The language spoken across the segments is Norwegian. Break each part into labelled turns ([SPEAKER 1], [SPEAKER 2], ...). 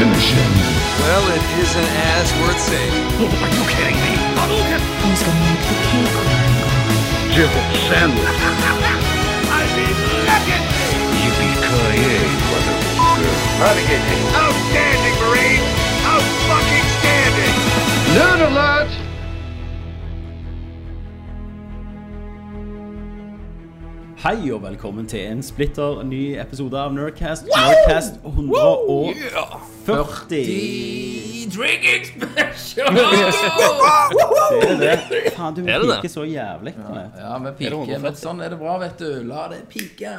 [SPEAKER 1] Nation.
[SPEAKER 2] Well, it isn't as worth saying.
[SPEAKER 3] Are you kidding me?
[SPEAKER 4] Who's gonna make the cake crumble?
[SPEAKER 1] Jibble sandwich.
[SPEAKER 3] I mean, look at me!
[SPEAKER 1] Yippee-ki-yay, motherfucker.
[SPEAKER 3] Renegade. Outstanding, Marine! Out fucking standing!
[SPEAKER 1] Nerd alert!
[SPEAKER 5] Hei og velkommen til en splitter ny episode av Nerdcast. Nerdcast 140.
[SPEAKER 6] Drinking special!
[SPEAKER 5] Det er det. Faen, du
[SPEAKER 6] det det?
[SPEAKER 5] piker så jævlig. Kenneth.
[SPEAKER 6] Ja, vi piker, men sånn er det bra, vet du. La det pike.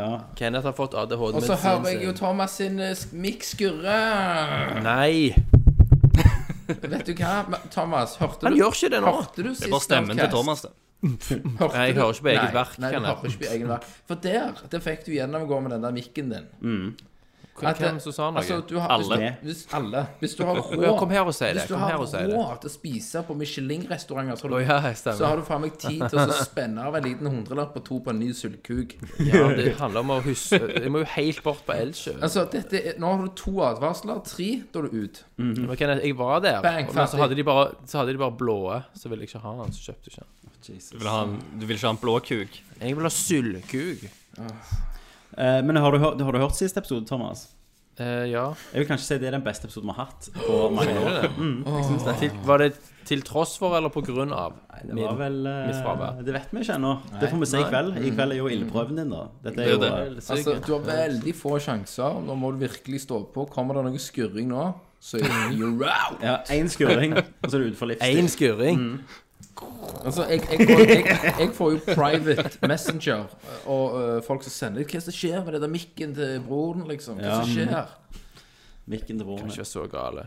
[SPEAKER 5] Ja.
[SPEAKER 7] Kenneth har fått ADHD
[SPEAKER 8] Altså,
[SPEAKER 6] Og så
[SPEAKER 7] medisinen
[SPEAKER 6] hører jeg jo
[SPEAKER 7] sin.
[SPEAKER 6] Thomas sin eh, sk- mikk skurre.
[SPEAKER 7] Nei!
[SPEAKER 6] Vet du hva, Ma- Thomas? Hørte
[SPEAKER 7] Han
[SPEAKER 6] du
[SPEAKER 7] gjør ikke det nå.
[SPEAKER 6] Hørte du sist
[SPEAKER 8] Det var stemmen til
[SPEAKER 6] Nerdcast?
[SPEAKER 8] Thomas, det.
[SPEAKER 6] Hørte
[SPEAKER 7] Nei, jeg
[SPEAKER 6] du-
[SPEAKER 7] hører ikke på eget
[SPEAKER 6] Nei,
[SPEAKER 7] verk,
[SPEAKER 6] Nei, du
[SPEAKER 7] Kenneth.
[SPEAKER 6] hører ikke på egen verk. For der, der fikk du gjennomgå med den der mikken din.
[SPEAKER 7] Mm. Hvem hvem som sa noe?
[SPEAKER 6] Altså, du har,
[SPEAKER 8] Alle.
[SPEAKER 6] Hvis, hvis, alle. Hvis du har
[SPEAKER 7] Ja,
[SPEAKER 6] råd
[SPEAKER 7] kom her og si det.
[SPEAKER 6] Hvis du
[SPEAKER 7] Kom
[SPEAKER 6] har
[SPEAKER 7] her og si det.
[SPEAKER 6] råd til å spise på Michelin-restauranter, så, har du-
[SPEAKER 7] Å, ja, stemmer.
[SPEAKER 6] så har du faen meg tid til å så spenne av en liten hundrelapp og to på en ny syltkuk.
[SPEAKER 7] Ja, det handler om å huske Jeg må jo helt bort på Eldsjø.
[SPEAKER 6] Altså, dette er, nå har du to advarsler. Tre, da er du ut.
[SPEAKER 5] Mm.
[SPEAKER 8] Mm.
[SPEAKER 7] Men Kenneth, jeg var der,
[SPEAKER 6] Bang,
[SPEAKER 7] og- men
[SPEAKER 6] ferdig.
[SPEAKER 7] så hadde de bare, så hadde de bare blåe. Så ville jeg ikke ha den, så kjøpte jeg ikke den.
[SPEAKER 8] Du vil, ha en, du vil ikke ha en blå kuk?
[SPEAKER 7] Jeg vil ha sylkuk.
[SPEAKER 5] Eh, Men har du, hørt, har du hørt siste episode, Thomas?
[SPEAKER 7] Eh, ja.
[SPEAKER 5] Jeg vil kanskje si det er den beste episoden vi har hatt på mange år. Mm,
[SPEAKER 7] Til, var det til tross for eller på grunn av?
[SPEAKER 5] Det var vel eh,
[SPEAKER 7] mitt fravær.
[SPEAKER 5] Det vet vi ikke ennå. Det får vi se i kveld.
[SPEAKER 6] Mm.
[SPEAKER 5] I kveld er jo ildprøven din, da. Dette er
[SPEAKER 8] Det
[SPEAKER 5] jo
[SPEAKER 8] er
[SPEAKER 5] eh,
[SPEAKER 6] Altså, du har veldig få sjanser. Nå må du virkelig stå på. Kommer det noe skurring nå, så er det you're out.
[SPEAKER 5] eh, ja, én skuring, og så er det utenfor livstid.
[SPEAKER 7] Én
[SPEAKER 8] Mm.
[SPEAKER 7] skuring.
[SPEAKER 6] Altså, jeg, jeg, får, jeg, jeg får jo private messenger og øh, folk som sender Hva er det som skjer med den der mikken til broren, liksom? Hva er det som skjer?
[SPEAKER 5] Mikken til broren.
[SPEAKER 7] Ikke så gale.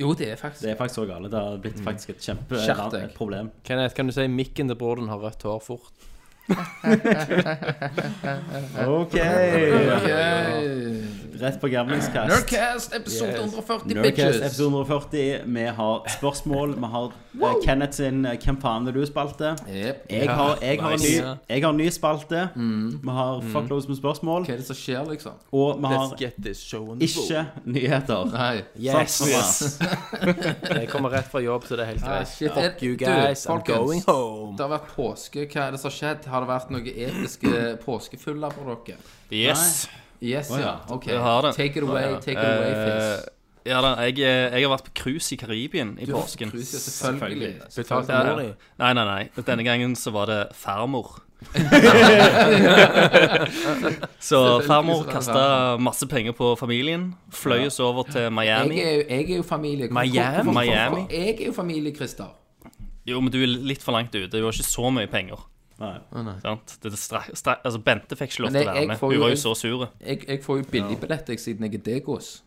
[SPEAKER 6] Jo, det er faktisk
[SPEAKER 5] Det er faktisk så gale. Det har blitt faktisk et
[SPEAKER 6] Skjerp deg.
[SPEAKER 5] kjempeproblem.
[SPEAKER 7] Kenneth, kan du si mikken til broren har rødt hår fort?
[SPEAKER 5] OK.
[SPEAKER 6] Ok.
[SPEAKER 5] Rett på gamlingskast.
[SPEAKER 6] Nerdcast episode 140,
[SPEAKER 5] Nerdcast
[SPEAKER 6] bitches.
[SPEAKER 5] episode 140. Vi har spørsmål. Vi har eh, Kenneth sin eh, 'Hvem faen er du?'-spalte.
[SPEAKER 6] Yep.
[SPEAKER 5] Jeg har, jeg, har en ny,
[SPEAKER 7] nice.
[SPEAKER 5] jeg har en ny spalte. Vi har fuckloads med spørsmål.
[SPEAKER 6] Hva er det som skjer, liksom?
[SPEAKER 5] Og vi har
[SPEAKER 7] Let's get this show on the road.
[SPEAKER 5] ikke nyheter.
[SPEAKER 6] Nei.
[SPEAKER 7] Yes,
[SPEAKER 5] Sant, Thomas?
[SPEAKER 7] Jeg kommer rett fra jobb, så det er helt
[SPEAKER 6] Ah,
[SPEAKER 7] greit.
[SPEAKER 6] shit.
[SPEAKER 7] Fuck you
[SPEAKER 6] Du,
[SPEAKER 7] guys, I'm
[SPEAKER 6] folkens.
[SPEAKER 7] going home.
[SPEAKER 6] Det har vært påske. Hva er det som har skjedd? Har det vært noen episke påskefuller på dere?
[SPEAKER 8] Yes.
[SPEAKER 6] Yes,
[SPEAKER 5] Å, ja.
[SPEAKER 6] ja. Ok.
[SPEAKER 8] Jeg har det.
[SPEAKER 6] Take it away, take it away, Fizz.
[SPEAKER 8] Eh, ja da, jeg, eh, jeg har vært på cruise i Karibien i
[SPEAKER 6] Du har fått
[SPEAKER 8] påsken.
[SPEAKER 6] krus, ja, selvfølgelig.
[SPEAKER 7] Betalt
[SPEAKER 8] Ja,
[SPEAKER 7] av
[SPEAKER 8] ja.
[SPEAKER 7] mor di.
[SPEAKER 8] Nei, nei, nei. Denne gangen så var det farmor. så
[SPEAKER 6] Selvfølgelig så
[SPEAKER 8] farmor
[SPEAKER 6] var det
[SPEAKER 8] kasta masse penger på familien. Fløy oss over til
[SPEAKER 6] Jeg
[SPEAKER 8] Miami.
[SPEAKER 6] er, jo- jeg er jo familie. Hvorfor-
[SPEAKER 7] Miami?
[SPEAKER 6] hvorfor-
[SPEAKER 8] Miami?
[SPEAKER 6] hvorfor- Jeg er jo familie, Christer.
[SPEAKER 8] Jo, men du er litt for langt ute. Du har ikke så mye penger.
[SPEAKER 5] Nei.
[SPEAKER 8] Sant? Det er stra- stra- altså, Bente fikk ikke lov
[SPEAKER 6] Men
[SPEAKER 8] til å
[SPEAKER 6] jeg-
[SPEAKER 8] være
[SPEAKER 6] jeg
[SPEAKER 8] med.
[SPEAKER 6] får jo-
[SPEAKER 8] Hun var jo så sur.
[SPEAKER 6] Jeg, jeg får jo billigbillett jeg, siden jeg er Degos.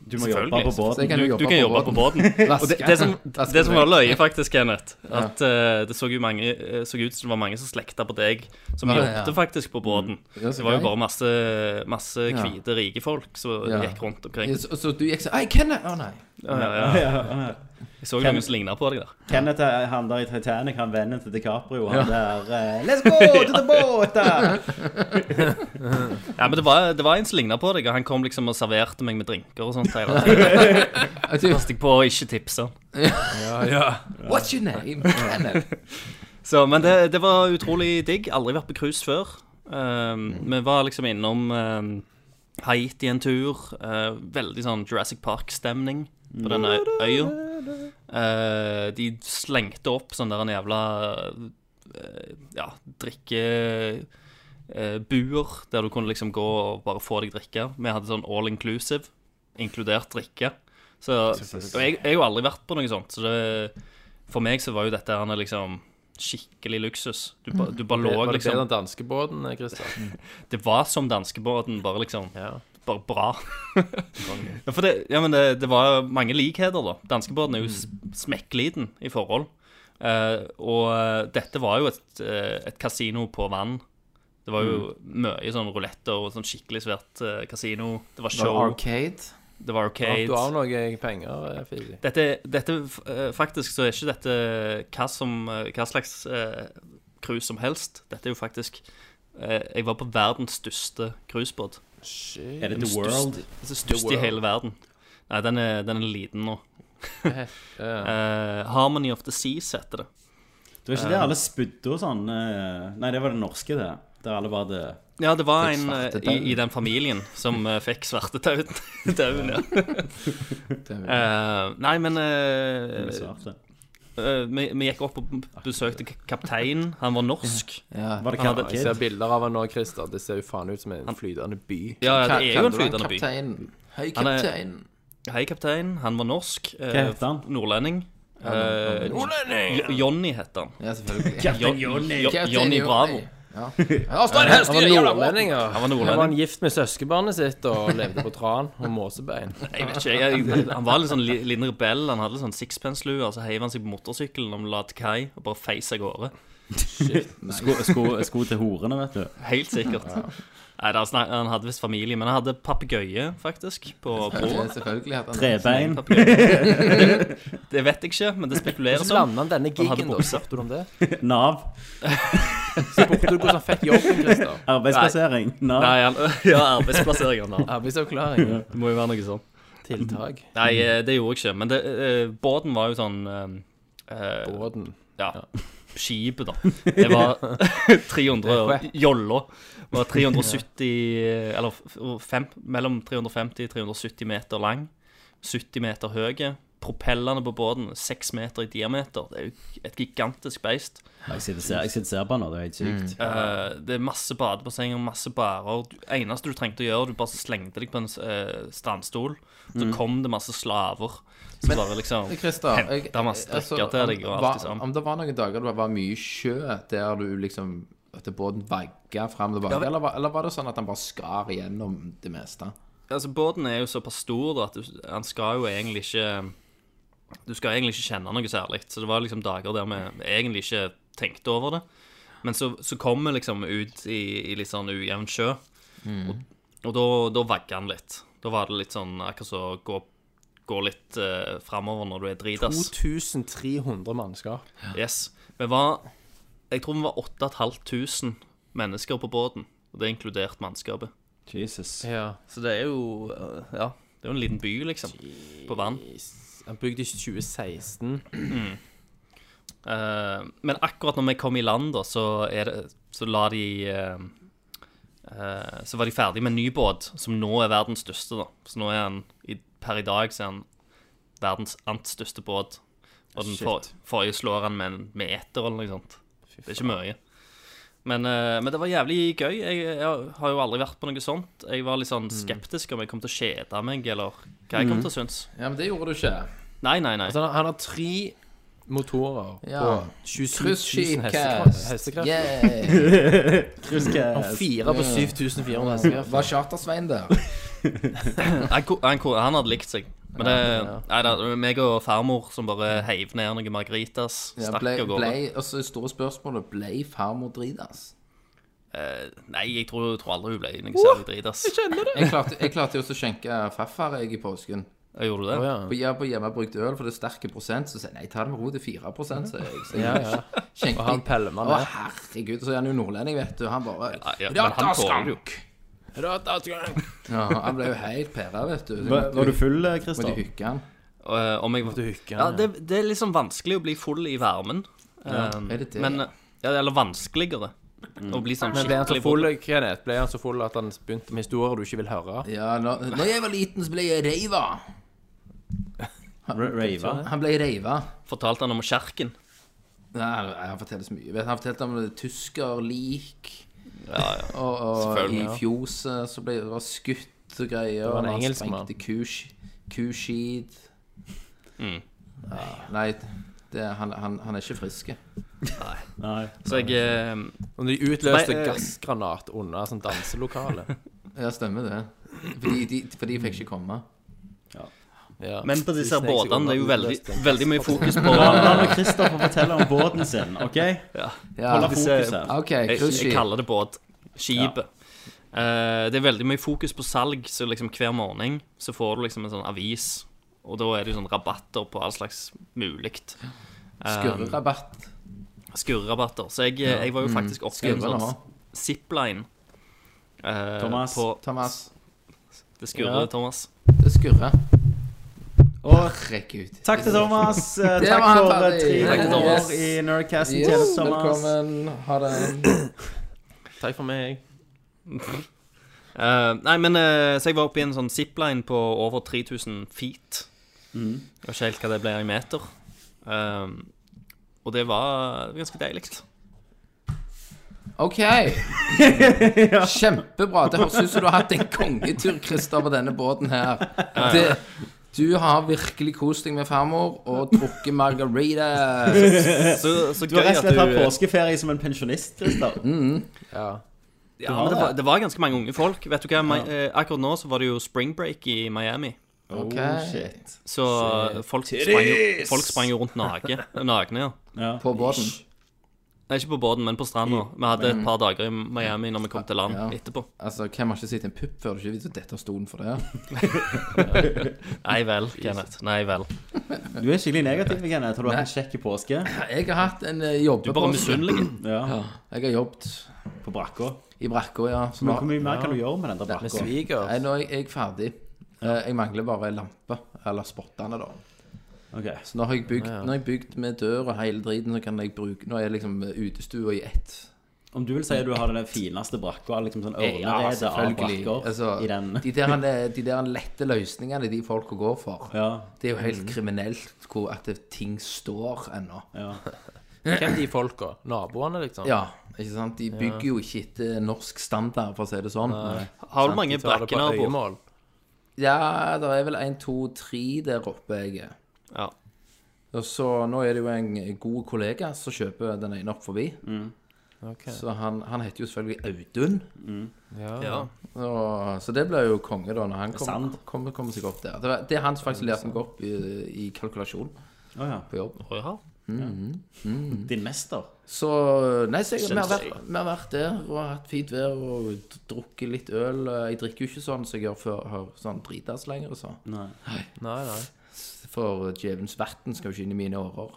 [SPEAKER 5] Du må jobbe på
[SPEAKER 6] Så
[SPEAKER 8] Selvfølgelig.
[SPEAKER 6] jeg
[SPEAKER 5] båten.
[SPEAKER 6] kan jo
[SPEAKER 8] Du,
[SPEAKER 6] jobbe
[SPEAKER 8] du kan jobbe på båten. Og det, det, som,
[SPEAKER 6] Vaske.
[SPEAKER 8] det som var løye, faktisk, Kenneth, at eh, det så, jo mange, eh, så ut som det var mange som slekta på deg, som
[SPEAKER 6] ja,
[SPEAKER 8] jobbet
[SPEAKER 6] ja.
[SPEAKER 8] faktisk på båten.
[SPEAKER 6] Ja, så
[SPEAKER 8] Det var jo
[SPEAKER 6] greit.
[SPEAKER 8] bare masse, masse hvite, rike folk som
[SPEAKER 6] Ja.
[SPEAKER 8] gikk rundt omkring.
[SPEAKER 6] Ja, Så, så du gikk sånn Ei, Kenneth! Å nei.
[SPEAKER 8] Ja, ja, ja. Jeg så noen som ligna på deg der.
[SPEAKER 5] Kenneth er- han der i Titanic, han vennen til DiCaprio, han der eh, Let's go to the boat! da!»
[SPEAKER 8] Ja, men det var, det var en som ligna på deg, og han kom liksom og serverte meg med drinker og sånt. hele tiden.
[SPEAKER 6] Jeg tror-
[SPEAKER 8] Passet jeg på å ikke tipse.
[SPEAKER 6] What's your name? Kenneth.
[SPEAKER 8] Så, men det, det var utrolig digg. Aldri vært på cruise før. Um,
[SPEAKER 6] Mm.
[SPEAKER 8] Vi var liksom innom um, Haiti en tur. Uh, veldig sånn Jurassic Park-stemning på denne ø- øya. Uh, de slengte opp sånn der en jævla uh, Ja, drikke... eh, buer der du kunne liksom gå og bare få deg drikke. Vi hadde sånn all inclusive, inkludert drikke. Så, og jeg, jeg har jo aldri vært på noe sånt, så det, for meg så var jo dette her liksom skikkelig luksus. Du, ba, du bare lå
[SPEAKER 7] Var Mm. det bedre
[SPEAKER 8] liksom Mm.
[SPEAKER 7] enn danskebåten,
[SPEAKER 9] eh,
[SPEAKER 7] Christer?
[SPEAKER 8] Det var som danskebåten, bare liksom
[SPEAKER 7] Ja.
[SPEAKER 8] Bare bra. ja, for det, ja, men det, det var mange likheter, da. Danskebåten er jo s- smekkliten i forhold. Eh, og eh, dette var jo et, eh, et kasino på vann. Det var jo mye sånn ruletter og sånn skikkelig svært eh, kasino. Det var show,
[SPEAKER 6] Arcade.
[SPEAKER 8] det var
[SPEAKER 7] Vant du av
[SPEAKER 8] arcade.
[SPEAKER 7] noe
[SPEAKER 9] eh,
[SPEAKER 7] penger, Fidi?
[SPEAKER 8] Dette, dette f- eh, Faktisk så er ikke dette hva, som, eh, hva slags eh, cruise som helst. Dette er jo faktisk eh, Jeg var på verdens største cruisebåt.
[SPEAKER 5] Er det The
[SPEAKER 8] Den
[SPEAKER 5] World?
[SPEAKER 8] største- altså, Størst i hele verden. Nei, den er, den er liten nå.
[SPEAKER 6] Ja.
[SPEAKER 8] Eh, Harmony of the Seas heter det.
[SPEAKER 5] Det var ikke det alle spydde og sånn eh, Nei, det var det norske, det. Der alle bare hadde
[SPEAKER 8] Ja, det var
[SPEAKER 6] Fikk
[SPEAKER 8] en eh, i,
[SPEAKER 6] svartedauden.
[SPEAKER 8] i den familien som eh, fikk svartedauden. Dauden, ja. Eh, nei, men eh,
[SPEAKER 5] ble svarte.
[SPEAKER 8] eh, vi, vi gikk opp og besøkte k- kapteinen. Han var norsk.
[SPEAKER 5] Var det
[SPEAKER 8] Han hadde-
[SPEAKER 5] Kaptein
[SPEAKER 9] Jeg
[SPEAKER 5] Kid?
[SPEAKER 9] ser bilder av han nå, Christer. Det ser jo faen ut som en flytende by.
[SPEAKER 8] Ja, ja, det er
[SPEAKER 6] Kaller
[SPEAKER 8] jo en
[SPEAKER 6] du han
[SPEAKER 8] flytende by.
[SPEAKER 6] kapteinen? Hei,
[SPEAKER 8] Han er-
[SPEAKER 6] kaptein.
[SPEAKER 8] Hei, kaptein. Han var norsk. eh,
[SPEAKER 5] Hva heter han?
[SPEAKER 8] Nordlending. Eh, Jo- Johnny heter han.
[SPEAKER 6] Ja, selvfølgelig.
[SPEAKER 8] Jo- Jo-
[SPEAKER 6] Kaptein
[SPEAKER 8] Johnny Bravo.
[SPEAKER 6] Ja. Ja, stå en hest
[SPEAKER 9] Han
[SPEAKER 6] i
[SPEAKER 9] var
[SPEAKER 6] det jævla båten!
[SPEAKER 9] nordlending, ja.
[SPEAKER 8] Han var
[SPEAKER 9] Her var han
[SPEAKER 8] nordlending.
[SPEAKER 9] gift med søskenbarnet sitt og levde på tran og måsebein.
[SPEAKER 8] Jeg vet ikke, jeg, jeg, han var litt sånn li- liten rebell. Han hadde litt sånn sixpence-lue, og så heiv han seg på motorsykkelen og la til kai og bare feis av gårde.
[SPEAKER 5] Sko, sko, sko til horene, vet du.
[SPEAKER 8] Helt sikkert. Nei, da, snak, han hadde visst familie, men han hadde papegøye, faktisk, på
[SPEAKER 6] Ja,
[SPEAKER 8] broa.
[SPEAKER 6] Selvfølgelig hadde han
[SPEAKER 5] Trebein.
[SPEAKER 8] Papegøye. Det, det vet jeg ikke, men det spekuleres
[SPEAKER 9] Så
[SPEAKER 8] om.
[SPEAKER 9] landa han denne
[SPEAKER 8] Han hadde
[SPEAKER 9] giggen, da.
[SPEAKER 8] bukser.
[SPEAKER 9] Spurte du om det?
[SPEAKER 5] Nav.
[SPEAKER 9] Spurte du hvordan han fikk jobben, Christer?
[SPEAKER 5] Arbeidsplassering. Nav.
[SPEAKER 8] Nei, han, ja, arbeidsplasseringen. da.
[SPEAKER 9] Arbeidsavklaring.
[SPEAKER 8] Det må jo være noe sånt.
[SPEAKER 9] Tiltak.
[SPEAKER 8] Nei, eh, det gjorde jeg ikke. Men det, eh, båten var jo sånn eh, eh,
[SPEAKER 9] Båten.
[SPEAKER 8] Ja. Skipet, da. Det var 300 Jolla. Det var 370 Eller f- fem, mellom 350 og 370 meter lang. 70 meter høy. Propellene på båten 6 meter i diameter. Det er jo et gigantisk beist.
[SPEAKER 5] Jeg sitter og ser- jeg sitter og ser på han nå, det er helt sykt.
[SPEAKER 8] Eh, det er masse badebassenger, masse barer. Du- eneste du trengte å gjøre, du bare slengte deg på en eh, strandstol. Så kom det masse slaver. Så bare liksom
[SPEAKER 6] Mm. Christer, jeg,
[SPEAKER 8] Henta masse
[SPEAKER 6] altså,
[SPEAKER 8] drikker til deg og
[SPEAKER 6] om-
[SPEAKER 8] alt det
[SPEAKER 6] var-
[SPEAKER 8] samme.
[SPEAKER 6] Om det var noen dager det var mye sjø der du liksom at båten vagga fram og tilbake, eller, var- eller var det sånn at han bare skar gjennom det meste?
[SPEAKER 8] Altså, båten er jo såpass stor da, at du, han skal jo egentlig ikke Du skal egentlig ikke kjenne noe særlig. Så det var liksom dager der vi egentlig ikke tenkte over det. Men så, så kom vi liksom ut i, i litt sånn ujevn sjø, og, og da, da vagga han litt. Da var det litt sånn akkurat så gå, gå litt uh, framover når du er dritas.
[SPEAKER 9] 2300 mannskap.
[SPEAKER 8] Yes. Vi var Jeg tror vi var 8500 mennesker på båten, og det inkludert mannskapet.
[SPEAKER 5] Jesus.
[SPEAKER 9] Ja.
[SPEAKER 8] Så det er jo eh, Ja, det er jo en liten by, liksom. På vann.
[SPEAKER 9] Han bygde i 2016.
[SPEAKER 8] Eh, men akkurat når vi kom i land, da, så, er det, så la de eh, eh, Så var de ferdig med en ny båt, som nå er verdens største, da. Så nå er han i, Per i dag så er han verdens ant største båt. Og den for, forrige slår han med en meter eller noe sånt. Det er ikke mye. Men, eh, men det var jævlig gøy. Jeg, jeg har jo aldri vært på noe sånt. Jeg var litt sånn skeptisk om jeg kom til å kjede meg, eller hva jeg kom til å synes.
[SPEAKER 6] Ja, men det gjorde du ikke.
[SPEAKER 8] Nei, nei, nei.
[SPEAKER 9] Så Altså, han, han har tre motorer
[SPEAKER 6] Ja.
[SPEAKER 9] på 27 000 hestekra-
[SPEAKER 6] Cruiseskipcast.
[SPEAKER 9] hestekraft.
[SPEAKER 6] Yeah.
[SPEAKER 9] Og fire på 7400
[SPEAKER 6] Ja,
[SPEAKER 9] hestekraft.
[SPEAKER 6] Var Charter-Svein der?
[SPEAKER 8] Han, ko- han, ko- han hadde likt seg. Men det, nei, da, meg og farmor som bare heiv ned noen margaritas,
[SPEAKER 6] Ja,
[SPEAKER 8] stakk
[SPEAKER 6] ble,
[SPEAKER 8] av gårde.
[SPEAKER 6] ble, og så store spørsmålet Ble farmor dritas?
[SPEAKER 8] Eh, nei, jeg tror, tror aldri hun ble noe særlig drit, ass.
[SPEAKER 6] Jeg klarte, jeg klarte jo også å skjenke farfar jeg i påsken.
[SPEAKER 8] Jeg gjorde du det?
[SPEAKER 6] På, ja, på hjemmebrukt øl, for det er sterke prosent. Så sier jeg nei, ta det med ro, det er 4 sa jeg. Så jeg
[SPEAKER 9] Ja, ja.
[SPEAKER 6] skjenker-
[SPEAKER 9] Og han peller
[SPEAKER 6] Å,
[SPEAKER 9] meg ned.
[SPEAKER 6] herregud. Så er han jo nordlending, vet du. Han bare
[SPEAKER 8] Nei, ja, men han tåler det jo.
[SPEAKER 6] Ja, han ble jo helt pæra, vet du. Så
[SPEAKER 5] Var,
[SPEAKER 6] måtte
[SPEAKER 5] var du
[SPEAKER 6] jo-
[SPEAKER 5] full, eh,
[SPEAKER 6] Måtte jo
[SPEAKER 5] Christer?
[SPEAKER 6] hooke han.
[SPEAKER 8] Eh, om jeg, ja, det, det er liksom vanskelig å bli full i varmen. Eh,
[SPEAKER 6] er det det?
[SPEAKER 8] Men, eh, ja, eller vanskeligere. Å bli sånn
[SPEAKER 9] Men ble han så
[SPEAKER 8] skikkelig
[SPEAKER 9] full, Kenneth? Ble han så full at han begynte med historier du ikke vil høre?
[SPEAKER 6] Ja, når, når jeg var liten, så ble jeg reiva.
[SPEAKER 5] R- Rava?
[SPEAKER 6] Han ble reiva.
[SPEAKER 8] Fortalte han om kjerken.
[SPEAKER 6] Nei, han- han forteller så mye. Vet, du, han fortalte om det tyskerlik,
[SPEAKER 8] Ja, ja.
[SPEAKER 6] og, og i
[SPEAKER 8] Selvfølgelig, ja.
[SPEAKER 6] fjoset så ble det var skutt og greier.
[SPEAKER 9] var en
[SPEAKER 6] og han
[SPEAKER 9] engelskmann.
[SPEAKER 6] sprengte kusk- kuskid.
[SPEAKER 8] Mm.
[SPEAKER 6] Ja, nei, det, han, han, han er ikke frisk.
[SPEAKER 5] Nei.
[SPEAKER 8] Så jeg eh,
[SPEAKER 9] Og de utløste
[SPEAKER 8] Nei, eh,
[SPEAKER 9] gassgranat under sånn danselokale.
[SPEAKER 6] Ja, stemmer det. Fordi de, for de fikk ikke komme.
[SPEAKER 9] Ja.
[SPEAKER 8] Men på disse
[SPEAKER 9] Snek seg
[SPEAKER 8] båtene, det er jo
[SPEAKER 9] under,
[SPEAKER 8] veldig,
[SPEAKER 9] utløste en
[SPEAKER 8] veldig mye fokus på
[SPEAKER 5] La, la nå Christer få fortelle om båten sin, OK?
[SPEAKER 6] Ja,
[SPEAKER 5] Holde fokus her.
[SPEAKER 6] OK,
[SPEAKER 8] Jeg, jeg
[SPEAKER 6] cruiseskip.
[SPEAKER 8] kaller det båt. Skipet. Eh, det er veldig mye fokus på salg, så liksom hver morgen så får du liksom en sånn avis. Og da er det jo sånn rabatter på all slags muligt.
[SPEAKER 6] Skurrerabatt.
[SPEAKER 8] Skurrerabatter. Så jeg, jeg var jo faktisk oppe i en
[SPEAKER 6] Skurrer
[SPEAKER 8] sånn
[SPEAKER 6] nå.
[SPEAKER 8] zipline. eh,
[SPEAKER 5] Thomas.
[SPEAKER 8] På
[SPEAKER 6] Thomas.
[SPEAKER 8] det
[SPEAKER 9] Ja.
[SPEAKER 8] skurrer, Thomas.
[SPEAKER 6] Det skurrer.
[SPEAKER 5] Og
[SPEAKER 6] Herregud.
[SPEAKER 5] takk til Thomas. eh,
[SPEAKER 6] Det
[SPEAKER 5] Takk
[SPEAKER 6] var han
[SPEAKER 5] for eh,
[SPEAKER 6] ferdig.
[SPEAKER 5] tre
[SPEAKER 6] Takk til
[SPEAKER 5] år
[SPEAKER 6] Thomas.
[SPEAKER 5] i Nerdcasten.
[SPEAKER 6] Yes,
[SPEAKER 5] Tjeneste, Thomas.
[SPEAKER 6] velkommen. Ha det.
[SPEAKER 9] Takk for meg.
[SPEAKER 8] Eh, nei, men eh, så jeg var oppe i en sånn zipline på over 3000 feet.
[SPEAKER 6] Mm.
[SPEAKER 5] Mhm.
[SPEAKER 8] Jeg vet ikke helt hva det blir i meter. Um, og det var ganske deilig.
[SPEAKER 6] OK. Kjempebra. Det høres ut som du har hatt en kongetur, Christer, på denne båten her. Det, du har virkelig kost deg med farmor og drukket margarita.
[SPEAKER 8] Så, så
[SPEAKER 5] Du har
[SPEAKER 8] gøy
[SPEAKER 5] rett og
[SPEAKER 8] at
[SPEAKER 5] slett hatt
[SPEAKER 8] du
[SPEAKER 5] påskeferie som en pensjonist, Christer.
[SPEAKER 8] ja, men det, var, det var ganske mange unge folk. Vet du hva, Mi- eh, Akkurat nå så var det jo spring break i Miami.
[SPEAKER 6] Ok.
[SPEAKER 5] Oh, shit.
[SPEAKER 8] Så folk sprang, jo, folk sprang jo rundt nake, nakne. Ja.
[SPEAKER 5] Ja.
[SPEAKER 6] På båten.
[SPEAKER 8] Nei, ikke på båten, men på stranda. Vi hadde et par dager i Miami når vi kom til land
[SPEAKER 6] Ja.
[SPEAKER 8] etterpå.
[SPEAKER 6] Altså, Hvem har ikke sett en pupp før? Du ikke vet at dette har stolen for det.
[SPEAKER 8] Nei vel, Kenneth. Nei vel.
[SPEAKER 5] Du er skikkelig negativ, Kenneth. Har du hatt en kjekk påske?
[SPEAKER 6] Jeg har hatt en eh, jobb
[SPEAKER 8] Du er bare misunnelig.
[SPEAKER 5] Ja,
[SPEAKER 6] Jeg har jobbet
[SPEAKER 5] på brakka.
[SPEAKER 6] i brakka, ja. Så
[SPEAKER 5] Men
[SPEAKER 6] nå-
[SPEAKER 5] hvor mye mer kan du gjøre med den der
[SPEAKER 9] Med
[SPEAKER 5] brakka?
[SPEAKER 9] sviger.
[SPEAKER 6] Nei, nå er jeg, jeg ferdig. Eh, Jeg mangler bare lampe, eller spottene, da.
[SPEAKER 5] Ok.
[SPEAKER 6] Så nå har jeg bygd, nå har jeg bygd med dør og hele driten, så kan jeg bruke Nå er jeg liksom utestua i ett.
[SPEAKER 5] Om du vil si at du har den fineste brakka, liksom sånn
[SPEAKER 6] Ja,
[SPEAKER 5] ørnerede av
[SPEAKER 6] selvfølgelig.
[SPEAKER 5] brakker
[SPEAKER 6] Altså,
[SPEAKER 5] i den
[SPEAKER 6] De der, de der lette løsningene de folka går for,
[SPEAKER 5] Ja. Mhm.
[SPEAKER 6] det er jo helt kriminelt hvor at det- ting står ennå.
[SPEAKER 5] ja.
[SPEAKER 9] Hvem de folka? Naboene, liksom?
[SPEAKER 6] Ja, ikke sant? De bygger jo ikke etter norsk standard, for å si det sånn.
[SPEAKER 8] Har du mange
[SPEAKER 9] De tar det på
[SPEAKER 8] brakkenaboer?
[SPEAKER 9] øyemål.
[SPEAKER 6] Ja, det er vel en, to, tre der oppe jeg er.
[SPEAKER 8] Ja.
[SPEAKER 6] Og så nå er det jo en god kollega som kjøper den ene opp forbi.
[SPEAKER 5] Mm.
[SPEAKER 6] Så han, han heter jo selvfølgelig Audun.
[SPEAKER 8] ja.
[SPEAKER 6] Og, så det blir jo konge da når han kommer
[SPEAKER 5] Sand.
[SPEAKER 6] kom, kom seg opp der. Det, var, det er han som faktisk lærte meg opp i, i kalkulasjon
[SPEAKER 5] Å ja.
[SPEAKER 6] på jobb.
[SPEAKER 8] Å, ja.
[SPEAKER 5] Din mester.
[SPEAKER 6] Så nei, så jeg, vi, har vært, vi har vært der og hatt fint vær og d- drukket litt øl. Jeg drikker jo ikke sånn som jeg gjør før, har sånn dritass lenger. Så.
[SPEAKER 5] Nei.
[SPEAKER 9] Nei, nei.
[SPEAKER 6] For djevelens verten skal jo ikke inn i mine årer.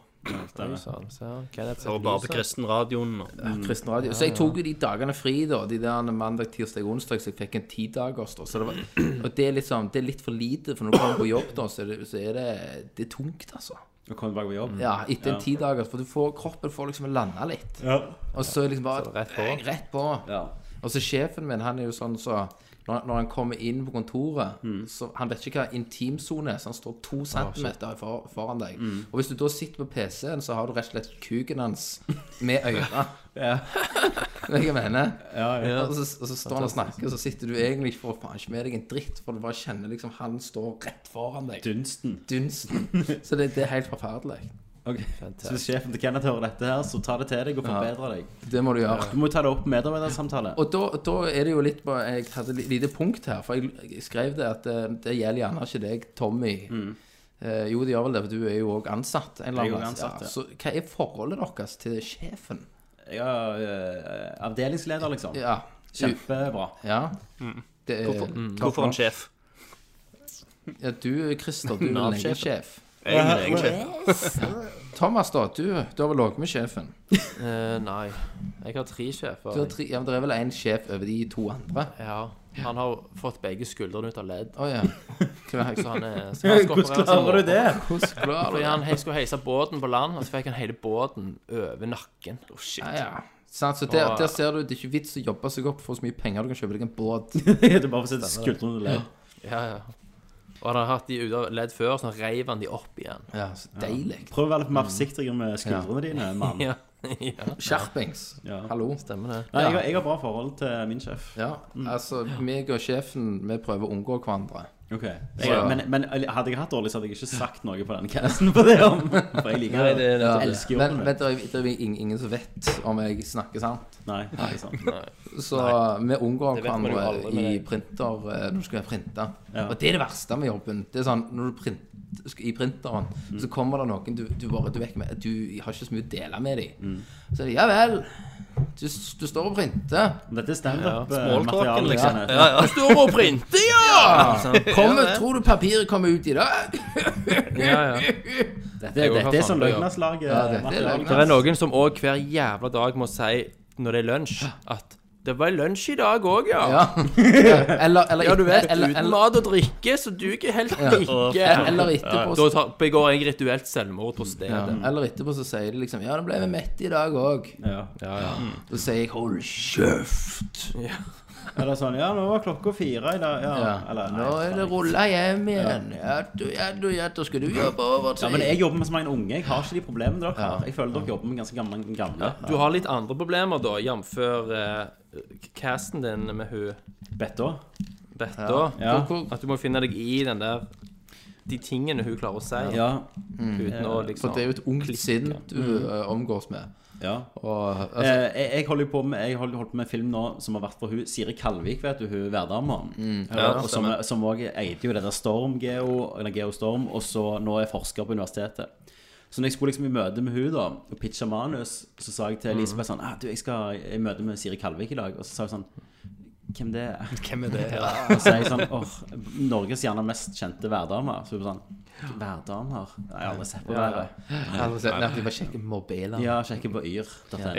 [SPEAKER 5] stemmer.
[SPEAKER 9] Sånn, så, Kenneth
[SPEAKER 8] Og bare på kristenradioen. og-
[SPEAKER 6] kristen radio. Så jeg tok jo de dagene fri, da. De der mandag, tirsdag, onsdag. Så jeg fikk en tidagers, da. Så det var, og det er, litt sånn, det er litt for lite, for når du kommer på jobb, da, så er det, så er det, det er tungt, altså.
[SPEAKER 5] Å komme tilbake på jobb.
[SPEAKER 6] Ja, etter en tidagers. For du får, kroppen får liksom landa litt.
[SPEAKER 5] Ja.
[SPEAKER 6] Og så liksom bare
[SPEAKER 9] rett på.
[SPEAKER 6] bang, Rett på.
[SPEAKER 5] ja.
[SPEAKER 6] Og så sjefen min, han er jo sånn så når, når han kommer inn på kontoret,
[SPEAKER 5] Mm.
[SPEAKER 6] så han vet ikke hva intimsone er, så han står to centimeter for, foran deg.
[SPEAKER 5] Mm.
[SPEAKER 6] Og hvis du da sitter på PC-en, så har du rett og slett kuken hans med øra.
[SPEAKER 5] Ja.
[SPEAKER 6] Vet du hva jeg mener?
[SPEAKER 5] ja.
[SPEAKER 6] Og, så, og så står han og snakker, og så sitter du egentlig ikke for faen ikke med deg en dritt, for du bare kjenner liksom han står rett foran deg.
[SPEAKER 5] Dunsten.
[SPEAKER 6] Dunsten. Så det, det er helt forferdelig.
[SPEAKER 5] Ok. Så hvis sjefen til Kenneth hører dette her, så ta det til deg og forbedre deg.
[SPEAKER 6] Det må du gjøre.
[SPEAKER 5] Du må jo ta det opp med medarbeidersamtale.
[SPEAKER 6] Og da, da er det jo litt på Jeg hadde et lite punkt her, for jeg, jeg skrev det at eh, det gjelder gjerne ikke deg, Tommy. Eh, jo, det gjør vel det, for du er jo òg ansatt. En eller
[SPEAKER 5] Mm. Jeg er
[SPEAKER 6] annen plass,
[SPEAKER 5] også ansatt, ja.
[SPEAKER 6] ja. Så hva er forholdet deres til sjefen?
[SPEAKER 5] Ja, eh, avdelingsleder, liksom.
[SPEAKER 6] Ja.
[SPEAKER 5] Kjempebra.
[SPEAKER 6] ja. Det er,
[SPEAKER 8] Hvorfor,
[SPEAKER 5] Mm.
[SPEAKER 8] hvorfor en sjef?
[SPEAKER 6] Ja, du, Christer, du er vel lenge sjef.
[SPEAKER 8] Jeg er egen sjef.
[SPEAKER 6] Thomas, da. Du, du har vel ligget med sjefen?
[SPEAKER 9] Eh, nei. Jeg har tre
[SPEAKER 6] Du har
[SPEAKER 9] sjefer.
[SPEAKER 6] tre, ja, men Det er vel én sjef over de to andre?
[SPEAKER 9] Ja. Han har fått begge skuldrene ut av ledd.
[SPEAKER 6] Å ja. Hvem er
[SPEAKER 9] Så han er så han skal operere seg i morgen.
[SPEAKER 6] Hvordan klarer
[SPEAKER 9] Fordi
[SPEAKER 6] du
[SPEAKER 9] han he- skulle heise båten på land, og så fikk han hele båten over nakken.
[SPEAKER 6] Ja, ja. Sant, så der, der ser du, det er ikke vits å jobbe seg opp for så mye penger du kan kjøpe deg en båt.
[SPEAKER 5] Det er bare for å sette skuldrene under ledd.
[SPEAKER 9] Ja, ja. Og han har hatt de ut av ledd før, så nå reiv han de opp igjen.
[SPEAKER 6] Ja, så deilig.
[SPEAKER 5] Prøv å være litt mer forsiktig med skuldrene dine, mann.
[SPEAKER 9] Ja. ja.
[SPEAKER 6] Skjerpings.
[SPEAKER 5] Ja.
[SPEAKER 6] Hallo.
[SPEAKER 9] Stemmer det.
[SPEAKER 5] Nei, jeg, har, jeg har bra forhold til min sjef.
[SPEAKER 6] Ja, altså, meg og sjefen, vi prøver å unngå hverandre.
[SPEAKER 5] Ok jeg, men, men hadde jeg hatt dårlig, så hadde jeg ikke sagt noe på denne casten på det om. For jeg liker det.
[SPEAKER 6] Ja,
[SPEAKER 5] Jeg elsker
[SPEAKER 6] men
[SPEAKER 5] jobben
[SPEAKER 6] men
[SPEAKER 5] min.
[SPEAKER 6] det er, det er ingen, ingen som vet om jeg snakker sant.
[SPEAKER 5] Nei, det er sant.
[SPEAKER 6] Så vi unngår
[SPEAKER 9] vet man jo
[SPEAKER 6] hverandre
[SPEAKER 9] aldri med
[SPEAKER 6] i
[SPEAKER 9] deg.
[SPEAKER 6] printer eh, når du skal printe.
[SPEAKER 5] Ja.
[SPEAKER 6] Og det er det verste med jobben. Det er sånn, Når du print, skal i printeren, så kommer det noen du, du bare du vet ikke med, du har ikke så mye å dele med dem. Så er det Ja vel. Du, du står og printer.
[SPEAKER 5] Dette er eh, standup-materiale.
[SPEAKER 8] Smalltalken, liksom.
[SPEAKER 5] Liksom.
[SPEAKER 8] Ja, ja.
[SPEAKER 9] Står og printer, ja!
[SPEAKER 6] Kommer, tror du papiret kommer ut i dag?
[SPEAKER 9] ja, ja.
[SPEAKER 5] Dette, er- dette er sånn løgnaslaget.
[SPEAKER 6] Ja, dette er
[SPEAKER 5] materiale.
[SPEAKER 6] løgn.
[SPEAKER 9] Det er noen som òg hver jævla dag må si når det er lunsj, at Det var lunsj i dag òg, ja.
[SPEAKER 6] Ja. Eller, eller,
[SPEAKER 9] Ja, du vet.
[SPEAKER 6] eller,
[SPEAKER 9] uten
[SPEAKER 6] eller,
[SPEAKER 9] mat og drikke, så duger helt ikke.
[SPEAKER 6] eller etterpå
[SPEAKER 9] Da tar, begår jeg rituelt selvmord på stedet.
[SPEAKER 6] ja, Eller etterpå så sier de liksom Ja, det ble vi mette i dag òg.
[SPEAKER 5] Ja.
[SPEAKER 6] Så sier jeg hold kjeft.
[SPEAKER 5] Eller sånn Ja, nå var klokka fire i dag. Ja.
[SPEAKER 6] Ja.
[SPEAKER 5] Eller
[SPEAKER 6] Nå
[SPEAKER 5] nei,
[SPEAKER 6] er det
[SPEAKER 5] faen.
[SPEAKER 6] rulla hjem igjen. Ja, du, ja, du, ja, da skal du jobbe overtid.
[SPEAKER 5] Ja, men jeg jobber med så mange unge. Jeg har ikke de problemene dere har. Jeg føler dere jobber med ganske gamle. gamle.
[SPEAKER 9] Du har litt andre problemer, da, jf. Uh, casten din med hun
[SPEAKER 5] Better.
[SPEAKER 9] Betta.
[SPEAKER 5] Ja.
[SPEAKER 6] Hvor- hvor-
[SPEAKER 9] At du må finne deg i den der De tingene hun klarer å si.
[SPEAKER 5] Ja.
[SPEAKER 9] Uten å
[SPEAKER 6] For
[SPEAKER 9] liksom
[SPEAKER 6] det er jo et ungt sinn du eh, omgås med.
[SPEAKER 5] ja.
[SPEAKER 6] Og,
[SPEAKER 5] Eh,
[SPEAKER 6] altså,
[SPEAKER 5] jeg, jeg holder jo på med Jeg holder holdt på med en film nå som har vært for hun Siri Kalvik, vet du, hun hverdama.
[SPEAKER 6] Mm.
[SPEAKER 5] Ja, og som- som òg eide jo det der Storm Geo, eller Geo Storm, og så nå er forsker på universitetet. Så når jeg skulle liksom i møte med hun da og pitcha manus, så sa jeg til
[SPEAKER 6] Mm.
[SPEAKER 5] Elisabeth sånn ah, du, 'Jeg skal i møte med Siri Kalvik i dag.' Og så sa hun sånn Hvem det er?
[SPEAKER 8] Hvem er det? Ja.
[SPEAKER 5] Og så er jeg sånn åh, Norges gjerne mest kjente værdame. Så hun sånn Værdamer? Nei, Jeg har aldri sett på været.
[SPEAKER 6] altså, se- nei, de bare sjekker mobiler.
[SPEAKER 5] Ja, sjekker på yr.no.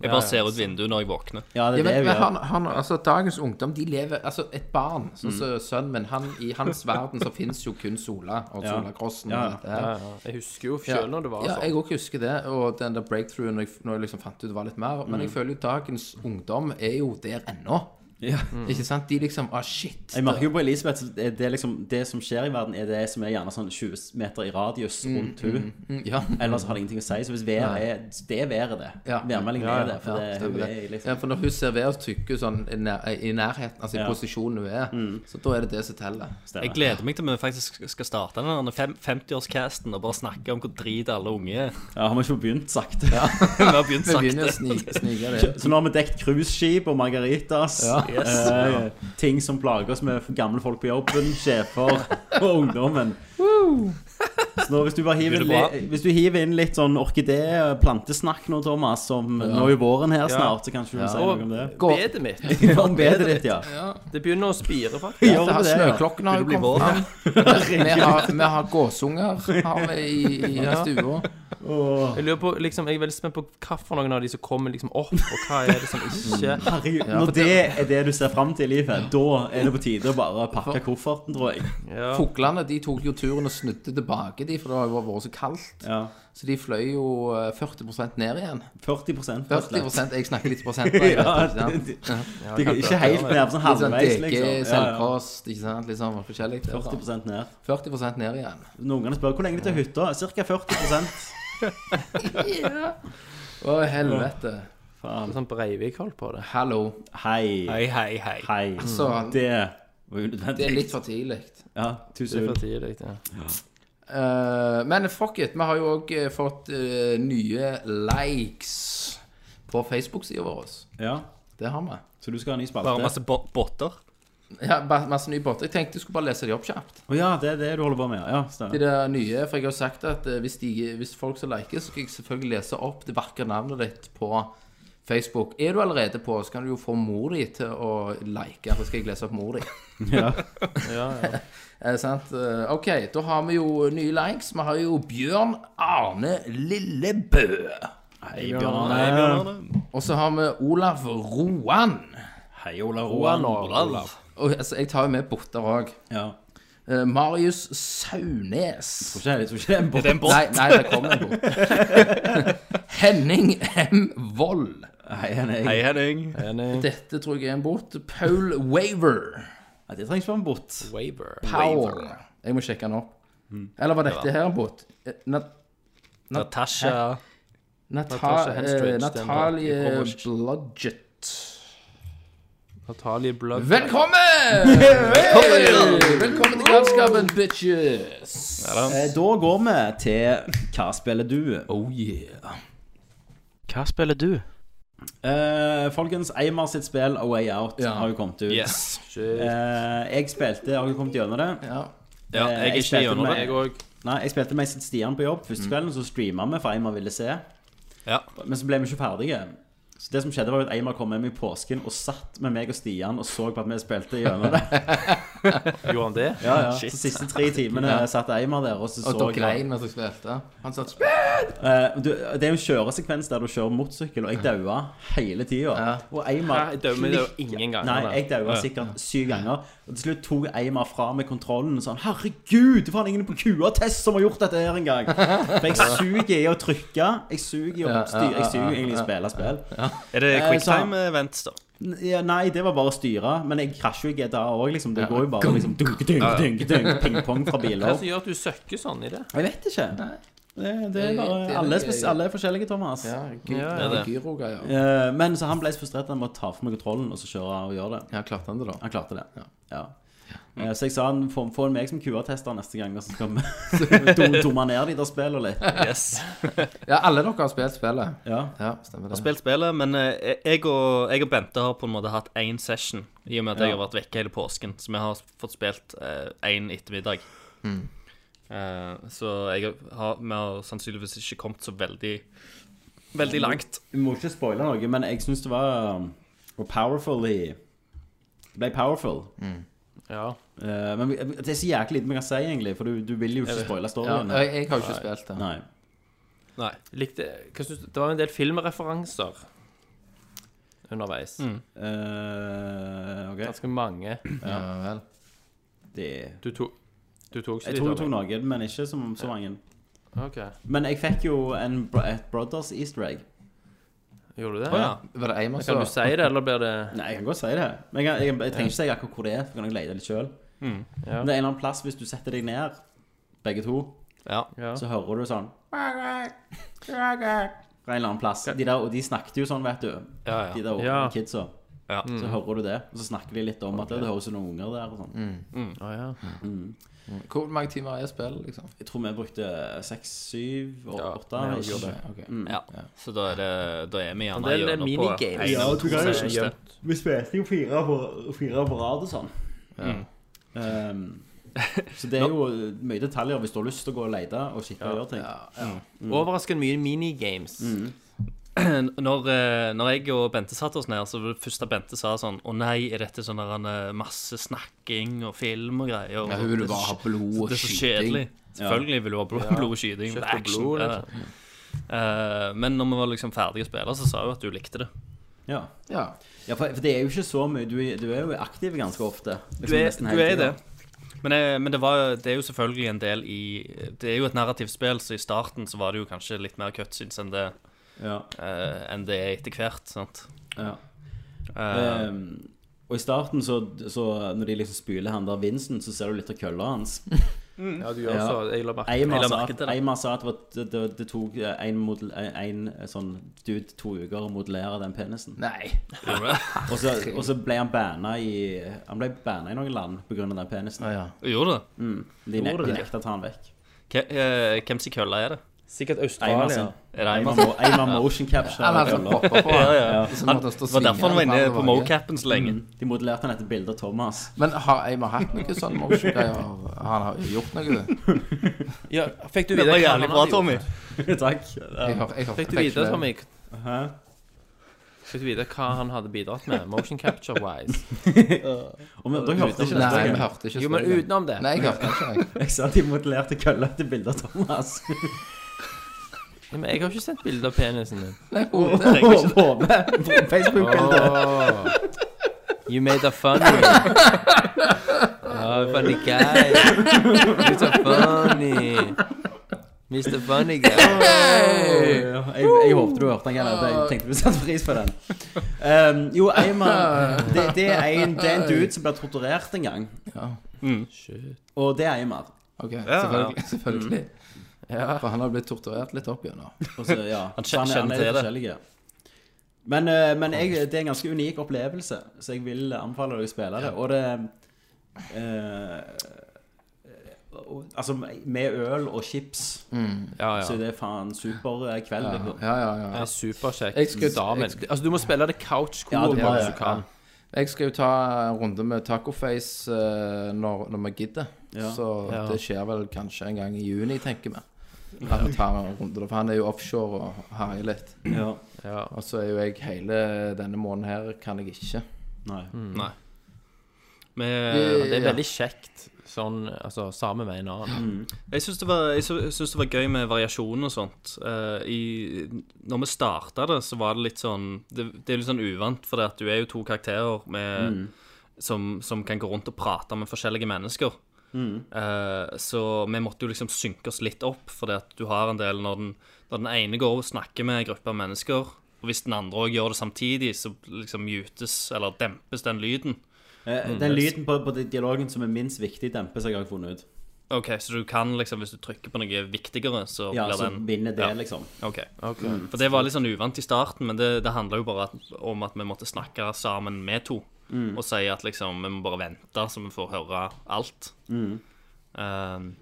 [SPEAKER 8] Jeg bare ser ut vinduet når jeg våkner.
[SPEAKER 5] Ja,
[SPEAKER 6] Ja,
[SPEAKER 5] det er det
[SPEAKER 6] men,
[SPEAKER 5] vi
[SPEAKER 6] men
[SPEAKER 5] gjør.
[SPEAKER 6] han, han, altså, dagens ungdom de lever Altså, et barn, sånn som sønnen min han, I hans verden så fins jo kun Sola og
[SPEAKER 5] Ja.
[SPEAKER 6] Solakrossen.
[SPEAKER 5] Ja, ja.
[SPEAKER 6] og dette her.
[SPEAKER 9] Jeg husker jo sjøl når det var
[SPEAKER 6] ja,
[SPEAKER 9] sånn.
[SPEAKER 6] jeg òg husker det, og den der breakthroughen når jeg, når jeg liksom fant ut det var litt mer. Men
[SPEAKER 5] Mm.
[SPEAKER 6] jeg føler jo dagens ungdom er jo der ennå.
[SPEAKER 5] Ja.
[SPEAKER 6] Ikke sant? De liksom Ah, shit.
[SPEAKER 5] Mm. Jeg merker jo på Elisabeth så det, det, er liksom, det som skjer i verden, er det som er gjerne sånn 20 meter i radius rundt hun
[SPEAKER 6] Mm, Ja.
[SPEAKER 5] Ellers har det ingenting å si. Så hvis været er Det er været, det.
[SPEAKER 6] Ja.
[SPEAKER 5] Værmeldingen
[SPEAKER 6] Ja, ja,
[SPEAKER 5] er det. For
[SPEAKER 6] ja,
[SPEAKER 5] det,
[SPEAKER 6] stemmer
[SPEAKER 5] hun er
[SPEAKER 6] det.
[SPEAKER 5] i liksom
[SPEAKER 6] Ja, for når hun ser ved og tykker sånn i, nær, i nærheten, altså i
[SPEAKER 5] Ja. Mm.
[SPEAKER 6] posisjonen hun er, så da er det det som teller.
[SPEAKER 8] Jeg gleder meg til vi faktisk skal starte den der fem- 50-årscasten og bare snakke om hvor drit alle unge er.
[SPEAKER 5] Ja, har vi ikke begynt sakte?
[SPEAKER 8] Vi har begynt
[SPEAKER 6] Vi begynner å
[SPEAKER 8] sakte.
[SPEAKER 6] snike, snike det.
[SPEAKER 5] Så nå har vi dekt cruiseskip og margaritas. eh, ting som plager oss med gamle folk på jobben, sjefer og ungdommen. Så nå, hvis, du bare hiver,
[SPEAKER 8] Blir det
[SPEAKER 5] inn li- hvis du hiver inn litt sånn orkidé-plantesnakk nå, Thomas, som nå i våren her snart, så kanskje du vil si noe om det?
[SPEAKER 6] Gå.
[SPEAKER 9] Bedet mitt.
[SPEAKER 5] Om bedet ditt, ja.
[SPEAKER 9] Det begynner å spire, faktisk.
[SPEAKER 5] Gjør
[SPEAKER 6] Det her
[SPEAKER 5] vi det, ja.
[SPEAKER 6] Snøklokken har jo
[SPEAKER 8] bli
[SPEAKER 6] kommet fram. Vi har, vi har gåsunger har vi i, i stua.
[SPEAKER 9] Jeg lurer på, liksom, jeg er veldig spent på hva for noen av de som kommer liksom opp, og hva er det som
[SPEAKER 6] Mm.
[SPEAKER 9] ikke
[SPEAKER 5] Herregud, når det er det du ser fram til i livet, da er det på tide å bare pakke kofferten, tror jeg.
[SPEAKER 9] ja.
[SPEAKER 6] Fuglene de tok jo turen og snudde tilbake, de, for det har jo vært så kaldt.
[SPEAKER 5] Ja,
[SPEAKER 6] Så de fløy jo eh, 40 ned igjen.
[SPEAKER 5] 40 rett og slett.
[SPEAKER 6] 40 Jeg snakker litt prosent.
[SPEAKER 5] Ja,
[SPEAKER 6] Litt
[SPEAKER 5] det- det er ikke helt ned, sånn
[SPEAKER 6] sånn
[SPEAKER 5] halvveis,
[SPEAKER 6] dekke,
[SPEAKER 5] liksom. Ja, ja.
[SPEAKER 6] selvkost, ikke sant. Litt sånn forskjellig. Det var
[SPEAKER 5] 40 ned.
[SPEAKER 6] 40 ned igjen.
[SPEAKER 5] Når ungene spør hvor lenge til hytta, ca. 40
[SPEAKER 6] Å, helvete.
[SPEAKER 9] Det er Sånn Breivik holdt på det.
[SPEAKER 6] Hallo.
[SPEAKER 5] Hei.
[SPEAKER 8] Hei, hei, hei.
[SPEAKER 5] Hei.
[SPEAKER 6] Så
[SPEAKER 5] Det var
[SPEAKER 6] det er
[SPEAKER 5] unødvendig.
[SPEAKER 6] litt for tidlig.
[SPEAKER 5] Ja,
[SPEAKER 9] Det
[SPEAKER 5] tusen
[SPEAKER 9] er for
[SPEAKER 5] takk.
[SPEAKER 9] tidlig. Ja.
[SPEAKER 6] Eh, men fuck it, vi har jo òg fått eh, nye likes på Facebook-sida vår.
[SPEAKER 5] Ja,
[SPEAKER 6] Det har vi.
[SPEAKER 5] så du skal ha en ny spalte?
[SPEAKER 8] Bare masse bo- botter.
[SPEAKER 6] Ja, ba- masse nye båter. Jeg tenkte jeg skulle bare lese de opp kjapt.
[SPEAKER 5] Å ja, det er det du holder på med? Ja,
[SPEAKER 6] De
[SPEAKER 5] stemmer.
[SPEAKER 6] der nye, for jeg har jo sagt at eh, hvis, de, hvis folk som liker, så skal jeg selvfølgelig lese opp det vakre navnet ditt på Facebook. Er du allerede på, så kan du jo få mor di til å like. Så skal jeg lese opp mor di.
[SPEAKER 5] Ja.
[SPEAKER 6] Er det sant? Eh, OK, da har vi jo nye likes. Vi har jo Bjørn Arne Lillebø.
[SPEAKER 5] Hei, Bjørn
[SPEAKER 8] Hei,
[SPEAKER 5] Arne.
[SPEAKER 8] Bjørn Arne.
[SPEAKER 6] Og så har vi Olav Roan.
[SPEAKER 5] Hei, Ola Roan.
[SPEAKER 8] Olav.
[SPEAKER 6] Og altså, jeg tar jo med botter òg.
[SPEAKER 5] Ja.
[SPEAKER 6] Marius Saunes.
[SPEAKER 5] Tror ikke jeg tror ikke det er en bot.
[SPEAKER 8] Det er en bot.
[SPEAKER 6] Nei, nei, det kommer en bot. Henning M. Vold.
[SPEAKER 5] Hei, han er-
[SPEAKER 8] Hei, Henning.
[SPEAKER 6] Dette tror jeg er en bot. Paul Waver.
[SPEAKER 5] Nei, Det trengs ikke være en bot.
[SPEAKER 9] Waver.
[SPEAKER 6] Power. Jeg må sjekke han opp. Eller var dette her en bot? Eh, Nat
[SPEAKER 8] Natasha.
[SPEAKER 6] Nata
[SPEAKER 9] Natasha
[SPEAKER 6] eh,
[SPEAKER 9] Henstridge, den var i
[SPEAKER 6] Natalie
[SPEAKER 9] Polish.
[SPEAKER 6] Blodgett.
[SPEAKER 9] Natalie Blugg.
[SPEAKER 6] Velkommen! Velkommen! Velkommen til Galskapen, bitches.
[SPEAKER 5] Eh, Da går vi til Hva spiller du?
[SPEAKER 6] Oh yeah.
[SPEAKER 10] Hva spiller du?
[SPEAKER 5] Eh, folkens, Eimar sitt spill A Way Out
[SPEAKER 6] Ja.
[SPEAKER 5] har jo kommet ut.
[SPEAKER 8] Yes.
[SPEAKER 5] Eh, jeg spilte Har du kommet gjennom det?
[SPEAKER 6] Ja.
[SPEAKER 8] Ja,
[SPEAKER 5] Eh,
[SPEAKER 8] jeg er ikke
[SPEAKER 5] spilte
[SPEAKER 8] gjennom
[SPEAKER 5] med-
[SPEAKER 8] det. Mm.
[SPEAKER 5] Nei, jeg spilte med sitt Stian på jobb første kvelden, så streama vi, for Eimar ville se.
[SPEAKER 8] Ja.
[SPEAKER 5] Men så ble vi ikke ferdige. Så det som skjedde, var jo at Eimar kom hjem i påsken og satt med meg og Stian og så på at vi spilte gjennom det.
[SPEAKER 9] Gjorde han det?
[SPEAKER 5] Ja, ja. Så siste tre timene satt Eimer der, og så så
[SPEAKER 6] Og da
[SPEAKER 5] jeg-
[SPEAKER 6] grein mens jeg spilte. Han satt
[SPEAKER 5] Eh, du, det er jo en kjøresekvens der du kjører motorsykkel, og jeg daua hele tida. Og Eimar
[SPEAKER 9] Nei, jeg dømmer det jo ingen ganger.
[SPEAKER 5] Nei, jeg daua sikkert syv ganger. Og til slutt tok Eimar fra meg kontrollen og sånn Herregud, det var ingen på QA-test som har gjort dette her engang! For jeg suger i å trykke. Jeg suger i å
[SPEAKER 6] Ja, ja,
[SPEAKER 5] styre. Jeg
[SPEAKER 6] ja,
[SPEAKER 5] suger egentlig i å spille spill.
[SPEAKER 8] Er det
[SPEAKER 5] Eh, så-
[SPEAKER 8] quicktime events, da?
[SPEAKER 5] N- Ja, nei, det var bare å styre. Men jeg krasjer jo i GTA òg, liksom. Det går jo bare liksom dunk, dunk, dunk, dunk, ping-pong fra
[SPEAKER 9] Hva er det
[SPEAKER 5] biler.
[SPEAKER 9] som gjør at du søkker sånn i det?
[SPEAKER 5] Jeg vet ikke. Det, det er bare,
[SPEAKER 6] Det er-
[SPEAKER 5] alle, er spes- alle er forskjellige, Thomas.
[SPEAKER 6] Ja,
[SPEAKER 8] det.
[SPEAKER 6] gyrogreier. Ja.
[SPEAKER 5] Eh, Men så han ble så frustrert at han måtte ta fra meg kontrollen og så kjøre og gjøre det.
[SPEAKER 6] ja, klarte han det, da?
[SPEAKER 5] Han klarte det. Ja. Eh, Så jeg sa han få få meg som QA-tester neste gang, og så skal vi do- dumme ned de der spillene litt.
[SPEAKER 8] Yes.
[SPEAKER 6] Ja, alle dere har spilt spillet.
[SPEAKER 5] Ja.
[SPEAKER 6] Ja, stemmer det.
[SPEAKER 8] Spilt spillet, men eh, jeg og, jeg og Bente har på en måte hatt én session, i og med at jeg har vært vekke hele påsken. Så vi har fått spilt én ettermiddag.
[SPEAKER 6] Mm.
[SPEAKER 8] Eh, så jeg har, vi har sannsynligvis ikke kommet så veldig Veldig langt.
[SPEAKER 5] Vi må ikke spoile noe, men jeg syns det var var powerful i Det ble powerful.
[SPEAKER 9] Ja.
[SPEAKER 5] Eh, Men vi- det er så jæklig lite vi kan si, egentlig, for du, du vil jo ikke spoile
[SPEAKER 6] Ja,
[SPEAKER 5] storyen.
[SPEAKER 6] jeg, jeg har jo ikke spilt det.
[SPEAKER 5] Nei.
[SPEAKER 9] Nei. Likte, hva synes du? Det var en del filmreferanser underveis.
[SPEAKER 5] Mm. Eh, ok.
[SPEAKER 9] Ganske mange.
[SPEAKER 6] Ja, vel.
[SPEAKER 5] Det
[SPEAKER 9] Du tok, du tok ikke
[SPEAKER 5] Jeg
[SPEAKER 9] de,
[SPEAKER 5] tror jeg
[SPEAKER 9] Tommy?
[SPEAKER 5] tok noen, men ikke så, så mange.
[SPEAKER 9] Ok.
[SPEAKER 5] Men jeg fikk jo en, bro- et Brothers easter egg.
[SPEAKER 9] Gjorde du det?
[SPEAKER 8] Å, ja.
[SPEAKER 6] Var det Eimer
[SPEAKER 9] Kan
[SPEAKER 6] som
[SPEAKER 9] du si det, eller blir det
[SPEAKER 5] Nei, jeg kan godt si det. Men jeg, jeg, jeg trenger ikke si akkurat hvor det er. For jeg kan jeg lete litt selv
[SPEAKER 9] Ja.
[SPEAKER 5] Men det er en eller annen plass, hvis du setter deg ned, begge to,
[SPEAKER 8] Ja.
[SPEAKER 9] Ja.
[SPEAKER 5] så hører du sånn Fra en eller annen plass. De der, og de snakket jo sånn, vet du.
[SPEAKER 8] Ja,
[SPEAKER 5] De
[SPEAKER 8] ja.
[SPEAKER 5] der
[SPEAKER 9] Ja. Mm.
[SPEAKER 5] kidsa.
[SPEAKER 8] Ja.
[SPEAKER 5] Så hører du det, og så snakker de litt om at det høres ut som noen unger der. og sånn
[SPEAKER 9] Å, ja.
[SPEAKER 6] Mm. Hvor mange timer er spillet, liksom?
[SPEAKER 5] Jeg tror vi brukte seks, syv, og
[SPEAKER 9] Ja,
[SPEAKER 5] åtte.
[SPEAKER 9] vi
[SPEAKER 5] ikke? Mm.
[SPEAKER 9] gjorde
[SPEAKER 6] Ok.
[SPEAKER 8] ja. Så da er, det, da er vi gjerne
[SPEAKER 9] det er
[SPEAKER 8] gjennom på
[SPEAKER 9] minigames.
[SPEAKER 8] en
[SPEAKER 5] Ja,
[SPEAKER 8] eller
[SPEAKER 5] du
[SPEAKER 8] to
[SPEAKER 5] kan jo
[SPEAKER 8] sessions,
[SPEAKER 9] gjemme-
[SPEAKER 8] det.
[SPEAKER 5] Vi spilte jo fire på, fire på rad og sånn.
[SPEAKER 9] Mm.
[SPEAKER 5] Ehm, så det er jo mye detaljer hvis du har lyst til å gå og lete og skikke og gjøre ting.
[SPEAKER 9] Overraskende mye minigames.
[SPEAKER 8] Når, eh, når jeg og Bente satte oss ned, så var det første Bente sa sånn Å nei, er dette sånn der en, eh, masse snakking og film og greier? Og
[SPEAKER 6] Ja, hun vil
[SPEAKER 8] det er
[SPEAKER 6] bare
[SPEAKER 8] så-
[SPEAKER 6] ha blod og
[SPEAKER 8] Det er så
[SPEAKER 6] skyting.
[SPEAKER 8] kjedelig. Selvfølgelig vil hun ha blod, blod og skyting.
[SPEAKER 9] Kjøtt og
[SPEAKER 8] det er action.
[SPEAKER 9] blod,
[SPEAKER 8] ja.
[SPEAKER 9] liksom.
[SPEAKER 8] Eh, men når vi var liksom ferdige å spille, så sa hun at du likte det.
[SPEAKER 5] Ja.
[SPEAKER 6] Ja.
[SPEAKER 5] Ja, for, for det er jo ikke så mye. Du, er- du er jo aktiv ganske ofte. liksom
[SPEAKER 8] Du er,
[SPEAKER 5] nesten hele tiden.
[SPEAKER 8] Men, eh, men det, var, det er jo selvfølgelig en del i Det er jo et narrativspill, så i starten så var det jo kanskje litt mer cutscenes enn det,
[SPEAKER 5] Ja,
[SPEAKER 8] eh, enn det er etter hvert. sant?
[SPEAKER 5] ja.
[SPEAKER 8] Eh,
[SPEAKER 5] Ehm, og i starten, så, så når de liksom spyler han der Vincent, så ser du litt av kølla hans.
[SPEAKER 9] Ja, du gjør
[SPEAKER 5] Ja.
[SPEAKER 9] så. Jeg la merke
[SPEAKER 5] Eimar
[SPEAKER 8] Jeg la
[SPEAKER 5] sa,
[SPEAKER 8] merke
[SPEAKER 5] at-
[SPEAKER 8] til det.
[SPEAKER 5] Eimar sa at det, var- det, det, det tok en, modell- en sånn dude to uker å modellere den penisen.
[SPEAKER 6] Nei.
[SPEAKER 5] Og så, og så ble han banna i Han ble banna i noen land pga. den penisen.
[SPEAKER 6] Ja, ja.
[SPEAKER 8] gjorde det?
[SPEAKER 5] Mm. De nek- de nekta å ta han vekk.
[SPEAKER 8] Hvem, eh, hvem sin kølle er det?
[SPEAKER 9] Sikkert
[SPEAKER 5] Eimar
[SPEAKER 9] Australia.
[SPEAKER 5] sin.
[SPEAKER 8] Er det
[SPEAKER 5] Eimar
[SPEAKER 8] Eimar?
[SPEAKER 5] mo- Eimar motion capture.
[SPEAKER 6] Han hadde
[SPEAKER 8] altså,
[SPEAKER 5] eller-
[SPEAKER 6] poppa altså, på. Ja,
[SPEAKER 8] ja.
[SPEAKER 6] Han, det
[SPEAKER 8] Det var derfor han Mm. var inne på mocapen så lenge.
[SPEAKER 5] De modellerte han etter bildet av Thomas.
[SPEAKER 6] Men har Eimer hatt noe sånn motion-greier? Han har jo gjort noe?
[SPEAKER 9] Ja, fikk du
[SPEAKER 8] Det
[SPEAKER 9] vite hva
[SPEAKER 8] var
[SPEAKER 9] han
[SPEAKER 8] jævlig bra,
[SPEAKER 9] hadde gjort?
[SPEAKER 8] Tommy.
[SPEAKER 5] Takk.
[SPEAKER 6] Jeg har, jeg har,
[SPEAKER 9] Fikk du
[SPEAKER 6] fikk
[SPEAKER 9] vite,
[SPEAKER 6] ikke
[SPEAKER 9] Tommy,
[SPEAKER 5] Hæ?
[SPEAKER 9] fikk du vite hva han hadade bidratt med, motion capture-wise?
[SPEAKER 5] Og men, dere hørte ikke
[SPEAKER 6] det. Nei,
[SPEAKER 5] det?
[SPEAKER 6] vi hørte ikke
[SPEAKER 9] Jo, men
[SPEAKER 6] spillet.
[SPEAKER 9] utenom det.
[SPEAKER 6] Nei, jeg hørte ikke. Jeg.
[SPEAKER 5] Jeg sa de modellerte kølla etter bildet av Thomas.
[SPEAKER 9] Ja, Men jeg har ikke sett bilde av penisen din.
[SPEAKER 6] Nei, hodet.
[SPEAKER 5] På Facebook-bildet.
[SPEAKER 9] You made a funny. oh, funny guy. You're so funny. Mr. Funny guy.
[SPEAKER 5] Ja, Jeg, jeg håpte du hørte den. Kenneth. Jeg tenkte du satte pris på den. Um, jo, Eimar det, det, er en, det er en dude som blir torturert en gang. Og det er Eimar.
[SPEAKER 6] Ok, selvfølgelig. selvfølgelig. For han har blitt torturert litt opp igjennom.
[SPEAKER 5] Og så, ja.
[SPEAKER 8] Han
[SPEAKER 5] så er-
[SPEAKER 8] kjenner
[SPEAKER 5] er
[SPEAKER 8] til
[SPEAKER 5] litt
[SPEAKER 8] det.
[SPEAKER 5] forskjellige. Men, eh, men jeg, det er en ganske unik opplevelse, så jeg vil anbefale dere å spille det. Og det eh, og, Altså, med øl og chips,
[SPEAKER 6] Mm.
[SPEAKER 9] Ja, ja.
[SPEAKER 5] så det er faen super eh, kveld. liksom.
[SPEAKER 6] Ja, ja, ja.
[SPEAKER 9] Det er superkjekt.
[SPEAKER 6] Jeg skulle-
[SPEAKER 9] Sammen.
[SPEAKER 6] jeg skulle-
[SPEAKER 9] altså, du må spille det couch
[SPEAKER 5] Ja,
[SPEAKER 9] cool
[SPEAKER 5] det må
[SPEAKER 9] ja,
[SPEAKER 5] jeg.
[SPEAKER 9] du kan.
[SPEAKER 6] Jeg skal jo ta en runde med Tacoface eh, når, når vi gidder.
[SPEAKER 5] Ja.
[SPEAKER 6] Så
[SPEAKER 9] Ja.
[SPEAKER 6] det skjer vel kanskje en gang i juni, tenker vi. At vi tar en runde, da, for han er jo offshore og herjer litt.
[SPEAKER 5] Ja.
[SPEAKER 9] Ja.
[SPEAKER 6] Og så er jo jeg hele denne måneden her kan jeg ikke.
[SPEAKER 5] Nei.
[SPEAKER 8] Nei. Vi,
[SPEAKER 9] Eh, Det er veldig kjekt sånn, altså sammen med en annen.
[SPEAKER 8] Jeg syns det, var- jeg sy- syns det var gøy med variasjon og sånt. Eh, i, når vi starta det, så var det litt sånn Det, det er litt sånn uvant, for det at du er jo to karakterer med,
[SPEAKER 5] Mm.
[SPEAKER 8] som, som kan gå rundt og prate med forskjellige mennesker.
[SPEAKER 5] Mm.
[SPEAKER 8] Eh, så vi måtte jo liksom synke oss litt opp, for det at du har en del når den, når den ene går og snakker med en gruppe av mennesker, og hvis den andre òg gjør det samtidig, så liksom mutes eller dempes den lyden.
[SPEAKER 5] Eh, Den lyden på, på dialogen som er minst viktig, dempes, har jeg også funnet ut.
[SPEAKER 8] OK, så du kan liksom, hvis du trykker på noe viktigere, så
[SPEAKER 5] Ja,
[SPEAKER 8] blir
[SPEAKER 5] så
[SPEAKER 8] den
[SPEAKER 5] vinner det,
[SPEAKER 8] Ja.
[SPEAKER 5] liksom.
[SPEAKER 8] Ok. For det var litt sånn uvant i starten, men det, det handla jo bare at, om at vi måtte snakke sammen med to.
[SPEAKER 5] Mm.
[SPEAKER 8] Og si at liksom vi må bare vente, så vi får høre alt.
[SPEAKER 5] Mm.
[SPEAKER 8] Um,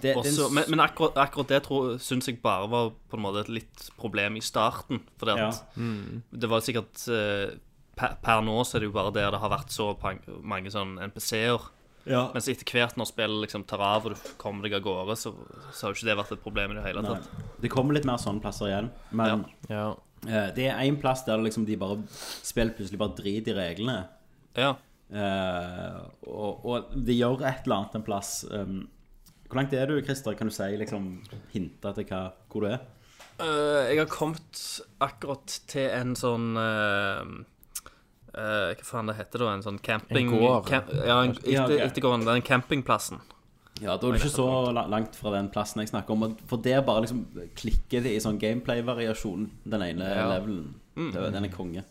[SPEAKER 5] Det,
[SPEAKER 8] og
[SPEAKER 5] det er en
[SPEAKER 8] så-
[SPEAKER 5] s-
[SPEAKER 8] men men akkurat, akkurat det tror- syns jeg bare var på en måte et litt problem i starten. Fordi at
[SPEAKER 5] Ja. Mm.
[SPEAKER 8] det var sikkert eh, per, per nå så er det jo bare der det har vært så pang- mange sånn NPC-er.
[SPEAKER 5] ja.
[SPEAKER 8] Mens etter hvert når spillet liksom tar av og du kommer deg av gårde, så, så har jo ikke det vært et problem i det hele
[SPEAKER 5] Nei.
[SPEAKER 8] tatt.
[SPEAKER 5] Det kommer litt mer sånne plasser igjen. Men
[SPEAKER 9] Ja.
[SPEAKER 5] eh, det er én plass der liksom de bare spiller plutselig bare drit i reglene.
[SPEAKER 8] Ja.
[SPEAKER 5] Eh, og, og de gjør et eller annet en plass. Um, hvor langt er du, Christer? Kan du si liksom hinte til hva, hvor du er?
[SPEAKER 8] Eh, jeg har kommet akkurat til en sånn eh, eh, Hva faen det heter da? En sånn camping...
[SPEAKER 9] En gård.
[SPEAKER 8] Camp, ja, en, etter,
[SPEAKER 5] Ja, ok.
[SPEAKER 8] ettergården. Den campingplassen.
[SPEAKER 5] Ja, Da er du ikke så la- langt fra den plassen jeg snakker om. og For der bare liksom klikker det i sånn gameplay-variasjon, den ene levelen. Det, den er konge.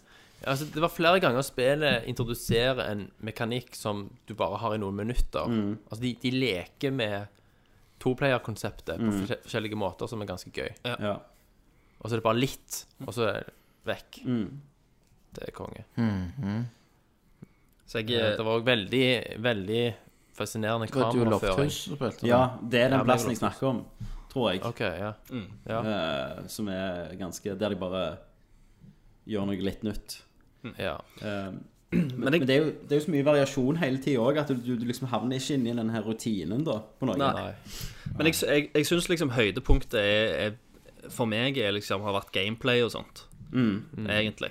[SPEAKER 9] Altså, det var flere ganger spillet introduserer en mekanikk som du bare har i noen minutter. Altså, de, de leker med toplayer-konseptet på forskje- forskjellige måter, som er ganske gøy.
[SPEAKER 5] Ja.
[SPEAKER 9] Og så er det bare litt, og så er det vekk. Det er konge.
[SPEAKER 8] Så jeg, eh,
[SPEAKER 9] Det var òg veldig, veldig fascinerende
[SPEAKER 6] Det var du
[SPEAKER 9] kameraføring.
[SPEAKER 6] Lofthus som spilte?
[SPEAKER 5] ja, det er den
[SPEAKER 9] Jævla
[SPEAKER 5] plassen jeg snakker om, tror jeg.
[SPEAKER 9] Ok, ja.
[SPEAKER 5] Eh, som er ganske Der de bare gjør noe litt nytt.
[SPEAKER 9] ja.
[SPEAKER 5] Eh, men, men det, er jo, det er jo så mye variasjon hele tida òg, at du, du liksom havner ikke inn i den her rutinen da, på noe.
[SPEAKER 8] Nei. men jeg, jeg, jeg syns liksom høydepunktet er, er For meg er liksom, har vært gameplay og sånt. Egentlig.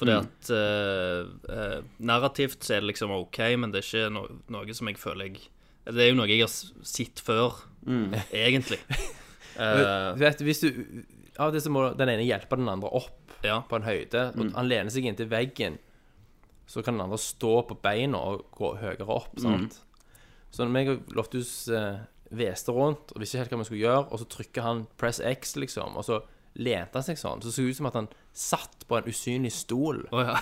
[SPEAKER 8] Fordi at eh, eh, narrativt så er det liksom OK, men det er ikke no, noe som jeg føler jeg Det er jo noe jeg har s- sett før, egentlig. Eh,
[SPEAKER 9] Du vet, hvis du Av og til så må den ene hjelpe den andre opp
[SPEAKER 8] ja.
[SPEAKER 9] på en høyde. Og han lener seg inntil veggen, så kan den andre stå på beina og gå høyere opp. sant? Så når meg og Loftus eh, veste rundt og visste ikke helt hva vi skulle gjøre, og så trykker han 'press X', liksom, og så lente han seg sånn, så det så ut som at han satt på en usynlig stol.
[SPEAKER 8] Å ja.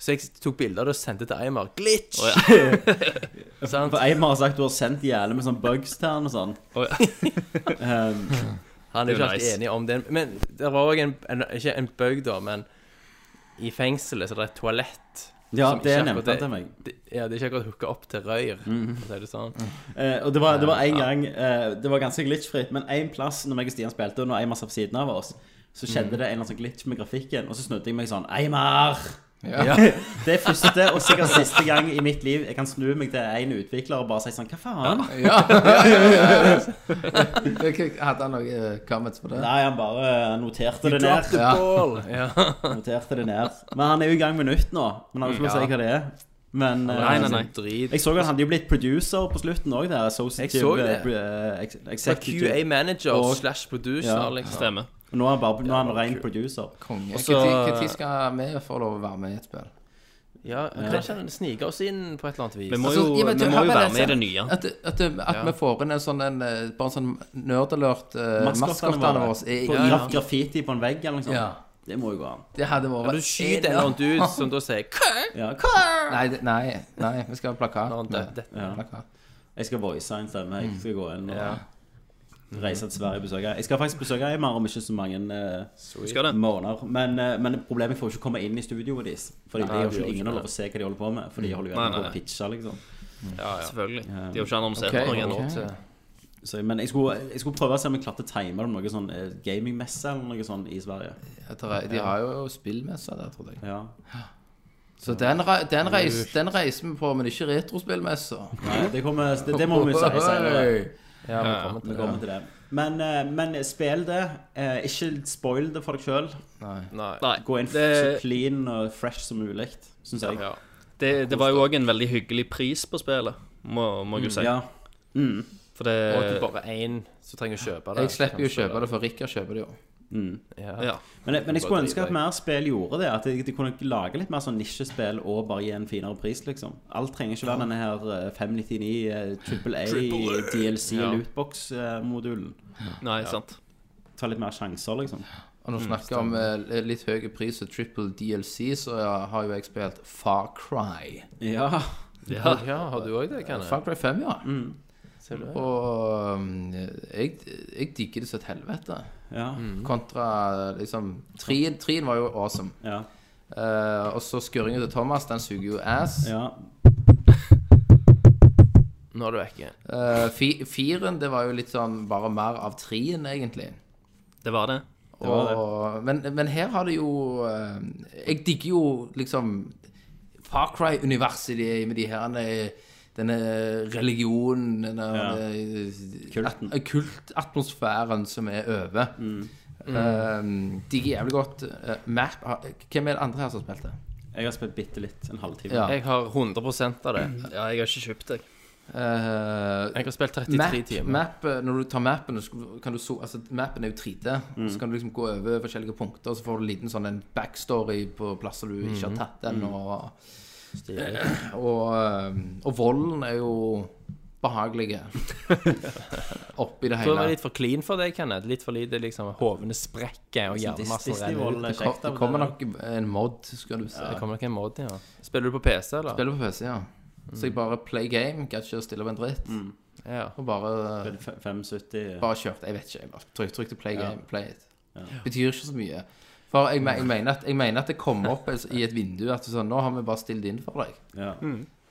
[SPEAKER 9] Så jeg tok bilder av det og sendte til Eimar. Glitch! Sant?
[SPEAKER 5] For Eimar har sagt du har sendt jævlig med sånn bugs til han og sånn. Ehm,
[SPEAKER 8] Å ja.
[SPEAKER 9] Han er jo
[SPEAKER 8] Det er
[SPEAKER 9] ikke
[SPEAKER 8] jo
[SPEAKER 9] alltid
[SPEAKER 8] nice.
[SPEAKER 9] enig om det. Men det var òg en, en Ikke en bøg, da, men i fengselet så er det et toalett.
[SPEAKER 5] Ja,
[SPEAKER 9] Som
[SPEAKER 5] det
[SPEAKER 9] ikke akkurat
[SPEAKER 5] nevnte
[SPEAKER 9] det-
[SPEAKER 5] han til meg.
[SPEAKER 9] Det, ja, det er ikke akkurat hooka opp til røyr, for å si det sånn.
[SPEAKER 5] Eh, og det var, det var en gang eh, Det var ganske glitchfritt, men en plass når meg og Stian spilte, og når Eimar satt ved siden av oss, så skjedde det en eller annen sånn glitch med grafikken, og så snudde jeg meg sånn Eimar! Det er første og sikkert siste gang i mitt liv jeg kan snu meg til en utvikler og bare si sånn Hva faen?
[SPEAKER 6] Ja, ja, ja, ja, ja. Hadde han noen eh, comments på det?
[SPEAKER 5] Nei, han bare noterte det ned.
[SPEAKER 6] Ja.
[SPEAKER 5] Noterte det ned. Men han er jo i gang med nytt nå. Men han har ikke lov til å si hva det er. Men
[SPEAKER 8] Nei,
[SPEAKER 5] eh,
[SPEAKER 8] nei, nei.
[SPEAKER 5] jeg så han hadde jo blitt producer på slutten òg, der.
[SPEAKER 9] Jeg så
[SPEAKER 5] Associative
[SPEAKER 9] det.
[SPEAKER 5] eh,
[SPEAKER 9] Så
[SPEAKER 5] ex-
[SPEAKER 9] QA
[SPEAKER 5] Executive.
[SPEAKER 9] manager
[SPEAKER 5] Og-
[SPEAKER 9] slash producer,
[SPEAKER 5] Ja.
[SPEAKER 9] liksom.
[SPEAKER 8] Stemmer.
[SPEAKER 5] Nå er han bare nå er han ren producer.
[SPEAKER 6] Konge.
[SPEAKER 8] Og så-
[SPEAKER 6] Når skal vi få lov å være med i et spill?
[SPEAKER 9] Ja, Kanskje han sniker oss inn på et eller annet vis.
[SPEAKER 8] Vi må
[SPEAKER 6] Altså,
[SPEAKER 8] jo,
[SPEAKER 6] i og med at
[SPEAKER 8] vi
[SPEAKER 6] du
[SPEAKER 8] må
[SPEAKER 6] har
[SPEAKER 8] jo
[SPEAKER 6] bare
[SPEAKER 8] være med i
[SPEAKER 6] sett-
[SPEAKER 8] det nye.
[SPEAKER 6] At, at, at vi får inn en sånn en, eh, bare en sånn nerdalert
[SPEAKER 9] Eh,
[SPEAKER 6] uh,
[SPEAKER 5] Maskottene
[SPEAKER 6] maskottene
[SPEAKER 5] våre.
[SPEAKER 6] våre i-
[SPEAKER 5] På
[SPEAKER 6] i-
[SPEAKER 5] graf graffiti på en vegg eller noe sånt.
[SPEAKER 6] Ja.
[SPEAKER 5] Det må jo gå an.
[SPEAKER 6] Det hadde vært
[SPEAKER 9] Ja, du skyter en eller annen dude som da sier «Kø!»
[SPEAKER 5] Ja, hva?
[SPEAKER 6] Nei, det- nei, nei, vi skal ha plakat.
[SPEAKER 9] når han dør. Det-
[SPEAKER 5] Ja.
[SPEAKER 6] Plakat.
[SPEAKER 5] Jeg skal voice en stemme. Jeg skal gå inn og reise til Sverige og besøke Jeg skal faktisk besøke Eimar om ikke så mange eh,
[SPEAKER 8] Skal det?
[SPEAKER 5] måneder. Men, eh, men problemet er at jeg får ikke komme inn i studioet deres. Fordi de har
[SPEAKER 9] de gjør
[SPEAKER 5] ikke,
[SPEAKER 9] ikke
[SPEAKER 5] ingen har lov å se hva de holder på med. For de holder jo
[SPEAKER 8] Nei,
[SPEAKER 5] gjerne på
[SPEAKER 8] nei.
[SPEAKER 5] å pitche, liksom.
[SPEAKER 8] Selvfølgelig. De har jo ikke annonsert
[SPEAKER 6] Ok,
[SPEAKER 8] noe ennå.
[SPEAKER 6] ok.
[SPEAKER 5] Så, men jeg skulle, jeg skulle prøve å se om jeg klarte å time det om noe sånn eh, gamingmesse eller noe sånn i Sverige.
[SPEAKER 6] Jeg tror- De har jo spillmesser der, tror jeg.
[SPEAKER 5] Ja.
[SPEAKER 6] Så den, re den, reis, den reiser vi på, men ikke retrospillmesser.
[SPEAKER 5] Nei, det, kommer, det, det må vi si senere.
[SPEAKER 6] Oi.
[SPEAKER 9] Ja, vi kommer til
[SPEAKER 5] Vi
[SPEAKER 9] det.
[SPEAKER 5] kommer til det. Men, eh, men spill det. Eh, Ikke spoil det for deg sjøl.
[SPEAKER 6] Nei.
[SPEAKER 9] Nei.
[SPEAKER 8] Nei.
[SPEAKER 5] Gå inn
[SPEAKER 8] Det-
[SPEAKER 5] så clean og fresh som mulig, syns jeg.
[SPEAKER 9] Ja.
[SPEAKER 8] Det, det var jo òg en veldig hyggelig pris på spillet, må, må jeg jo si.
[SPEAKER 5] Ja. Mm.
[SPEAKER 8] For det
[SPEAKER 9] Og at det bare er én som trenger å kjøpe det.
[SPEAKER 6] Jeg slipper jo å
[SPEAKER 9] Kanskje,
[SPEAKER 6] kjøpe det, for Rikard kjøper det jo.
[SPEAKER 8] Ja.
[SPEAKER 5] mm. Men, jeg- men jeg skulle ønske at mer spill gjorde det. At de, de kunne lage litt mer sånn nisjespill og bare gi en finere pris, liksom. Alt trenger ikke være denne her eh, 599 eh, Triple A DLC eh, lootbox-modulen.
[SPEAKER 8] Nei, sant.
[SPEAKER 5] Ta litt mer sjanser, liksom.
[SPEAKER 6] Og
[SPEAKER 9] Mm,
[SPEAKER 6] når vi snakker om eh, litt høy pris og triple DLC, så ja, har jo jeg spilt Far Cry.
[SPEAKER 5] Ja.
[SPEAKER 8] Ja.
[SPEAKER 9] Ja, har du òg det, Kenneth?
[SPEAKER 6] Far Cry 5, ja.
[SPEAKER 9] Ser du det?
[SPEAKER 6] Og um, jeg, jeg digger det som et helvete.
[SPEAKER 5] Ja.
[SPEAKER 6] Mm. Kontra liksom Trien, trien var jo awesome.
[SPEAKER 5] Ja.
[SPEAKER 6] Eh, og så skurringen til Thomas, den suger jo ass.
[SPEAKER 5] ja.
[SPEAKER 9] Nå er du vekke.
[SPEAKER 6] Eh, fi, firen, det var jo litt sånn bare mer av trien, egentlig.
[SPEAKER 8] Det var det.
[SPEAKER 5] var det.
[SPEAKER 6] Og, men, men her har det jo eh, Jeg digger jo liksom Far Cry-universet de- med de her eh, denne religionen, denne
[SPEAKER 5] Ja.
[SPEAKER 6] eh,
[SPEAKER 5] Kulten.
[SPEAKER 6] at- kultatmosfæren som er over. Mm. digger jævlig godt. Eh, map har- Hvem er det andre her som spilte?
[SPEAKER 5] Jeg har spilt bitte litt, en halvtime.
[SPEAKER 6] Ja.
[SPEAKER 9] Jeg har 100 av det.
[SPEAKER 8] Ja, jeg har ikke kjøpt det.
[SPEAKER 6] Eh,
[SPEAKER 9] Jeg har spilt 33
[SPEAKER 6] Map,
[SPEAKER 9] timer.
[SPEAKER 6] map, eh, når du tar mappen, så kan du so altså, mappen er jo 3D.
[SPEAKER 9] Mm.
[SPEAKER 6] Så kan du liksom gå over forskjellige punkter, og så får du en liten sånn en backstory på plasser du
[SPEAKER 9] Mm.
[SPEAKER 6] ikke har tatt den. Og, og, eh, og volden er jo behagelig oppi det
[SPEAKER 9] Jeg tror det
[SPEAKER 6] hele.
[SPEAKER 9] var litt for clean for deg, Kenneth. Litt for lite liksom hovene sprekker og
[SPEAKER 5] Så Dis-
[SPEAKER 9] hjernen renner ut.
[SPEAKER 5] Disney-vold er
[SPEAKER 6] Det, kom,
[SPEAKER 5] kjekt.
[SPEAKER 6] det
[SPEAKER 5] av
[SPEAKER 6] kommer
[SPEAKER 5] det.
[SPEAKER 6] nok en mod, skal du se.
[SPEAKER 9] Det kommer nok en mod, ja. Spiller du på PC, eller?
[SPEAKER 6] Spiller på PC, ja. Så
[SPEAKER 9] Mm.
[SPEAKER 6] jeg bare play game, gadd ikke å stille opp en dritt.
[SPEAKER 9] Ja.
[SPEAKER 6] Og bare,
[SPEAKER 5] F- 570
[SPEAKER 6] bare kjørte. Jeg vet ikke. Jeg bare tryk, trykte play game, play it. Betyr ikke så mye. For jeg, me- jeg, mener at, jeg mener at det kommer opp altså, i et vindu at du sånn, nå har vi bare stilt inn for deg.
[SPEAKER 5] Ja.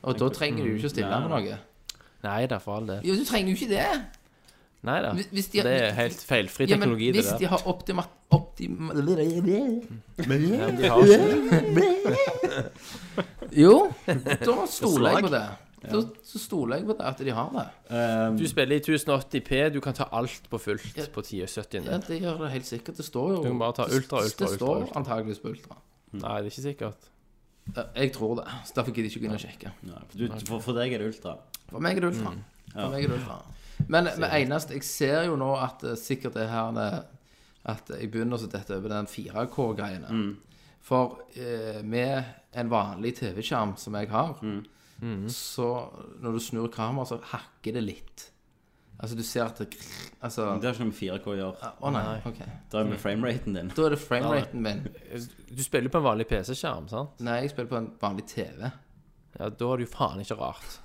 [SPEAKER 6] Og da trenger du jo ikke å stille med noe.
[SPEAKER 9] Nei da, for all del.
[SPEAKER 6] Jo, du trenger jo ikke det.
[SPEAKER 9] Nei da.
[SPEAKER 6] Hvis- hvis de-
[SPEAKER 9] Det er helt feilfri
[SPEAKER 6] Ja, men
[SPEAKER 9] teknologi,
[SPEAKER 6] hvis
[SPEAKER 9] det der.
[SPEAKER 6] de har optima... optima
[SPEAKER 9] De har ikke-
[SPEAKER 6] Jo, da stoler jeg
[SPEAKER 8] Slag.
[SPEAKER 6] på det. Da så stoler jeg på det at de har det.
[SPEAKER 5] Um,
[SPEAKER 9] Du spiller i 1080p, du kan ta alt på fullt på
[SPEAKER 6] Ja,
[SPEAKER 9] 1070.
[SPEAKER 6] det gjør det helt sikkert. Det står jo
[SPEAKER 9] Du kan bare ta ultra, ultra,
[SPEAKER 6] Det
[SPEAKER 9] ultra,
[SPEAKER 6] står
[SPEAKER 9] ultra.
[SPEAKER 6] antageligvis på ultra.
[SPEAKER 9] Nei, det er ikke sikkert.
[SPEAKER 6] Ja, Jeg tror det. Så derfor gidder jeg ikke gå inn og sjekke.
[SPEAKER 5] nei, for, du, for, for deg er det ultra.
[SPEAKER 6] For meg er det ultra. For meg er det ultra. Men med eneste Jeg ser jo nå at eh, sikkert det her det- At jeg begynner å dette over den 4K-greiene. For eh, med en vanlig TV-skjerm som jeg har,
[SPEAKER 9] Mm.
[SPEAKER 6] så når du snur kameraet, så hakker det litt. Altså, du ser at det Altså
[SPEAKER 5] Det har ikke noe med 4K å gjøre.
[SPEAKER 6] Å nei. ok
[SPEAKER 5] Det
[SPEAKER 6] Mm.
[SPEAKER 5] er med frameraten din.
[SPEAKER 6] Da er det frameraten min.
[SPEAKER 9] Du spiller på en vanlig PC-skjerm, sant?
[SPEAKER 6] Nei, jeg spiller på en vanlig TV.
[SPEAKER 9] Ja, da er det jo faen ikke rart.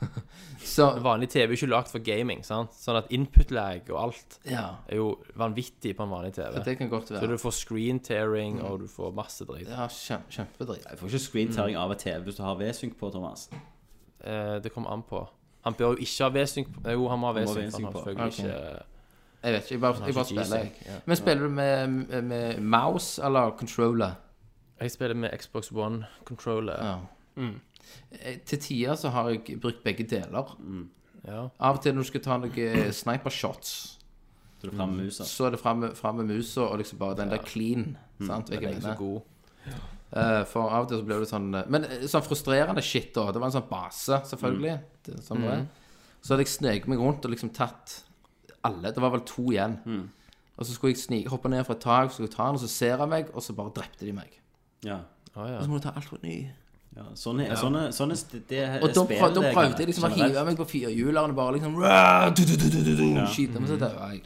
[SPEAKER 6] Så
[SPEAKER 9] En vanlig TV er ikke lagd for gaming, sant? Sånn at input-lag og alt
[SPEAKER 6] Ja.
[SPEAKER 9] er jo vanvittig på en vanlig
[SPEAKER 6] Det
[SPEAKER 9] TV.
[SPEAKER 6] kan godt
[SPEAKER 9] Så
[SPEAKER 6] være.
[SPEAKER 9] du får screen tearing, og du får masse dritt.
[SPEAKER 6] Ja, kjem- kjempedrit.
[SPEAKER 5] Du får ikke
[SPEAKER 6] Mm.
[SPEAKER 5] screentearing av et TV hvis du har V-synk på, Thomas.
[SPEAKER 9] Eh, Det kommer an på. Han bør jo ikke ha V-synk på- Jo, han må ha
[SPEAKER 5] må ha
[SPEAKER 9] V-synk, for han
[SPEAKER 5] V-synk
[SPEAKER 9] har
[SPEAKER 5] på.
[SPEAKER 9] selvfølgelig
[SPEAKER 6] Ok.
[SPEAKER 9] ikke
[SPEAKER 6] Jeg vet ikke, jeg bare, jeg bare
[SPEAKER 9] ikke
[SPEAKER 6] spiller,
[SPEAKER 9] G-Sync,
[SPEAKER 6] jeg. Men spiller du med, med mouse eller controller?
[SPEAKER 9] Jeg spiller med Xbox One controller.
[SPEAKER 6] Ja. Eh, Til tider så har jeg brukt begge deler.
[SPEAKER 9] Ja.
[SPEAKER 6] Av og til når du skal ta noen snipershots,
[SPEAKER 5] Så du
[SPEAKER 6] Mm.
[SPEAKER 5] fram med musa.
[SPEAKER 6] så er det fram med, fram med musa og liksom bare den der clean. Sant, hva jeg
[SPEAKER 9] Mm. Den er ikke så
[SPEAKER 6] mener.
[SPEAKER 9] god.
[SPEAKER 6] Eh, For av og til så blir det sånn eh, Men eh, sånn frustrerende shit, da. Det var en sånn base, selvfølgelig.
[SPEAKER 9] Mm.
[SPEAKER 6] Det, er sånn det er. Så hadde jeg sneket meg rundt og liksom tatt alle. Det var vel to igjen.
[SPEAKER 9] Mm.
[SPEAKER 6] Og så skulle jeg snike, hoppe ned fra et tak, skulle ta den, og så ser jeg meg, og så bare drepte de meg.
[SPEAKER 5] Ja.
[SPEAKER 6] Og så må du ta alt på ny.
[SPEAKER 5] Ja, sånn er, sånn er, sånn er det- det er
[SPEAKER 6] Og da, prøv,
[SPEAKER 5] spillet,
[SPEAKER 6] da prøvde jeg liksom å
[SPEAKER 5] generelt.
[SPEAKER 6] hive meg på firehjuleren og bare liksom rah, du, du, du, du, du, du, Skyte, men så daua jeg.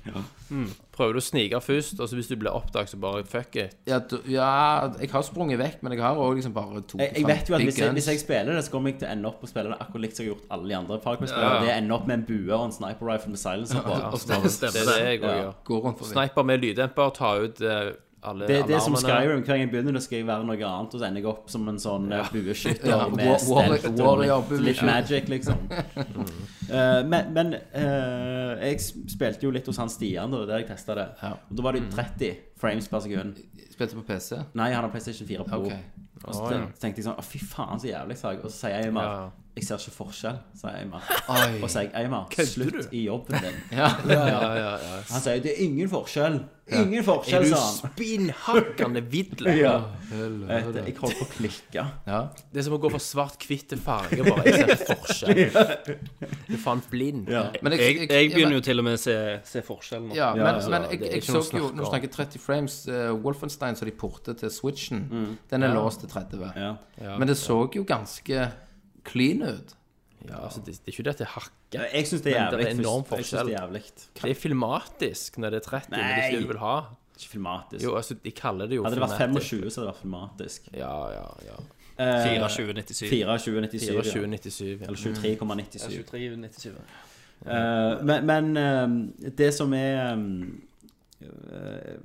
[SPEAKER 9] Prøver du å snike først, og så hvis du blir oppdaget, så bare fuck it.
[SPEAKER 6] Ja, du, ja, jeg har sprunget vekk, men jeg har òg liksom bare to
[SPEAKER 5] jeg, jeg vet jo at hvis jeg, hvis jeg spiller det, så kommer jeg til å ende opp og spille det akkurat likt som jeg har gjort alle de andre Far Cry-spillene. Det ender opp med en bue og en sniper rifle med silencer
[SPEAKER 9] Det
[SPEAKER 5] på.
[SPEAKER 9] er det jeg òg gjør.
[SPEAKER 6] går rundt forbi.
[SPEAKER 9] Sniper med lyddemper, ta ut eh, alle
[SPEAKER 5] Det, det er som
[SPEAKER 9] alarmene.
[SPEAKER 5] Skyrim. Hver gang jeg begynner, da skal jeg være noe annet, og så ender jeg opp som en sånn eh, bueskytter
[SPEAKER 6] Ja,
[SPEAKER 5] med
[SPEAKER 6] war-
[SPEAKER 5] stealth
[SPEAKER 6] war- Mm.
[SPEAKER 5] og
[SPEAKER 6] warrior
[SPEAKER 5] litt, litt
[SPEAKER 6] bueskytter.
[SPEAKER 5] magic, liksom. Eh, men men eh, jeg spilte jo litt hos han Stian, da, der jeg testa det.
[SPEAKER 6] Ja. Mm.
[SPEAKER 5] Og da var det jo 30 frames per sekund.
[SPEAKER 6] Spilte på PC.
[SPEAKER 5] Nei, han har PlayStation 4 Pro.
[SPEAKER 6] Ok.
[SPEAKER 5] Og så ten- tenkte jeg sånn Å, fy faen, så jævlig, sa jeg. Og så sier jeg jo bare Jeg ser ikke forskjell, sier Eimar.
[SPEAKER 6] Oi.
[SPEAKER 5] Og sier Eimar, slutt i jobben din.
[SPEAKER 6] Ja.
[SPEAKER 5] Han sier det er ingen forskjell. Ingen forskjell, sa han.
[SPEAKER 9] Spinnhakkende vidle.
[SPEAKER 5] Ja. Vet du, Jeg holdt på å klikke.
[SPEAKER 6] Ja.
[SPEAKER 9] Det er som å gå fra svart-hvitt til farge, bare. Jeg ser forskjell. Du er faen blind.
[SPEAKER 6] Men
[SPEAKER 8] Jeg, jeg begynner jo til og med å se, se forskjell nå.
[SPEAKER 6] Ja, men,
[SPEAKER 5] altså,
[SPEAKER 6] men jeg,
[SPEAKER 9] det er
[SPEAKER 6] jeg
[SPEAKER 9] ikke noe
[SPEAKER 6] så jo,
[SPEAKER 9] snakk
[SPEAKER 6] når vi
[SPEAKER 9] om.
[SPEAKER 6] snakker 30 frames, eh, Wolfenstein som de porter til Switchen,
[SPEAKER 5] Mm.
[SPEAKER 6] den er låst til 30.
[SPEAKER 5] Ja.
[SPEAKER 6] Men det så jo ganske clean ut.
[SPEAKER 9] Ja, altså, det, det er ikke det at det hakker.
[SPEAKER 5] Jeg syns det er
[SPEAKER 9] Men det er
[SPEAKER 5] jævlig.
[SPEAKER 9] enorm
[SPEAKER 5] først. Jeg synes det er jævlig.
[SPEAKER 9] Det er filmatisk når det er 30, men det er ikke det du vil ha.
[SPEAKER 5] Ikke filmatisk.
[SPEAKER 9] Jo, altså, de kaller det jo
[SPEAKER 5] Hadde det vært
[SPEAKER 9] filmatisk.
[SPEAKER 5] 25, så hadde det vært filmatisk.
[SPEAKER 9] Ja, ja, ja.
[SPEAKER 8] 2497.
[SPEAKER 5] 2497. ja.
[SPEAKER 9] 2497. Ja.
[SPEAKER 5] Eller 23,97.
[SPEAKER 8] 2397.
[SPEAKER 5] Eh, men men eh, det som er eh,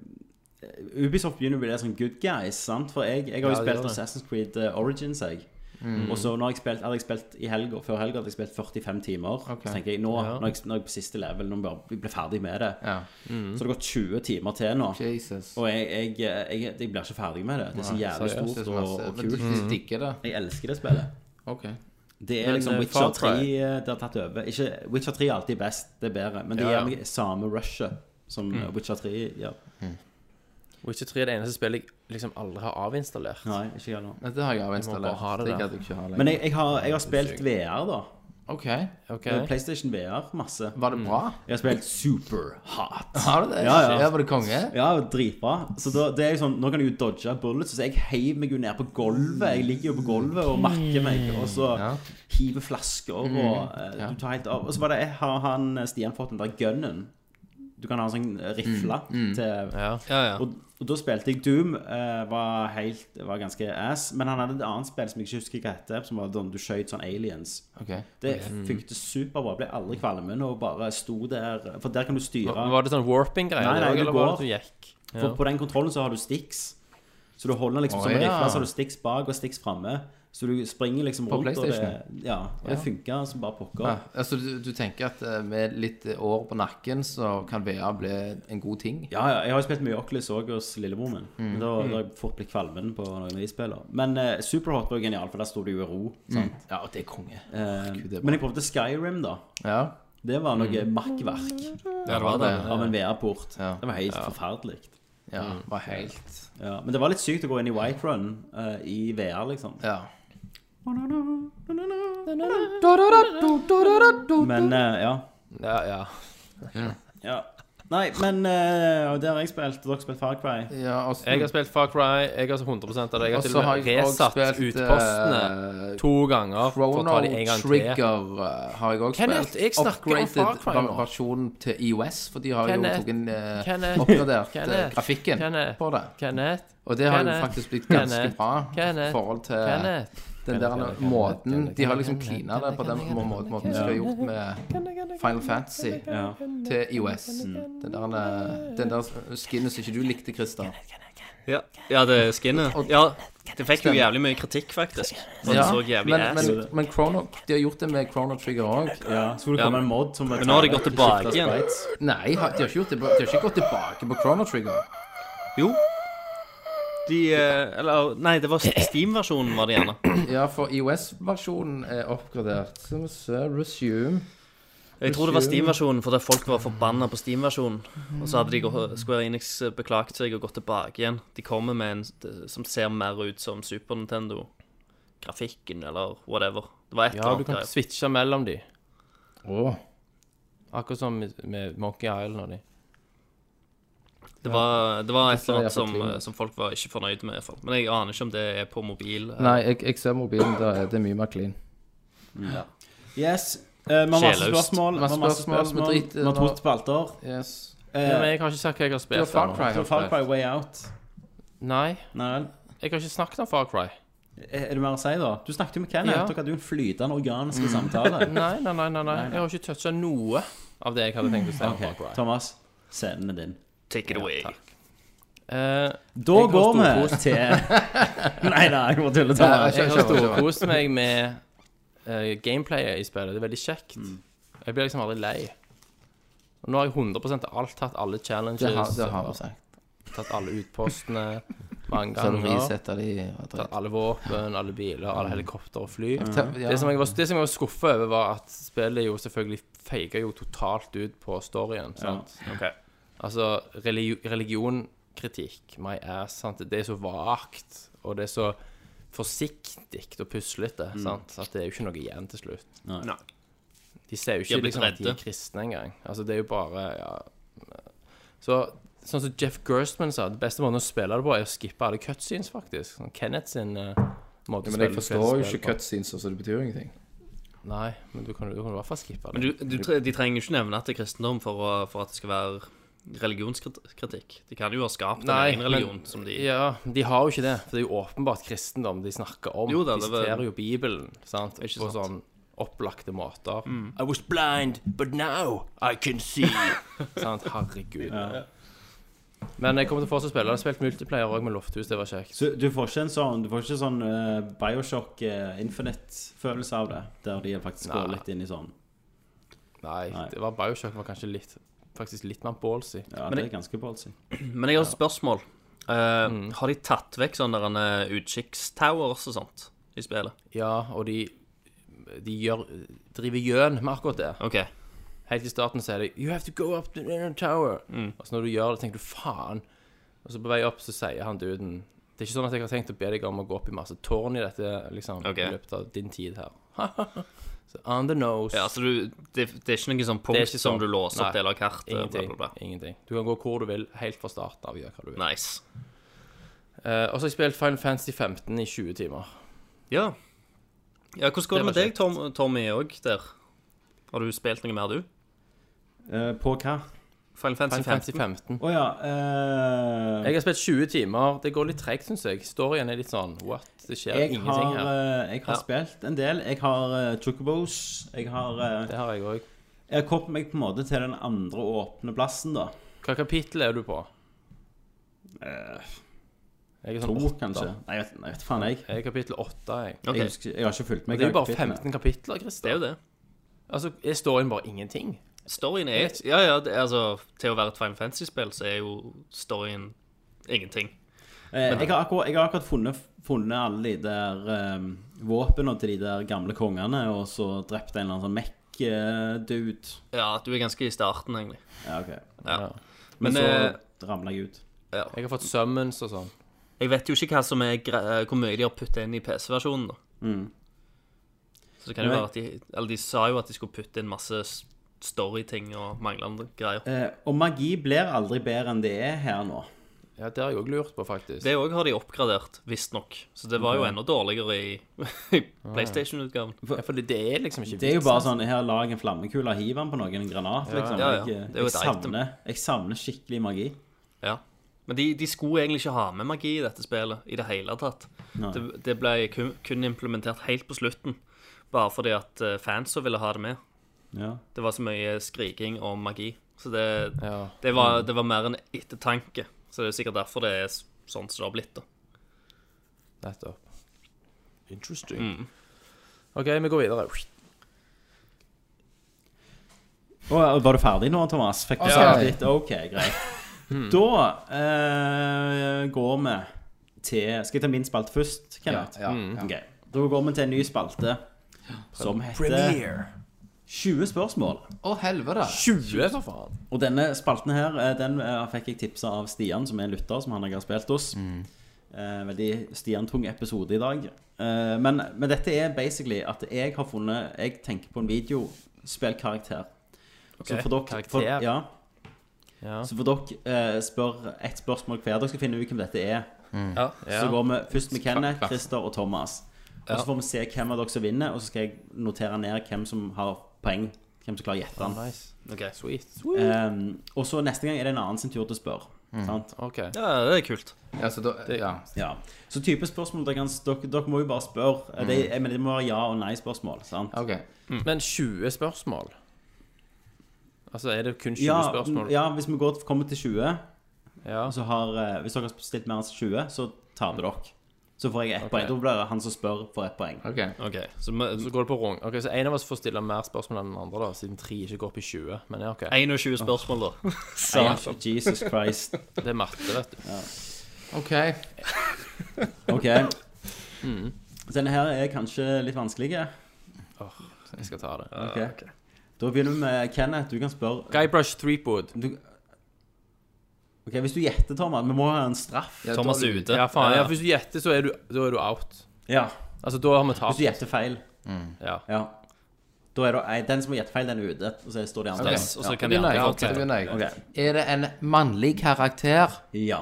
[SPEAKER 5] Ubisoft begynner å bli det sånn good guys, sant? For jeg, jeg har
[SPEAKER 9] Ja,
[SPEAKER 5] jo
[SPEAKER 9] det gjør
[SPEAKER 5] spilt
[SPEAKER 9] det.
[SPEAKER 5] Assassin's Creed eh, Origins, jeg.
[SPEAKER 6] Mm.
[SPEAKER 5] Og så når jeg spilt, hadde jeg spilt i helga, før helga hadde jeg spilt 45 timer.
[SPEAKER 6] Ok.
[SPEAKER 5] Så tenker jeg nå, når, jeg, når jeg er på siste level, når jeg bare blir ferdig med det
[SPEAKER 6] Ja. Mm.
[SPEAKER 5] Så har det gått 20 timer til nå.
[SPEAKER 6] Jesus.
[SPEAKER 5] Og jeg, jeg, jeg, jeg, blir ikke ferdig med det. Det er så jævlig
[SPEAKER 6] Seriøst, det er så
[SPEAKER 5] stort og,
[SPEAKER 6] masse. Mm.
[SPEAKER 5] og
[SPEAKER 6] Men
[SPEAKER 5] kult.
[SPEAKER 6] de- de digger det.
[SPEAKER 5] Jeg elsker det spillet.
[SPEAKER 6] Ok.
[SPEAKER 5] Det er
[SPEAKER 9] Men,
[SPEAKER 5] liksom
[SPEAKER 9] eh,
[SPEAKER 5] Witcher
[SPEAKER 9] Far
[SPEAKER 5] 3
[SPEAKER 9] Cry-
[SPEAKER 5] eh, det har tatt over. Ikke, Witcher 3 er alltid best, det er bedre. Men det
[SPEAKER 9] Ja, Mm. ja.
[SPEAKER 5] gir meg samme rushet som eh, Witcher 3 gjør.
[SPEAKER 9] Witcher 3 er det eneste spillet jeg liksom aldri har avinstallert.
[SPEAKER 5] Nei, ikke jeg heller.
[SPEAKER 6] Nei, det har jeg
[SPEAKER 9] Du må
[SPEAKER 6] avinstallert.
[SPEAKER 9] bare ha det der.
[SPEAKER 6] gadd jeg ikke ha lenger.
[SPEAKER 5] Men jeg, jeg, har, jeg har spilt VR, da. Eh,
[SPEAKER 6] Ok.
[SPEAKER 9] Ok.
[SPEAKER 5] PlayStation VR masse.
[SPEAKER 6] Var
[SPEAKER 9] Mm.
[SPEAKER 6] det bra?
[SPEAKER 5] Jeg har spilt Superhot.
[SPEAKER 6] Har du det?
[SPEAKER 5] Ja, ja.
[SPEAKER 6] Var det konge?
[SPEAKER 5] Ja, dritbra. Så da, det er jo sånn, Nå kan jeg jo dodge bullets. Så jeg heiv meg jo ned på gulvet. Jeg ligger jo på gulvet og makker meg. Og så
[SPEAKER 6] Ja.
[SPEAKER 5] hiver flasker
[SPEAKER 9] Mm.
[SPEAKER 5] og eh, Du tar helt av. Og så var det Har han eh, Stian fått den der gunnen? Du kan ha en sånn rifle
[SPEAKER 9] Mm.
[SPEAKER 5] til
[SPEAKER 9] Ja.
[SPEAKER 8] Ja, ja.
[SPEAKER 5] og, og da spilte jeg Doom. eh, var, helt, var ganske ass. Men han hadde et annet spill som jeg ikke husker hva heter, som var sånn du skjøt sånn aliens.
[SPEAKER 6] Ok.
[SPEAKER 5] Det funket superbra. Ble aldri kvalmen og bare sto der. For der kan du styre.
[SPEAKER 9] Var var det sånn warping-greier?
[SPEAKER 5] Nei, nei,
[SPEAKER 9] også,
[SPEAKER 5] du
[SPEAKER 9] eller var
[SPEAKER 5] går.
[SPEAKER 9] det at du gikk?
[SPEAKER 5] For på den kontrollen så har du sticks. Så du holder liksom
[SPEAKER 6] Å,
[SPEAKER 5] som en
[SPEAKER 6] ja.
[SPEAKER 5] rifle, så har du sticks bak og sticks framme. Så du springer liksom
[SPEAKER 6] På
[SPEAKER 5] rundt, og det,
[SPEAKER 6] PlayStation?
[SPEAKER 5] ja, og det funker som bare pokker.
[SPEAKER 6] Ja, altså, du, du tenker at eh, med litt eh, år på nakken, så kan VR bli en god ting?
[SPEAKER 5] Ja, ja, jeg har jo spilt mye Oculus òg hos lillebror min.
[SPEAKER 6] Mm.
[SPEAKER 5] Men Da da har jeg fort blitt kvalmen på noen av de spillene. Men eh, Superhot var jo genial, for der sto det jo i ro. sånn. Sant?
[SPEAKER 6] Ja, og det er konge.
[SPEAKER 5] Eh,
[SPEAKER 6] Gud, det er bra.
[SPEAKER 5] men jeg prøvde Skyrim, da.
[SPEAKER 6] Ja.
[SPEAKER 5] Det var noe
[SPEAKER 8] Mm.
[SPEAKER 5] makkverk
[SPEAKER 8] Det var det.
[SPEAKER 5] av en VR-port.
[SPEAKER 6] Ja.
[SPEAKER 5] Det var helt forferdelig.
[SPEAKER 6] Ja,
[SPEAKER 9] Mm.
[SPEAKER 6] var helt
[SPEAKER 5] Ja, men det var litt sykt å gå inn i White Run eh, i VR, liksom.
[SPEAKER 6] Ja.
[SPEAKER 5] Men eh, ja.
[SPEAKER 9] Ja, ja.
[SPEAKER 5] Ja. Nei, men eh, og det har jeg spilt. og Dere har spilt Far Cry.
[SPEAKER 6] ja og så-
[SPEAKER 9] Jeg har spilt Far Cry. Jeg har så 100 av det.
[SPEAKER 6] og
[SPEAKER 9] Jeg har til
[SPEAKER 6] så
[SPEAKER 9] og
[SPEAKER 6] har
[SPEAKER 9] med
[SPEAKER 6] jeg også
[SPEAKER 9] resatt
[SPEAKER 6] spilt
[SPEAKER 9] utpostene
[SPEAKER 6] eh,
[SPEAKER 9] to ganger for å ta de
[SPEAKER 6] Chrono
[SPEAKER 9] en gang til.
[SPEAKER 6] Trigger eh, har jeg også
[SPEAKER 9] Kenneth,
[SPEAKER 6] spilt.
[SPEAKER 9] jeg snakker om Far Cry
[SPEAKER 6] Upgraded
[SPEAKER 9] nå.
[SPEAKER 6] ver- versjonen til IOS, for de har jo
[SPEAKER 9] Kenneth,
[SPEAKER 6] tatt en eh,
[SPEAKER 9] Kenneth,
[SPEAKER 6] oppgradert eh,
[SPEAKER 9] Kenneth,
[SPEAKER 6] grafikken
[SPEAKER 9] Kenneth.
[SPEAKER 6] på det.
[SPEAKER 9] Kenneth,
[SPEAKER 6] Og det har
[SPEAKER 9] Kenneth,
[SPEAKER 6] jo faktisk blitt ganske
[SPEAKER 9] Kenneth,
[SPEAKER 6] bra i
[SPEAKER 9] Kenneth,
[SPEAKER 6] forhold til
[SPEAKER 9] Kenneth.
[SPEAKER 6] den der måten De har liksom klina det på den må- må- måten de skulle ha gjort med Final Fantasy
[SPEAKER 5] Ja.
[SPEAKER 6] til IOS. Den der, eh, den der skinnet som ikke du likte, Christer.
[SPEAKER 8] Ja, ja det skinnet. Ja, det fikk jo jævlig mye kritikk, faktisk. For det så jævlig
[SPEAKER 6] men,
[SPEAKER 8] ass ut.
[SPEAKER 6] men, men Chrono, de har gjort det med Chrono Trigger òg.
[SPEAKER 5] Ja, Skulle det
[SPEAKER 8] Ja,
[SPEAKER 5] komme
[SPEAKER 8] men-
[SPEAKER 5] en mod som
[SPEAKER 8] Men nå har de gått tilbake igjen.
[SPEAKER 6] Nei, ha- de har ikke, gjort det, på- de har ikke gått tilbake på Chrono Trigger.
[SPEAKER 8] Jo. De eh, Eller nei, det var Steam-versjonen, var det gjerne.
[SPEAKER 6] Ja, for IOS-versjonen er oppgradert. Skal vi se Resume.
[SPEAKER 8] Jeg tror det var Steam-versjonen fordi folk var forbanna på Steam-versjonen. Og så hadde de gå- Square Enix eh, beklaget seg og gått tilbake igjen. De kommer med en s- som ser mer ut som Super Nintendo-grafikken eller whatever. Det var et
[SPEAKER 9] Ja,
[SPEAKER 8] eller
[SPEAKER 9] du
[SPEAKER 8] annet.
[SPEAKER 9] kan
[SPEAKER 8] greier.
[SPEAKER 9] switche mellom de.
[SPEAKER 6] Åh.
[SPEAKER 9] Akkurat som med- med Monkey Island og de.
[SPEAKER 8] Det var, det var et
[SPEAKER 6] ser
[SPEAKER 8] eller
[SPEAKER 6] jeg
[SPEAKER 8] annet som, eh,
[SPEAKER 6] fortvilende.
[SPEAKER 8] som folk var ikke fornøyd med. i hvert fall. Men jeg aner ikke om det er på mobil. eh,
[SPEAKER 6] Nei, jeg, jeg ser mobilen. Der, er- det er mye mer clean.
[SPEAKER 5] Yes. eh, Vi har masse
[SPEAKER 8] Sjelløst.
[SPEAKER 5] spørsmål. Vi har masse spørsmål.
[SPEAKER 6] Vi driter
[SPEAKER 5] Vi har
[SPEAKER 6] nå.
[SPEAKER 5] to spalter.
[SPEAKER 6] Yes.
[SPEAKER 9] Ja,
[SPEAKER 5] Eh,
[SPEAKER 9] men jeg har ikke sagt hva jeg har
[SPEAKER 6] Det var
[SPEAKER 9] spilt.
[SPEAKER 6] Far Cry.
[SPEAKER 9] ennå.
[SPEAKER 5] så Far Cry Way Out.
[SPEAKER 9] Nei,
[SPEAKER 5] Nei vel. Eh,
[SPEAKER 9] jeg har ikke snakket om Far Cry.
[SPEAKER 5] Er er det mer å si, da? Du snakket jo med Kenneth.
[SPEAKER 9] Ja.
[SPEAKER 5] Dere hadde jo en flytende organisk samtale.
[SPEAKER 9] Nei, nei, nei, nei, nei. Jeg har ikke toucha noe av det jeg hadde tenkt å si om Far
[SPEAKER 5] Ok,
[SPEAKER 9] Cry.
[SPEAKER 5] Thomas, scenen er din.
[SPEAKER 8] Take it away.
[SPEAKER 9] Eh,
[SPEAKER 5] Da
[SPEAKER 9] Jeg har
[SPEAKER 5] går vi
[SPEAKER 9] storkost.
[SPEAKER 5] til Nei, nei, jeg må tulle, Thomas.
[SPEAKER 6] Kjør,
[SPEAKER 9] jeg har
[SPEAKER 6] kjør, kjør.
[SPEAKER 9] storkost meg med eh, gameplayet i spillet. Det er veldig kjekt. Jeg blir liksom aldri lei. Og nå har jeg 100 av alt tatt alle challenges.
[SPEAKER 6] Det har, det har
[SPEAKER 9] og
[SPEAKER 6] vi sagt.
[SPEAKER 9] Tatt alle utpostene. mange
[SPEAKER 6] Så har du
[SPEAKER 9] ganger.
[SPEAKER 6] resetta de og
[SPEAKER 9] Tatt
[SPEAKER 6] dritt.
[SPEAKER 9] Alle våpen, alle biler, alle helikopter og fly.
[SPEAKER 6] Ja.
[SPEAKER 9] Det som jeg var, det som jeg var skuffa over, var at spillet jo selvfølgelig feiga jo totalt ut på storyen. Sant? Altså religi religionkritikk, my ass, sant? det er så vagt, og det er så forsiktig og puslete, sant? at det er jo ikke noe igjen til slutt.
[SPEAKER 5] Nei.
[SPEAKER 8] Nei.
[SPEAKER 9] De ser jo
[SPEAKER 8] De har
[SPEAKER 9] ikke
[SPEAKER 8] blitt
[SPEAKER 9] liksom, at de er
[SPEAKER 8] redde.
[SPEAKER 9] kristne engang. Altså, det er jo bare ja. Så sånn som Jeff Gerstmann sa, den beste måten å spille det på, er å skippe alle cutscenes, faktisk. Sånn Kenneth sin eh, måte
[SPEAKER 6] Men jeg
[SPEAKER 9] spille-
[SPEAKER 6] forstår jo
[SPEAKER 9] spille
[SPEAKER 6] ikke
[SPEAKER 9] på.
[SPEAKER 6] cutscenes, så det betyr jo ingenting.
[SPEAKER 9] Nei, men du kan du kan i hvert fall skippe det.
[SPEAKER 8] Men du, du, tre- de trenger jo ikke nevne at det er kristendom for, å, for at det skal være religionskritikk. De kan jo ha skapt en
[SPEAKER 9] Nei,
[SPEAKER 8] egen
[SPEAKER 9] men-
[SPEAKER 8] religion som de
[SPEAKER 9] Ja, de har jo ikke det. For det er jo åpenbart kristendom de snakker om.
[SPEAKER 8] Jo da,
[SPEAKER 9] de
[SPEAKER 8] det var-
[SPEAKER 9] siterer jo Bibelen sant?
[SPEAKER 8] Ikke
[SPEAKER 9] på
[SPEAKER 8] sant. Mm.
[SPEAKER 9] sånn opplagte måter.
[SPEAKER 8] I was blind, but now I can see.
[SPEAKER 9] Sant? Herregud. Men jeg kommer til å fortsette å spille. Jeg har spilt multiplayer òg med Lofthus. Det var kjekt.
[SPEAKER 5] Så du får ikke en sånn, du får ikke sånn eh, Bioshock eh, Infinite-følelse av det? Der de faktisk går
[SPEAKER 9] Nei.
[SPEAKER 5] litt inn i sånn
[SPEAKER 9] Nei,
[SPEAKER 5] Nei.
[SPEAKER 9] det var Bioshock var kanskje litt Faktisk litt mer ballsy.
[SPEAKER 5] Ja,
[SPEAKER 8] Men
[SPEAKER 5] det er ganske ballsy.
[SPEAKER 8] Men jeg har et spørsmål. Eh, Har de tatt vekk sånne der, eh, utkikkstowers og sånt i spillet?
[SPEAKER 9] Ja, og de de gjør, driver gjøn med akkurat det.
[SPEAKER 8] OK.
[SPEAKER 9] Helt i starten så er det You have to go up to the tower
[SPEAKER 8] Mm.
[SPEAKER 9] Og så når du gjør det tenker du faen Og så på vei opp så sier han duden Det er ikke sånn at jeg har tenkt å be deg om å gå opp i masse tårn i dette liksom
[SPEAKER 8] Ok.
[SPEAKER 9] I løpet av din tid her Så on the nose
[SPEAKER 8] Ja, altså du, det, det er ikke noen sånn
[SPEAKER 9] Det er
[SPEAKER 8] punkt
[SPEAKER 9] ikke
[SPEAKER 8] som
[SPEAKER 9] sånn.
[SPEAKER 8] du låser opp
[SPEAKER 9] Nei.
[SPEAKER 8] deler av kartet? bla,
[SPEAKER 9] Ingenting,
[SPEAKER 8] bla, bla.
[SPEAKER 9] ingenting Du kan gå hvor du vil, helt fra starten av gjør hva du vil
[SPEAKER 8] Nice.
[SPEAKER 9] Eh, Og så har jeg spilt Final Fantasy 15 i 20 timer
[SPEAKER 8] Ja. ja hvordan går
[SPEAKER 9] Det
[SPEAKER 8] det, med
[SPEAKER 9] var
[SPEAKER 8] deg, Tom, Tommy, òg der? Har du spilt noe mer, du?
[SPEAKER 5] Eh, på hva?
[SPEAKER 8] Final Fantasy
[SPEAKER 9] Final
[SPEAKER 8] 15?
[SPEAKER 9] Fantasy 15
[SPEAKER 5] Å ja. eh,
[SPEAKER 9] Jeg har spilt 20 timer Det går litt tregt synes jeg Storyen er litt sånn What? Det skjer
[SPEAKER 5] jeg har,
[SPEAKER 9] ingenting her
[SPEAKER 5] eh, jeg har
[SPEAKER 9] Ja.
[SPEAKER 5] spilt en del. Jeg har uh, Chocobos. Jeg har eh,
[SPEAKER 9] Det har jeg også
[SPEAKER 5] Jeg har kommet meg på en måte til den andre åpne plassen, da.
[SPEAKER 9] Hva kapittel er du på? Jeg er
[SPEAKER 5] Eh, To,
[SPEAKER 9] sånn
[SPEAKER 5] kanskje. Nei, jeg vet, nei, jeg vet faen, jeg.
[SPEAKER 9] Jeg er kapittel 8, jeg.
[SPEAKER 8] Ok,
[SPEAKER 5] Jeg, husker, jeg har ikke fulgt med.
[SPEAKER 9] Det er jo bare
[SPEAKER 5] kapitlene.
[SPEAKER 9] 15 kapitler,
[SPEAKER 8] Det er
[SPEAKER 9] Christer.
[SPEAKER 8] jo det.
[SPEAKER 9] Altså, er storyen bare ingenting?
[SPEAKER 8] Storyen er Ja, ja, det, er altså Til å være et Final Fantasy-spill, så er jo storyen ingenting.
[SPEAKER 5] Eh, jeg, har akkurat, jeg har akkurat funnet, funnet alle de der eh, våpnene til de der gamle kongene, og så drept en eller annen sånn Mech-dude.
[SPEAKER 8] Ja, du er ganske i starten, egentlig.
[SPEAKER 5] Ja, ok.
[SPEAKER 8] Ja.
[SPEAKER 5] Men,
[SPEAKER 8] Men, eh,
[SPEAKER 5] så ramla jeg ut.
[SPEAKER 8] ja.
[SPEAKER 9] Jeg har fått summons og sånn.
[SPEAKER 8] Jeg vet jo ikke hva som er gre eh, hvor mye de har putta inn i PC-versjonen, da. Så det kan jo
[SPEAKER 5] Nei.
[SPEAKER 8] være at de Eller de sa jo at de skulle putte inn masse s- storyting og manglende greier.
[SPEAKER 5] Eh, og magi blir aldri bedre enn det er her nå.
[SPEAKER 9] Ja, det har jeg òg lurt på, faktisk.
[SPEAKER 8] Det òg har de oppgradert, visstnok. Så det var jo enda dårligere i, i PlayStation-utgaven.
[SPEAKER 9] Ja, for det, det er liksom ikke
[SPEAKER 5] Det er jo
[SPEAKER 9] vits,
[SPEAKER 5] bare
[SPEAKER 9] altså.
[SPEAKER 5] sånn Her, lag en flammekule, hiv den på noen, en granat, liksom.
[SPEAKER 8] Ja, ja.
[SPEAKER 5] Jeg,
[SPEAKER 8] Det er jo
[SPEAKER 5] jeg,
[SPEAKER 8] et item.
[SPEAKER 5] savner, jeg savner skikkelig magi.
[SPEAKER 8] Ja. Men de, de skulle egentlig ikke ha med magi i dette spillet i det hele tatt. Det, det ble kun, kun implementert helt på slutten, bare fordi at eh, fansa ville ha det med.
[SPEAKER 5] Ja.
[SPEAKER 8] Det var så mye skriking om magi. Så det,
[SPEAKER 9] Ja.
[SPEAKER 8] det, var, det var mer en ettertanke. Så det er jo sikkert derfor det er s- sånn som det har blitt, da.
[SPEAKER 9] Nettopp. Interesting. OK, vi går videre.
[SPEAKER 5] Å, ja, var du ferdig nå, Thomas? Fikk du
[SPEAKER 6] Ja.
[SPEAKER 5] sagt litt? OK, greit. Da eh, går vi til Skal jeg ta min spalte først, Kenneth?
[SPEAKER 6] Ja, ja,
[SPEAKER 5] Ok. Da går vi til en ny spalte som heter 20 spørsmål.
[SPEAKER 6] Å, helvete!
[SPEAKER 9] 20, for faen.
[SPEAKER 5] Og denne spalten her eh, Den eh, fikk jeg tipsa av Stian, som er en lytter, som han jeg har spilt hos.
[SPEAKER 9] Mm.
[SPEAKER 5] Eh, veldig Stian-tung episode i dag. Eh, men, men dette er basically at jeg har funnet Jeg tenker på en videospillkarakter. Så for dere
[SPEAKER 9] karakter.
[SPEAKER 5] For, ja.
[SPEAKER 9] Ja.
[SPEAKER 5] Så for dere eh, spør ett spørsmål hver. Dere skal finne ut hvem dette er.
[SPEAKER 8] Mm.
[SPEAKER 9] Ja.
[SPEAKER 5] Så går vi først med Kenneth,
[SPEAKER 9] Klart.
[SPEAKER 5] Christer og Thomas. Og så får vi se hvem av dere som vinner, og så skal jeg notere ned hvem som har poeng. Hvem som klarer å gjette den.
[SPEAKER 9] Nice.
[SPEAKER 8] Ok.
[SPEAKER 9] Sweet. Sweet.
[SPEAKER 5] Ehm, og så neste gang er det en annen sin tur til å spørre. Sant?
[SPEAKER 9] OK.
[SPEAKER 8] Ja, det er kult.
[SPEAKER 6] Ja, så da, ja.
[SPEAKER 5] Ja. Så type spørsmål dere, kan, dere, dere må jo bare spørre. Eh, Det, jeg mener, det må være ja- og nei-spørsmål. sant?
[SPEAKER 6] OK.
[SPEAKER 5] Mm.
[SPEAKER 9] Men 20 spørsmål? Altså, er det kun 20
[SPEAKER 5] Ja, mm,
[SPEAKER 9] spørsmål?
[SPEAKER 5] ja, hvis vi går, kommer til 20,
[SPEAKER 9] Ja.
[SPEAKER 5] så har, eh, hvis dere har stilt mer enn 20, så taper dere. Så får jeg ett
[SPEAKER 9] Ok.
[SPEAKER 5] poeng. Da blir det han som spør, får ett poeng.
[SPEAKER 6] ok
[SPEAKER 8] Ok, Så vi-
[SPEAKER 9] Så går det på rung. Ok, Så en av oss får stille mer spørsmål enn den andre, da, siden tre ikke går opp i 20. Men ja, ok.
[SPEAKER 8] 21 spørsmål, da.
[SPEAKER 5] Jesus Christ.
[SPEAKER 9] Det er matte, vet du.
[SPEAKER 6] OK.
[SPEAKER 5] OK. Mm. Denne her er kanskje litt vanskelig.
[SPEAKER 9] Jeg skal ta det.
[SPEAKER 5] Ok. Da begynner vi med Kenneth. Du kan spørre
[SPEAKER 9] Guybrush Threepwood.
[SPEAKER 5] Ok, Hvis du gjetter, Thomas Vi må ha en straff.
[SPEAKER 6] Ja,
[SPEAKER 8] Thomas
[SPEAKER 6] da-
[SPEAKER 8] er ute.
[SPEAKER 9] Ja, faen. Ja, hvis du gjetter, så er du, da er du out.
[SPEAKER 5] Ja,
[SPEAKER 9] Altså, da har vi
[SPEAKER 5] Hvis
[SPEAKER 9] tapt.
[SPEAKER 5] du gjetter feil.
[SPEAKER 9] Ja.
[SPEAKER 5] Ja. Da er det, nei, den som har gjettet feil, den er ute. Og så står de andre.
[SPEAKER 8] Yes, og så kan de
[SPEAKER 6] Begynner
[SPEAKER 8] andre
[SPEAKER 6] jeg.
[SPEAKER 8] få
[SPEAKER 6] Da
[SPEAKER 8] til.
[SPEAKER 6] begynner jeg.
[SPEAKER 5] Ok.
[SPEAKER 6] Er det en mannlig karakter?
[SPEAKER 5] Ja.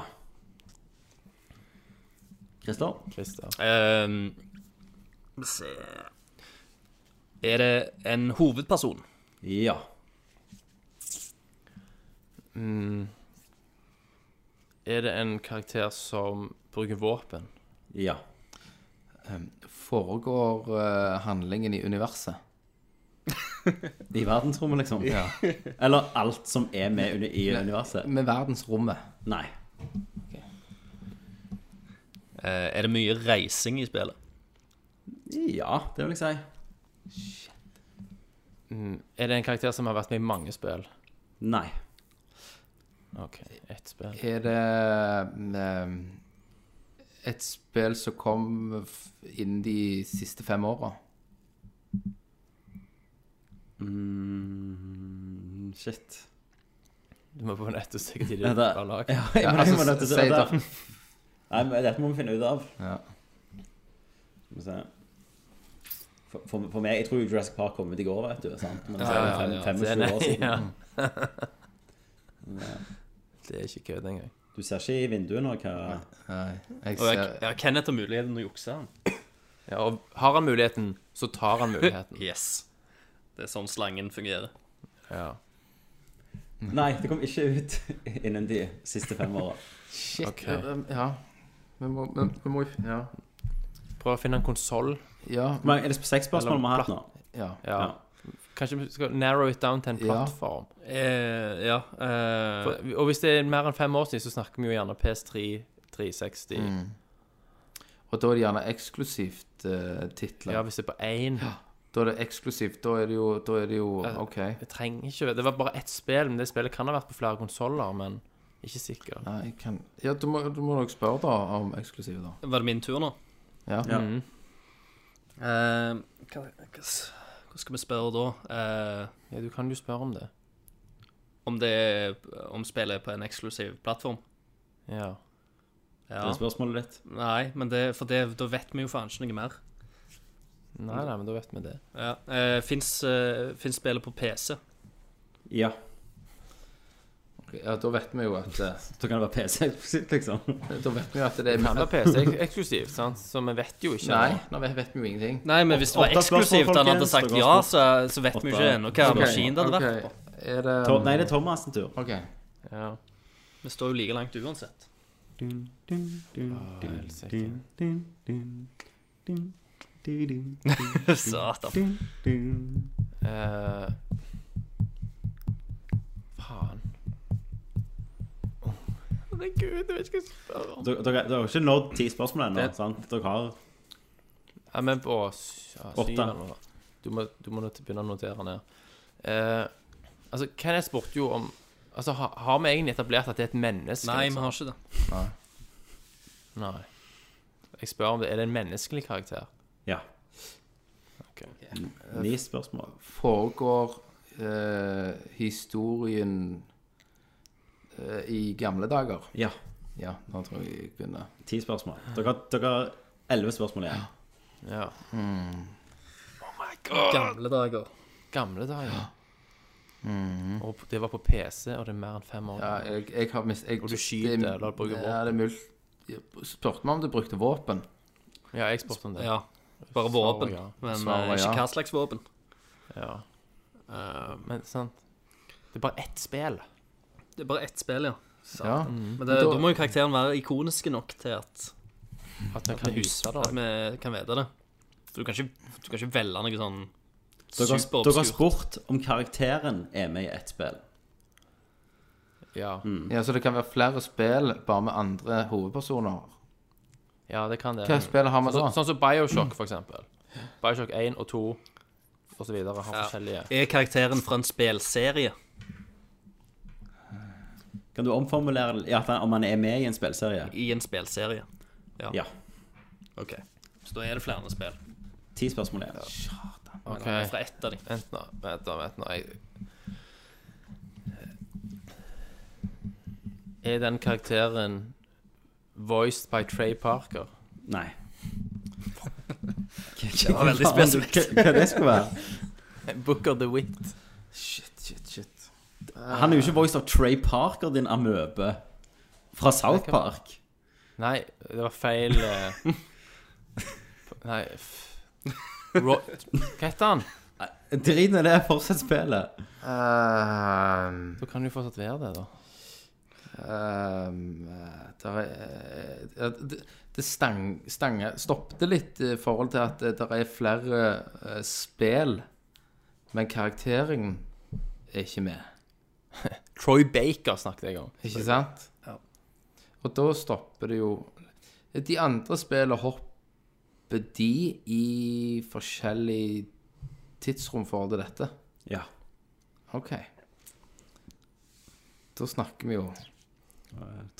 [SPEAKER 5] Christer?
[SPEAKER 8] Ehm, se. Er det en hovedperson?
[SPEAKER 5] Ja.
[SPEAKER 9] Er det en karakter som bruker våpen?
[SPEAKER 5] Ja.
[SPEAKER 6] Foregår eh, handlingen i universet?
[SPEAKER 5] I verdensrommet, liksom? Eller alt som er med uni- i universet?
[SPEAKER 6] Med verdensrommet?
[SPEAKER 5] Nei.
[SPEAKER 8] Eh, er det mye reising i spillet?
[SPEAKER 5] Ja, det vil jeg si.
[SPEAKER 9] Er det en karakter som har vært med i mange spill?
[SPEAKER 5] Nei.
[SPEAKER 9] OK, ett spill.
[SPEAKER 6] Er det mm, et spill som kom f- innen de siste fem åra?
[SPEAKER 5] Mm, Shit.
[SPEAKER 9] Du må på nettet sikkert i
[SPEAKER 5] Ja,
[SPEAKER 9] ditt
[SPEAKER 5] det-
[SPEAKER 9] lag.
[SPEAKER 5] Ja, jeg
[SPEAKER 6] Ja,
[SPEAKER 5] må
[SPEAKER 6] altså,
[SPEAKER 5] jeg må nødt til å
[SPEAKER 6] si
[SPEAKER 5] si
[SPEAKER 6] det.
[SPEAKER 5] det. Nei, men dette må vi finne ut av.
[SPEAKER 6] Ja.
[SPEAKER 5] Skal vi se. For, for, for meg, Jeg tror jo Jurassic Park kom ut i går, vet du. sant? Men det er jo fem- 25 år siden.
[SPEAKER 9] Det er ikke kødd engang.
[SPEAKER 5] Du ser ikke i vinduet nå hva
[SPEAKER 6] Nei, jeg
[SPEAKER 8] Og jeg,
[SPEAKER 6] ser
[SPEAKER 8] ja, Kenneth har muligheten til å jukse. han.
[SPEAKER 9] Ja, og har han muligheten, så tar han muligheten.
[SPEAKER 8] Yes. Det er sånn slangen fungerer.
[SPEAKER 9] Ja.
[SPEAKER 5] Nei, det kom ikke ut innen de siste fem åra.
[SPEAKER 6] Shit.
[SPEAKER 9] Ok.
[SPEAKER 6] eh, Ja. Vi må, vi, vi må ja.
[SPEAKER 9] Prøv å finne en konsoll.
[SPEAKER 6] ja.
[SPEAKER 5] Er det seks spørsmål vi har hatt nå?
[SPEAKER 6] Ja.
[SPEAKER 9] Ja.
[SPEAKER 5] Ja.
[SPEAKER 9] Kanskje vi skal narrow it down til en
[SPEAKER 6] Ja.
[SPEAKER 9] plattform.
[SPEAKER 8] Eh, ja. eh,
[SPEAKER 9] For, og hvis det er mer enn fem år siden, så snakker vi jo gjerne PS3, 360
[SPEAKER 6] Mm. Og da er det gjerne eksklusivt eh, titler.
[SPEAKER 9] Ja, hvis det er på én.
[SPEAKER 6] Da er det eksklusivt. Da er det jo, da er det jo
[SPEAKER 9] Ja.
[SPEAKER 6] OK.
[SPEAKER 9] Jeg trenger ikke Det var bare ett spill, men det spillet kan ha vært på flere konsoller, men ikke sikker.
[SPEAKER 6] Nei, jeg kan Ja, du må, du må nok spørre da om eksklusive, da.
[SPEAKER 8] var det min tur nå?
[SPEAKER 6] Ja.
[SPEAKER 5] Ja.
[SPEAKER 9] Mhm.
[SPEAKER 8] Eh, hva, hva, s- hva skal vi spørre da? Eh,
[SPEAKER 9] Ja, du kan jo spørre om det.
[SPEAKER 8] om det er, om spillet er på en eksklusiv plattform?
[SPEAKER 9] Ja.
[SPEAKER 5] Det
[SPEAKER 8] Ja.
[SPEAKER 5] er spørsmålet ditt.
[SPEAKER 8] Nei, men det, for det, da vet vi jo faen ikke noe mer.
[SPEAKER 9] Nei, nei, men da vet vi det.
[SPEAKER 8] Ja. Eh, Fins eh, fins spillet på PC?
[SPEAKER 5] Ja.
[SPEAKER 6] Ok, ja, da vet vi jo at eh,
[SPEAKER 5] Så kan det være PC, liksom.
[SPEAKER 6] Da vet vi jo at det
[SPEAKER 9] Det
[SPEAKER 6] er
[SPEAKER 9] kan være PC-eksklusivt, sant? så vi vet jo ikke.
[SPEAKER 6] Nei, nå vet, vet vi jo ingenting.
[SPEAKER 8] Nei, men hvis det var
[SPEAKER 5] Åtte spørsmål,
[SPEAKER 8] eksklusivt, han hadde
[SPEAKER 5] folkens.
[SPEAKER 8] sagt
[SPEAKER 5] Det var
[SPEAKER 8] ja, så, så vet vi jo
[SPEAKER 5] Åtte.
[SPEAKER 8] ikke ennå hva
[SPEAKER 6] Ok,
[SPEAKER 8] maskin det hadde vært
[SPEAKER 6] ok.
[SPEAKER 8] på.
[SPEAKER 6] Er det
[SPEAKER 5] To- Nei, det er Thomas' sin tur.
[SPEAKER 6] OK.
[SPEAKER 9] Ja.
[SPEAKER 8] Vi står jo like langt uansett. Satan.
[SPEAKER 9] Eh, faen. Herregud, jeg vet ikke hva jeg skal spørre om.
[SPEAKER 5] Dere dere- dere har ikke nådd ti spørsmål ennå,
[SPEAKER 9] Det-
[SPEAKER 5] sant? Dere har
[SPEAKER 9] Ja, men på sy- ja,
[SPEAKER 5] Åtte.
[SPEAKER 9] syv eller noe. Du må, du må nå til- begynne å notere ned. Eh, altså, Kenneth spurte jo om Altså, ha, har vi egentlig etablert at det er et menneske?
[SPEAKER 8] Nei, vi
[SPEAKER 9] liksom?
[SPEAKER 8] har ikke det.
[SPEAKER 9] Nei. Jeg spør om det er det en menneskelig karakter.
[SPEAKER 5] Ja.
[SPEAKER 9] Ok.
[SPEAKER 5] ni spørsmål.
[SPEAKER 6] Foregår eh, historien eh, i gamle dager?
[SPEAKER 5] Ja.
[SPEAKER 6] Ja, nå tror jeg jeg begynner.
[SPEAKER 5] Ti spørsmål. Dere har- dere har elleve spørsmål igjen.
[SPEAKER 9] Ja.
[SPEAKER 8] Gamle dager.
[SPEAKER 9] Gamle dager. Og det var på PC, og det er mer enn fem år.
[SPEAKER 6] Ja, jeg, jeg har mist jeg,
[SPEAKER 9] Og du skyter,
[SPEAKER 6] det-
[SPEAKER 9] eller bruker
[SPEAKER 6] Ja, det er mul... Spurte meg om du brukte våpen.
[SPEAKER 9] ja jeg spurte om det.
[SPEAKER 8] Ja. Bare våpen,
[SPEAKER 9] Svaret ja.
[SPEAKER 8] men
[SPEAKER 6] Svaret
[SPEAKER 8] eh,
[SPEAKER 6] ja.
[SPEAKER 8] ikke hva slags våpen. Eh,
[SPEAKER 9] Ja.
[SPEAKER 8] Um,
[SPEAKER 9] men sant Det er bare ett spill.
[SPEAKER 8] Det er bare ett spill, ja.
[SPEAKER 6] Ja.
[SPEAKER 8] Men det,
[SPEAKER 6] Men da-
[SPEAKER 8] da må jo karakteren være ikoniske nok til at
[SPEAKER 9] At vi kan huske det.
[SPEAKER 8] At vi kan vite det. Så du kan ikke, du kan ikke velge noe sånn
[SPEAKER 5] Dere, har-
[SPEAKER 8] Superobskurt.
[SPEAKER 5] dere har spurt om karakteren er med i ett spill.
[SPEAKER 9] Ja.
[SPEAKER 6] ja, Så det kan være flere spill, bare med andre hovedpersoner.
[SPEAKER 9] ja, det kan det.
[SPEAKER 6] Hva spill har vi
[SPEAKER 9] Så,
[SPEAKER 6] da?
[SPEAKER 9] sånn som Bioshock, for eksempel. Bioshock 1 og 2 og så videre har
[SPEAKER 8] Ja.
[SPEAKER 9] forskjellige
[SPEAKER 8] Er karakteren fra en spelserie?
[SPEAKER 5] Kan du omformulere det? ja, at han, om han er med i en spillserie?
[SPEAKER 8] i en spillserie.
[SPEAKER 5] Ja.
[SPEAKER 8] Ok. Så da er det flere spill.
[SPEAKER 5] Ti spørsmål igjen.
[SPEAKER 9] Ok,
[SPEAKER 8] Fra ett av dem.
[SPEAKER 9] vent nå, vent nå, vent nå. Jeg... Er den karakteren voiced by Trey Parker?
[SPEAKER 5] Nei.
[SPEAKER 8] Det var
[SPEAKER 5] Faen, du,
[SPEAKER 8] veldig spesifikt.
[SPEAKER 5] Hva hva det skulle være?
[SPEAKER 9] Booker the Wit.
[SPEAKER 6] Shit, shit, shit.
[SPEAKER 5] Han er jo ikke voiced av Trey Parker, din amøbe. Fra South Park.
[SPEAKER 9] Nei, det var feil eh, Nei f... Ro... Hva heter han?
[SPEAKER 5] Drit i det, fortsett spillet.
[SPEAKER 6] Um,
[SPEAKER 9] Da kan du fortsatt være det, da.
[SPEAKER 6] um, eh, der er, eh, det det stang, stange, stoppte litt i forhold til at det der er flere eh, spill, men karakteringen er ikke med.
[SPEAKER 9] Troy Baker snakket jeg om.
[SPEAKER 6] Ikke sant? Og da stopper det jo De andre spillene hopper de i forskjellig tidsrom for det dette.
[SPEAKER 5] Ja.
[SPEAKER 6] OK. Da snakker vi jo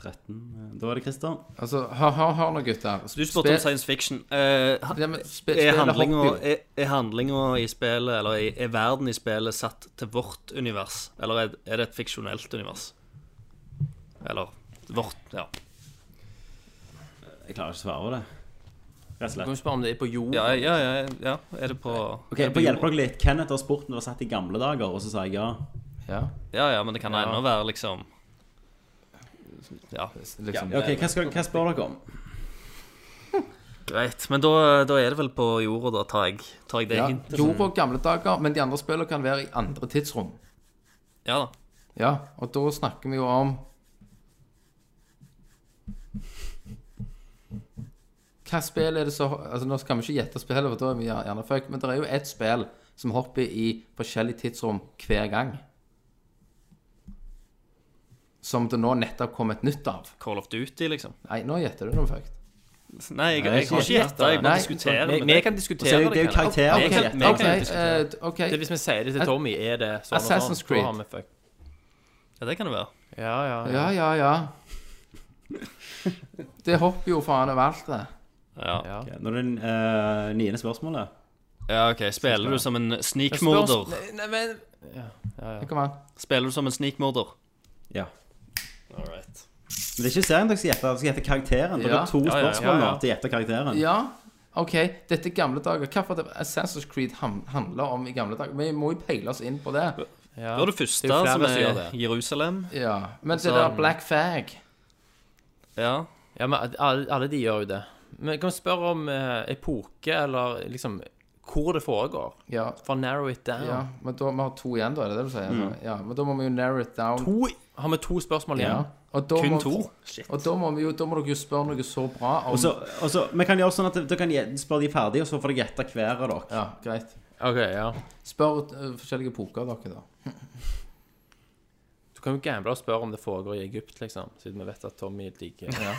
[SPEAKER 5] 13 Da er det Christer.
[SPEAKER 6] Altså, hør, hør, hør nå, gutter.
[SPEAKER 8] Du spurte om
[SPEAKER 6] Spill-
[SPEAKER 8] science fiction. Eh, ha-
[SPEAKER 6] ja, men spe-
[SPEAKER 8] er
[SPEAKER 6] spillet
[SPEAKER 8] handlinga
[SPEAKER 6] hopper jo.
[SPEAKER 8] er, er handlinga i spillet, eller er, er verden i spillet satt til vårt univers? Eller er, er det et fiksjonelt univers? Eller vårt, ja.
[SPEAKER 5] Jeg klarer ikke å svare på det. Rett og
[SPEAKER 9] Du
[SPEAKER 5] slett.
[SPEAKER 9] kan jo spørre om det er på jord.
[SPEAKER 8] Ja, ja, ja. ja. Er det på
[SPEAKER 5] Ok, jeg får hjelpe dere litt. Kenneth har spurt når det var satt i gamle dager, og så sa jeg ja.
[SPEAKER 6] Ja,
[SPEAKER 8] Ja, ja, men det kan ennå være liksom Ja,
[SPEAKER 6] liksom.
[SPEAKER 5] Ja, Ok, Hva, skal, hva spør dere om?
[SPEAKER 8] greit. Men da, da er det vel på jorda, da, tar jeg, tar jeg det
[SPEAKER 6] Ja,
[SPEAKER 8] hintet.
[SPEAKER 6] Jord og gamle dager, men de andre spillene kan være i andre tidsrom.
[SPEAKER 8] Ja da.
[SPEAKER 6] Ja, og da snakker vi jo om Hva spill er det som Altså Nå skal vi ikke gjette spillet, for da er vi gjerne fuck, men det er jo ett spill som hopper i forskjellig tidsrom hver gang. Som det nå nettopp kom et nytt av.
[SPEAKER 8] Call of Duty, liksom.
[SPEAKER 6] Nei, nå gjetter du noe fucked.
[SPEAKER 8] Nei, jeg, jeg har ikke gjetta. Jeg bare
[SPEAKER 6] Nei,
[SPEAKER 8] diskuterer.
[SPEAKER 9] Vi,
[SPEAKER 8] med
[SPEAKER 9] vi
[SPEAKER 8] deg.
[SPEAKER 9] kan
[SPEAKER 5] Så er
[SPEAKER 9] diskutere
[SPEAKER 5] det, jo- det er jo
[SPEAKER 9] Kenneth.
[SPEAKER 5] karakterer.
[SPEAKER 8] Jeg kan-
[SPEAKER 6] Ok,
[SPEAKER 8] jeg kan
[SPEAKER 6] ok,
[SPEAKER 8] diskutere.
[SPEAKER 6] eh, ok.
[SPEAKER 9] Det er Hvis vi sier det til Tommy, er det sånn og
[SPEAKER 6] Assassin's
[SPEAKER 9] sånn,
[SPEAKER 6] Creed.
[SPEAKER 9] Da har vi fuck.
[SPEAKER 8] Ja, det kan det være.
[SPEAKER 9] Ja, ja, ja.
[SPEAKER 6] Ja, ja, ja. Det hopper jo faen overalt, det.
[SPEAKER 8] Ja.
[SPEAKER 9] ja.
[SPEAKER 5] Ok, Nå er det eh, niende spørsmålet.
[SPEAKER 8] ja, OK. Spiller du som en
[SPEAKER 9] Spørs-
[SPEAKER 8] snikmorder?
[SPEAKER 9] Nei, nei, men... Ja, ja, ja.
[SPEAKER 6] Kom an.
[SPEAKER 8] Spiller du som en snikmorder?
[SPEAKER 5] Ja.
[SPEAKER 8] All right.
[SPEAKER 5] Men det er ikke serien dere skal gjette, dere skal gjette karakteren. Dere
[SPEAKER 6] Ja.
[SPEAKER 5] har to
[SPEAKER 8] Ja, ja, ja,
[SPEAKER 5] spørsmål nå
[SPEAKER 9] ja.
[SPEAKER 5] til å gjette karakteren.
[SPEAKER 6] Ja, ok, dette er gamle dager. Hvorfor det Assassin's Creed ham- handler om i gamle dager? Vi må jo peile oss inn på det.
[SPEAKER 9] ja.
[SPEAKER 8] Da er det første
[SPEAKER 9] Det er jo flere
[SPEAKER 8] som
[SPEAKER 9] som gjør
[SPEAKER 8] er
[SPEAKER 9] det.
[SPEAKER 8] Jerusalem.
[SPEAKER 6] Ja, Men det der Black Fag
[SPEAKER 8] Ja.
[SPEAKER 9] Ja, men alle, alle de gjør jo det. Men kan vi spørre om eh, epoke, eller liksom hvor det foregår?
[SPEAKER 6] Ja,
[SPEAKER 9] For narrow it down.
[SPEAKER 6] ja men da, vi har to igjen, da, er det det du sier? Ja, men da må vi jo narrow it down.
[SPEAKER 9] To, har vi to spørsmål
[SPEAKER 6] Ja.
[SPEAKER 9] igjen?
[SPEAKER 6] Og da
[SPEAKER 8] Kun
[SPEAKER 6] må,
[SPEAKER 8] to?
[SPEAKER 6] Og da må, vi jo, da må dere jo spørre noe så bra om
[SPEAKER 5] Og så, og så, vi kan gjøre sånn at dere kan gje- spørre de ferdig, og så får dere gjette hver av dere.
[SPEAKER 6] Ja, greit.
[SPEAKER 9] OK, ja.
[SPEAKER 6] Spør eh, forskjellige poker dere, da.
[SPEAKER 9] Du kan jo gamble og spørre om det foregår i Egypt, liksom. Siden vi vet at Tommy liker
[SPEAKER 6] Ja.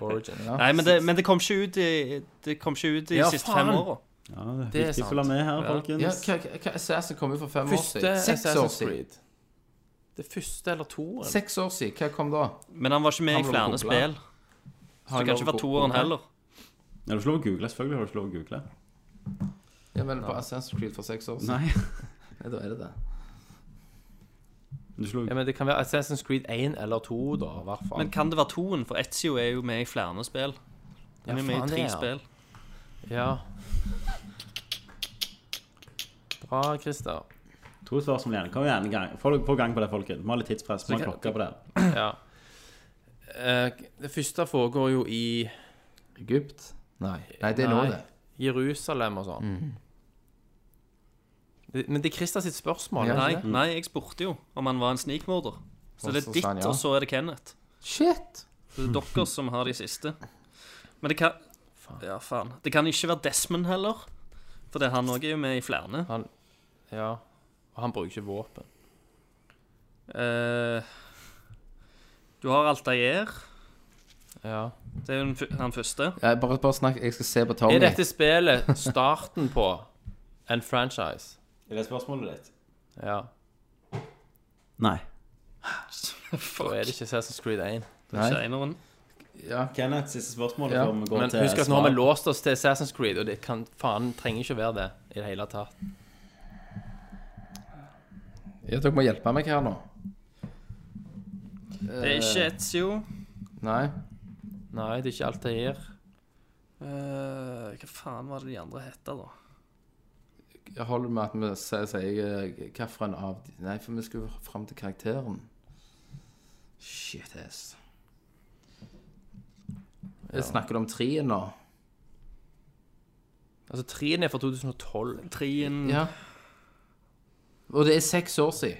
[SPEAKER 9] origin.
[SPEAKER 6] Ja.
[SPEAKER 8] Nei, men det, men det kom ikke ut i, det kom ikke ut i
[SPEAKER 9] Ja,
[SPEAKER 8] de siste
[SPEAKER 9] faen.
[SPEAKER 8] fem åra.
[SPEAKER 5] Ja, det er
[SPEAKER 9] Det er
[SPEAKER 5] viktig å
[SPEAKER 9] sant.
[SPEAKER 5] følge med her,
[SPEAKER 9] Ja.
[SPEAKER 6] Ja,
[SPEAKER 5] folkens.
[SPEAKER 6] hva- hva- hva- Assassin kom jo for fem år
[SPEAKER 9] Første
[SPEAKER 6] siden. Seks år
[SPEAKER 9] Assassin's
[SPEAKER 6] siden.
[SPEAKER 9] Creed. Det første eller toeren?
[SPEAKER 6] Seks år siden. Hva kom da?
[SPEAKER 8] Men han var ikke med
[SPEAKER 6] Han
[SPEAKER 8] i
[SPEAKER 6] ble
[SPEAKER 8] flere
[SPEAKER 6] koblet.
[SPEAKER 8] spill. Så
[SPEAKER 6] Har jeg
[SPEAKER 8] det kan ikke
[SPEAKER 6] lov å
[SPEAKER 8] være
[SPEAKER 6] gå-
[SPEAKER 8] toeren heller.
[SPEAKER 5] Ja, du får lov å google, selvfølgelig har du ikke lov å google.
[SPEAKER 6] Ja, men på Assassin's Creed for seks år siden.
[SPEAKER 5] Nei,
[SPEAKER 6] Nei, da er det det.
[SPEAKER 5] du slo
[SPEAKER 9] Ja, men Det kan være Assassin's Creed 1 eller 2, da, i hvert fall.
[SPEAKER 8] Men kan det være toen? For Ezio er jo med i flere spill. Han
[SPEAKER 9] Ja,
[SPEAKER 8] er med
[SPEAKER 9] faen,
[SPEAKER 8] i
[SPEAKER 9] det
[SPEAKER 8] tre
[SPEAKER 9] er han.
[SPEAKER 8] spill.
[SPEAKER 9] Ja. Bra, Christer.
[SPEAKER 5] to spørsmål igjen. Kom igjen, gang. Få få gang på det, folkens. Vi har litt tidspress, vi har
[SPEAKER 9] Så kan-
[SPEAKER 5] klokka på det.
[SPEAKER 9] Ja. Eh, Det første foregår jo i
[SPEAKER 6] Egypt? Mm. Nei. Nei, det er nå
[SPEAKER 9] Nei.
[SPEAKER 6] det.
[SPEAKER 9] Jerusalem og sånn. Det- Men det er Christer sitt spørsmål.
[SPEAKER 6] Ja.
[SPEAKER 9] ikke
[SPEAKER 8] Nei,
[SPEAKER 9] det?
[SPEAKER 8] nei, jeg spurte jo om han var en snikmorder. Så
[SPEAKER 6] Og
[SPEAKER 8] det
[SPEAKER 6] så
[SPEAKER 8] er
[SPEAKER 6] sa han
[SPEAKER 8] ditt,
[SPEAKER 6] ja.
[SPEAKER 8] og så er det Kenneth.
[SPEAKER 6] Shit!
[SPEAKER 8] Så det er dere som har de siste. Men det kan Ja, faen. Det kan ikke være Desmond heller. For det han òg er jo med i flere.
[SPEAKER 9] Ja. Og han bruker ikke våpen.
[SPEAKER 8] Eh, du har Altair.
[SPEAKER 9] Ja.
[SPEAKER 8] Det er jo den fu- han første.
[SPEAKER 6] Jeg, bare, bare snakk, jeg skal se på Tommy.
[SPEAKER 9] Er dette spillet starten på en franchise?
[SPEAKER 5] Er det spørsmålet ditt?
[SPEAKER 9] Ja.
[SPEAKER 5] Nei.
[SPEAKER 9] Da er det ikke Assassin's Creed 1.
[SPEAKER 6] Nei.
[SPEAKER 8] Seineren.
[SPEAKER 5] Kenneth, siste spørsmål.
[SPEAKER 6] Ja.
[SPEAKER 5] før vi går
[SPEAKER 9] Men
[SPEAKER 5] til
[SPEAKER 9] husk at nå har
[SPEAKER 5] svar.
[SPEAKER 9] vi låst oss til Assassin's Creed, og det kan faen trenger ikke å være det i det hele tatt.
[SPEAKER 6] Ja, dere må hjelpe meg her nå.
[SPEAKER 8] Det er
[SPEAKER 6] Eh.
[SPEAKER 8] ikke Etzio.
[SPEAKER 6] Nei.
[SPEAKER 9] Nei, det er ikke Altair.
[SPEAKER 8] Eh, hva faen var det de andre het, da?
[SPEAKER 6] Jeg holder med at vi sier, eh, sier hvilken av de Nei, for vi skulle fram til karakteren. Shit ass. Jeg snakker om treen nå.
[SPEAKER 9] Altså, treen er fra 2012.
[SPEAKER 8] Trien
[SPEAKER 6] Ja. Og det er seks år siden.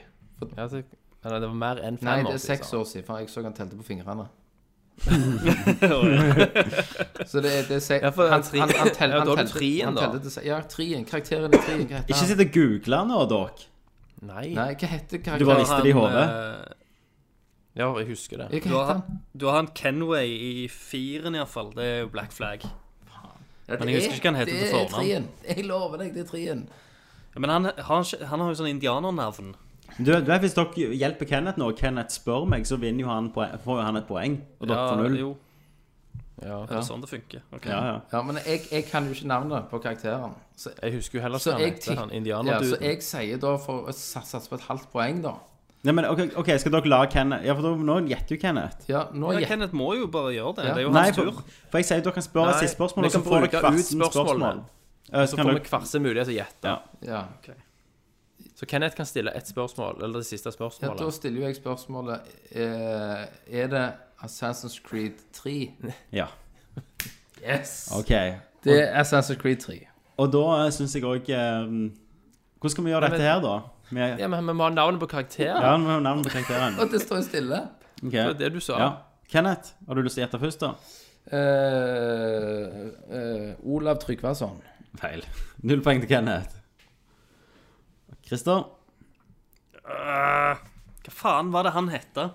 [SPEAKER 9] Ja, det, eller det var mer enn fem
[SPEAKER 6] Nei,
[SPEAKER 9] år
[SPEAKER 6] det er
[SPEAKER 9] siden,
[SPEAKER 6] seks
[SPEAKER 9] sa han.
[SPEAKER 6] år siden, for jeg så han telte på fingrene. så det er, det er seks
[SPEAKER 9] Ja, for
[SPEAKER 6] han,
[SPEAKER 9] tre-
[SPEAKER 6] han, han, tel,
[SPEAKER 9] Ja,
[SPEAKER 6] han
[SPEAKER 9] da har du
[SPEAKER 6] telte
[SPEAKER 9] treen,
[SPEAKER 6] han
[SPEAKER 9] da.
[SPEAKER 6] telte til se- Ja, trien. Karakteren i trien. Hva
[SPEAKER 5] Ikke
[SPEAKER 6] heter han?
[SPEAKER 5] sitt og google nå, dere.
[SPEAKER 9] Nei.
[SPEAKER 6] Nei, hva heter
[SPEAKER 5] Du bare
[SPEAKER 6] karakteren?
[SPEAKER 5] rister det i hodet.
[SPEAKER 9] Ja, jeg husker det.
[SPEAKER 6] Ja, Hva
[SPEAKER 8] Du
[SPEAKER 6] heter
[SPEAKER 8] har,
[SPEAKER 6] han?
[SPEAKER 8] eh, du har en Kenway i firen, iallfall. Det er jo Black Flag.
[SPEAKER 6] Ja,
[SPEAKER 8] Men jeg husker ikke hva han heter til
[SPEAKER 6] Det er
[SPEAKER 8] fornavn.
[SPEAKER 6] trien. Jeg lover deg, det er trien.
[SPEAKER 8] Ja, Men han har, ikke- han har jo sånn indianernavn.
[SPEAKER 5] Du, du vet, Hvis dere hjelper Kenneth nå, og Kenneth spør meg, så vinner jo han poeng, får jo han et poeng. Og dere får null.
[SPEAKER 8] jo.
[SPEAKER 9] Ja.
[SPEAKER 8] Er det sånn det funker? Ok.
[SPEAKER 5] Ja, ja.
[SPEAKER 6] Ja, men jeg, jeg kan jo ikke navnet på karakteren. Så,
[SPEAKER 9] Jeg husker jo heller sånn
[SPEAKER 6] så
[SPEAKER 9] ikke hva han
[SPEAKER 6] jeg
[SPEAKER 9] heter, han
[SPEAKER 6] tipp- ja, så
[SPEAKER 9] indianerduden.
[SPEAKER 6] jeg sier da, for å sats- satse på et halvt poeng, da
[SPEAKER 5] Nei, men ok, ok, skal dere la Kenneth Ja, for da, nå gjetter jo Kenneth.
[SPEAKER 6] Ja, nå
[SPEAKER 8] Ja,
[SPEAKER 6] gjetter
[SPEAKER 8] Kenneth må jo bare gjøre det.
[SPEAKER 6] Ja.
[SPEAKER 8] Det er jo
[SPEAKER 5] Nei,
[SPEAKER 8] hans
[SPEAKER 5] for,
[SPEAKER 8] tur.
[SPEAKER 5] for jeg sier dere kan spørre
[SPEAKER 9] Nei,
[SPEAKER 5] siste spørsmål,
[SPEAKER 9] vi
[SPEAKER 5] og så
[SPEAKER 9] kan
[SPEAKER 5] får dere
[SPEAKER 9] bruke ut
[SPEAKER 5] kvarsen spørsmål.
[SPEAKER 9] spørsmålene.
[SPEAKER 5] Eh, Så
[SPEAKER 9] Så
[SPEAKER 5] kan
[SPEAKER 9] får vi
[SPEAKER 5] dere
[SPEAKER 9] kvarse
[SPEAKER 8] altså,
[SPEAKER 9] mulighet til å gjette.
[SPEAKER 5] Ja.
[SPEAKER 6] ja.
[SPEAKER 9] Så Kenneth kan stille ett spørsmål, eller det siste
[SPEAKER 6] ja, da
[SPEAKER 9] spørsmålet.
[SPEAKER 6] stiller jo jeg spørsmålet eh, Er det Assassin's Creed 3?
[SPEAKER 5] Ja.
[SPEAKER 6] Yes!
[SPEAKER 5] OK.
[SPEAKER 6] Det er Assassin's Creed 3.
[SPEAKER 5] Og da syns jeg òg Hvordan skal vi gjøre dette her, da? Med,
[SPEAKER 9] Ja, men vi må ha navnet på karakteren.
[SPEAKER 5] ja, vi har navnet på karakteren.
[SPEAKER 6] Og det står jo stille.
[SPEAKER 5] Ok.
[SPEAKER 9] Det var det du sa.
[SPEAKER 5] Ja. Kenneth, har du lyst til å gjette først, da?
[SPEAKER 6] Eh, eh, Olav Tryggvason.
[SPEAKER 5] Feil. Null poeng til Kenneth. Christer?
[SPEAKER 8] Øh, hva faen var det han hette?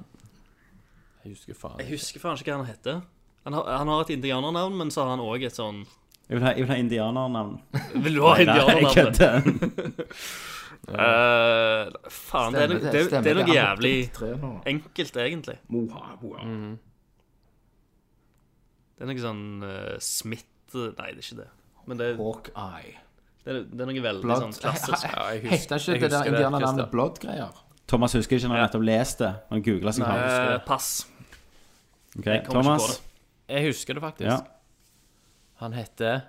[SPEAKER 9] Jeg husker faen.
[SPEAKER 8] Jeg husker faen ikke hva han hette. Han har, han har et indianernavn, men så har han òg et sånn
[SPEAKER 5] Jeg vil ha, jeg vil ha indianernavn.
[SPEAKER 8] Vil du ha
[SPEAKER 5] jeg
[SPEAKER 8] indianernavnet?
[SPEAKER 5] kødder.
[SPEAKER 8] Øh, faen, det er, noe- det, er- det er noe jævlig enkelt, egentlig. Det er noe sånn uh, Smith Nei, det er ikke det. Men det, er-
[SPEAKER 6] Hawkeye.
[SPEAKER 8] det, er, det er noe veldig
[SPEAKER 6] Blood.
[SPEAKER 8] sånn klassisk.
[SPEAKER 9] Ja, jeg husker,
[SPEAKER 6] Heter ikke
[SPEAKER 9] jeg
[SPEAKER 6] det der
[SPEAKER 9] husker
[SPEAKER 6] indianernavnet
[SPEAKER 9] Christer.
[SPEAKER 6] Blood-greier?
[SPEAKER 5] Thomas husker ikke når han nettopp leste. Han googlet sin navn.
[SPEAKER 8] Øh, pass.
[SPEAKER 5] Ok,
[SPEAKER 8] kommer ikke på
[SPEAKER 5] Thomas.
[SPEAKER 9] Jeg husker det faktisk.
[SPEAKER 5] Ja,
[SPEAKER 9] Han heter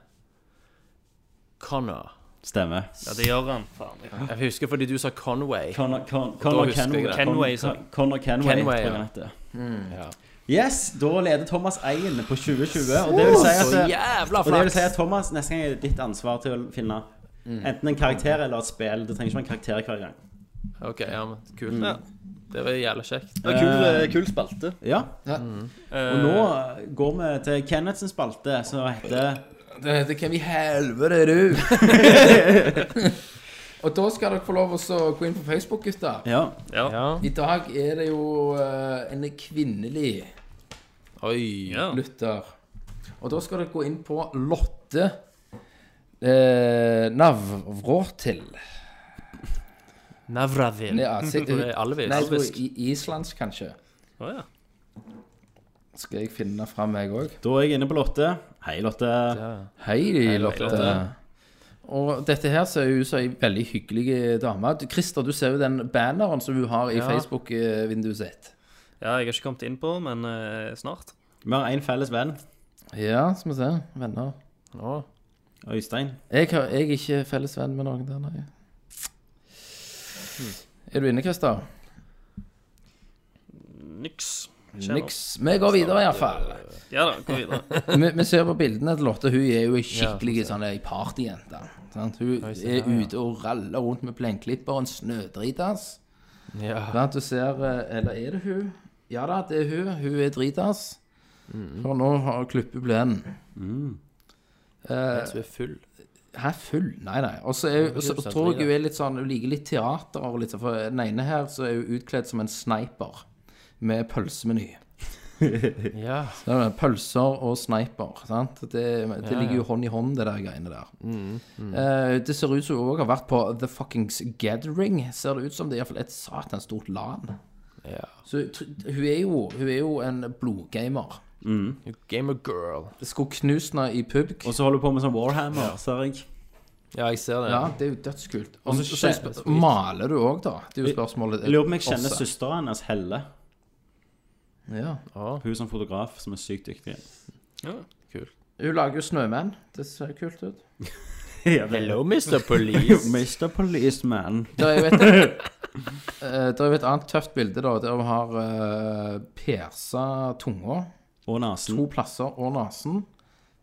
[SPEAKER 9] Connor.
[SPEAKER 5] stemmer.
[SPEAKER 8] Ja, det gjør han. Faen.
[SPEAKER 9] Jeg husker fordi du sa Conway.
[SPEAKER 5] Connor, Con- Connor
[SPEAKER 9] husker jeg
[SPEAKER 5] Kenway.
[SPEAKER 9] det.
[SPEAKER 8] Kenway, sa
[SPEAKER 5] Con-
[SPEAKER 8] jeg.
[SPEAKER 5] Connor Kenway,
[SPEAKER 9] Kenway,
[SPEAKER 5] tror jeg
[SPEAKER 9] ja. Mm.
[SPEAKER 5] han heter.
[SPEAKER 9] ja.
[SPEAKER 5] Yes, da leder Thomas 1 på 2020. Og det vil si at,
[SPEAKER 9] Så jævla
[SPEAKER 5] og det vil
[SPEAKER 9] flaks! Mm.
[SPEAKER 5] si at Thomas, neste gang er det ditt ansvar til å finne enten en karakter eller et spill. Det trenger ikke være en karakter hver gang.
[SPEAKER 9] Ok, ja, men kult.
[SPEAKER 6] Mm.
[SPEAKER 9] Det var jævla kjekt.
[SPEAKER 8] Det var kul, eh, kul spalte.
[SPEAKER 5] Ja,
[SPEAKER 6] Mm.
[SPEAKER 8] Eh,
[SPEAKER 5] Og nå
[SPEAKER 9] Eh.
[SPEAKER 5] går vi til Kenneths spalte, som heter
[SPEAKER 6] Det heter Hvem i helvete er du? Og da skal dere få lov å så gå inn på Facebook, gutter.
[SPEAKER 5] Ja.
[SPEAKER 9] Ja.
[SPEAKER 6] I dag er det jo eh, en kvinnelig
[SPEAKER 9] Oi.
[SPEAKER 8] ja.
[SPEAKER 6] lytter. Og da skal dere gå inn på Lotte eh, Navråtil.
[SPEAKER 9] Navravil.
[SPEAKER 6] Ja, sikkert-
[SPEAKER 9] Det er
[SPEAKER 6] altså
[SPEAKER 9] alvisk.
[SPEAKER 6] Nei, jeg tror
[SPEAKER 9] Alvisk.
[SPEAKER 6] i islandsk, kanskje.
[SPEAKER 8] Å, ja.
[SPEAKER 6] Skal jeg finne fram, jeg òg.
[SPEAKER 5] Da er jeg inne på Lotte. Hei, Lotte.
[SPEAKER 6] Hei, Lotte.
[SPEAKER 9] Lotte.
[SPEAKER 6] Og dette her ser jo ut som ei veldig hyggelig dame. Du, Christer, du ser jo den banneren som hun har i Facebook-vinduet sitt.
[SPEAKER 8] ja, jeg har ikke kommet inn på, men eh, snart.
[SPEAKER 5] Vi har én felles venn.
[SPEAKER 6] Ja, skal vi se. Venner.
[SPEAKER 9] Nå.
[SPEAKER 5] Øystein.
[SPEAKER 6] Jeg, har, jeg er ikke felles venn med noen der, nei. Er du inne, Christer?
[SPEAKER 8] Niks.
[SPEAKER 6] Niks. Vi går videre, iallfall.
[SPEAKER 8] Ja da, gå videre.
[SPEAKER 6] Vi, vi ser på bildene til Lotte. Hun er jo ei skikkelig sånn ei partyjente. Sant? Hun er ute og raller rundt med plenklipper og en snødritas.
[SPEAKER 9] Ja.
[SPEAKER 6] Sant? Du ser eh, Eller er det hun? Ja da, det er hun. Hun er dritas. For nå har klippet plenen.
[SPEAKER 9] Du er full.
[SPEAKER 6] Hæ, full? Nei, nei. Og så er hun- så
[SPEAKER 9] så
[SPEAKER 6] tror jeg hun
[SPEAKER 9] dritas.
[SPEAKER 6] er litt sånn Hun liker litt teater og litt sånn. For den ene her så er hun utkledd som en sniper med pølsemeny.
[SPEAKER 9] Ja.
[SPEAKER 6] Ja, men Pølser og sniper. sant? Det, det ligger jo hånd i hånd, det der greiene der.
[SPEAKER 5] Mm,
[SPEAKER 6] Eh, det ser ut som hun òg har vært på The Fuckings Gathering. Ser det ut som det er iallfall et satans stort LAN. Så tr- hun er jo, hun er jo en blodgamer.
[SPEAKER 9] Gamer girl.
[SPEAKER 6] Skulle knust henne i pubg.
[SPEAKER 5] Og så holder du på med sånn Warhammer, ser jeg.
[SPEAKER 9] Ja, jeg ser det.
[SPEAKER 6] Ja, det er jo dødskult. Og så
[SPEAKER 9] så
[SPEAKER 6] så
[SPEAKER 9] skjer-
[SPEAKER 6] spør- maler du òg, da? Det er jo spørsmålet.
[SPEAKER 5] Jeg lurer på om jeg kjenner
[SPEAKER 6] Også.
[SPEAKER 5] søsteren hennes, Helle.
[SPEAKER 6] Ja.
[SPEAKER 5] Hun som fotograf, som er sykt dyktig.
[SPEAKER 6] Hun lager jo snømenn. Det ser kult ut.
[SPEAKER 5] Hello,
[SPEAKER 7] Mr. Police.
[SPEAKER 5] Mr. Policeman.
[SPEAKER 6] Det er jo et, eh, det er jo et annet tøft bilde, da, der hun har uh, persa tunga.
[SPEAKER 5] Og nesen.
[SPEAKER 6] to plasser og nesen.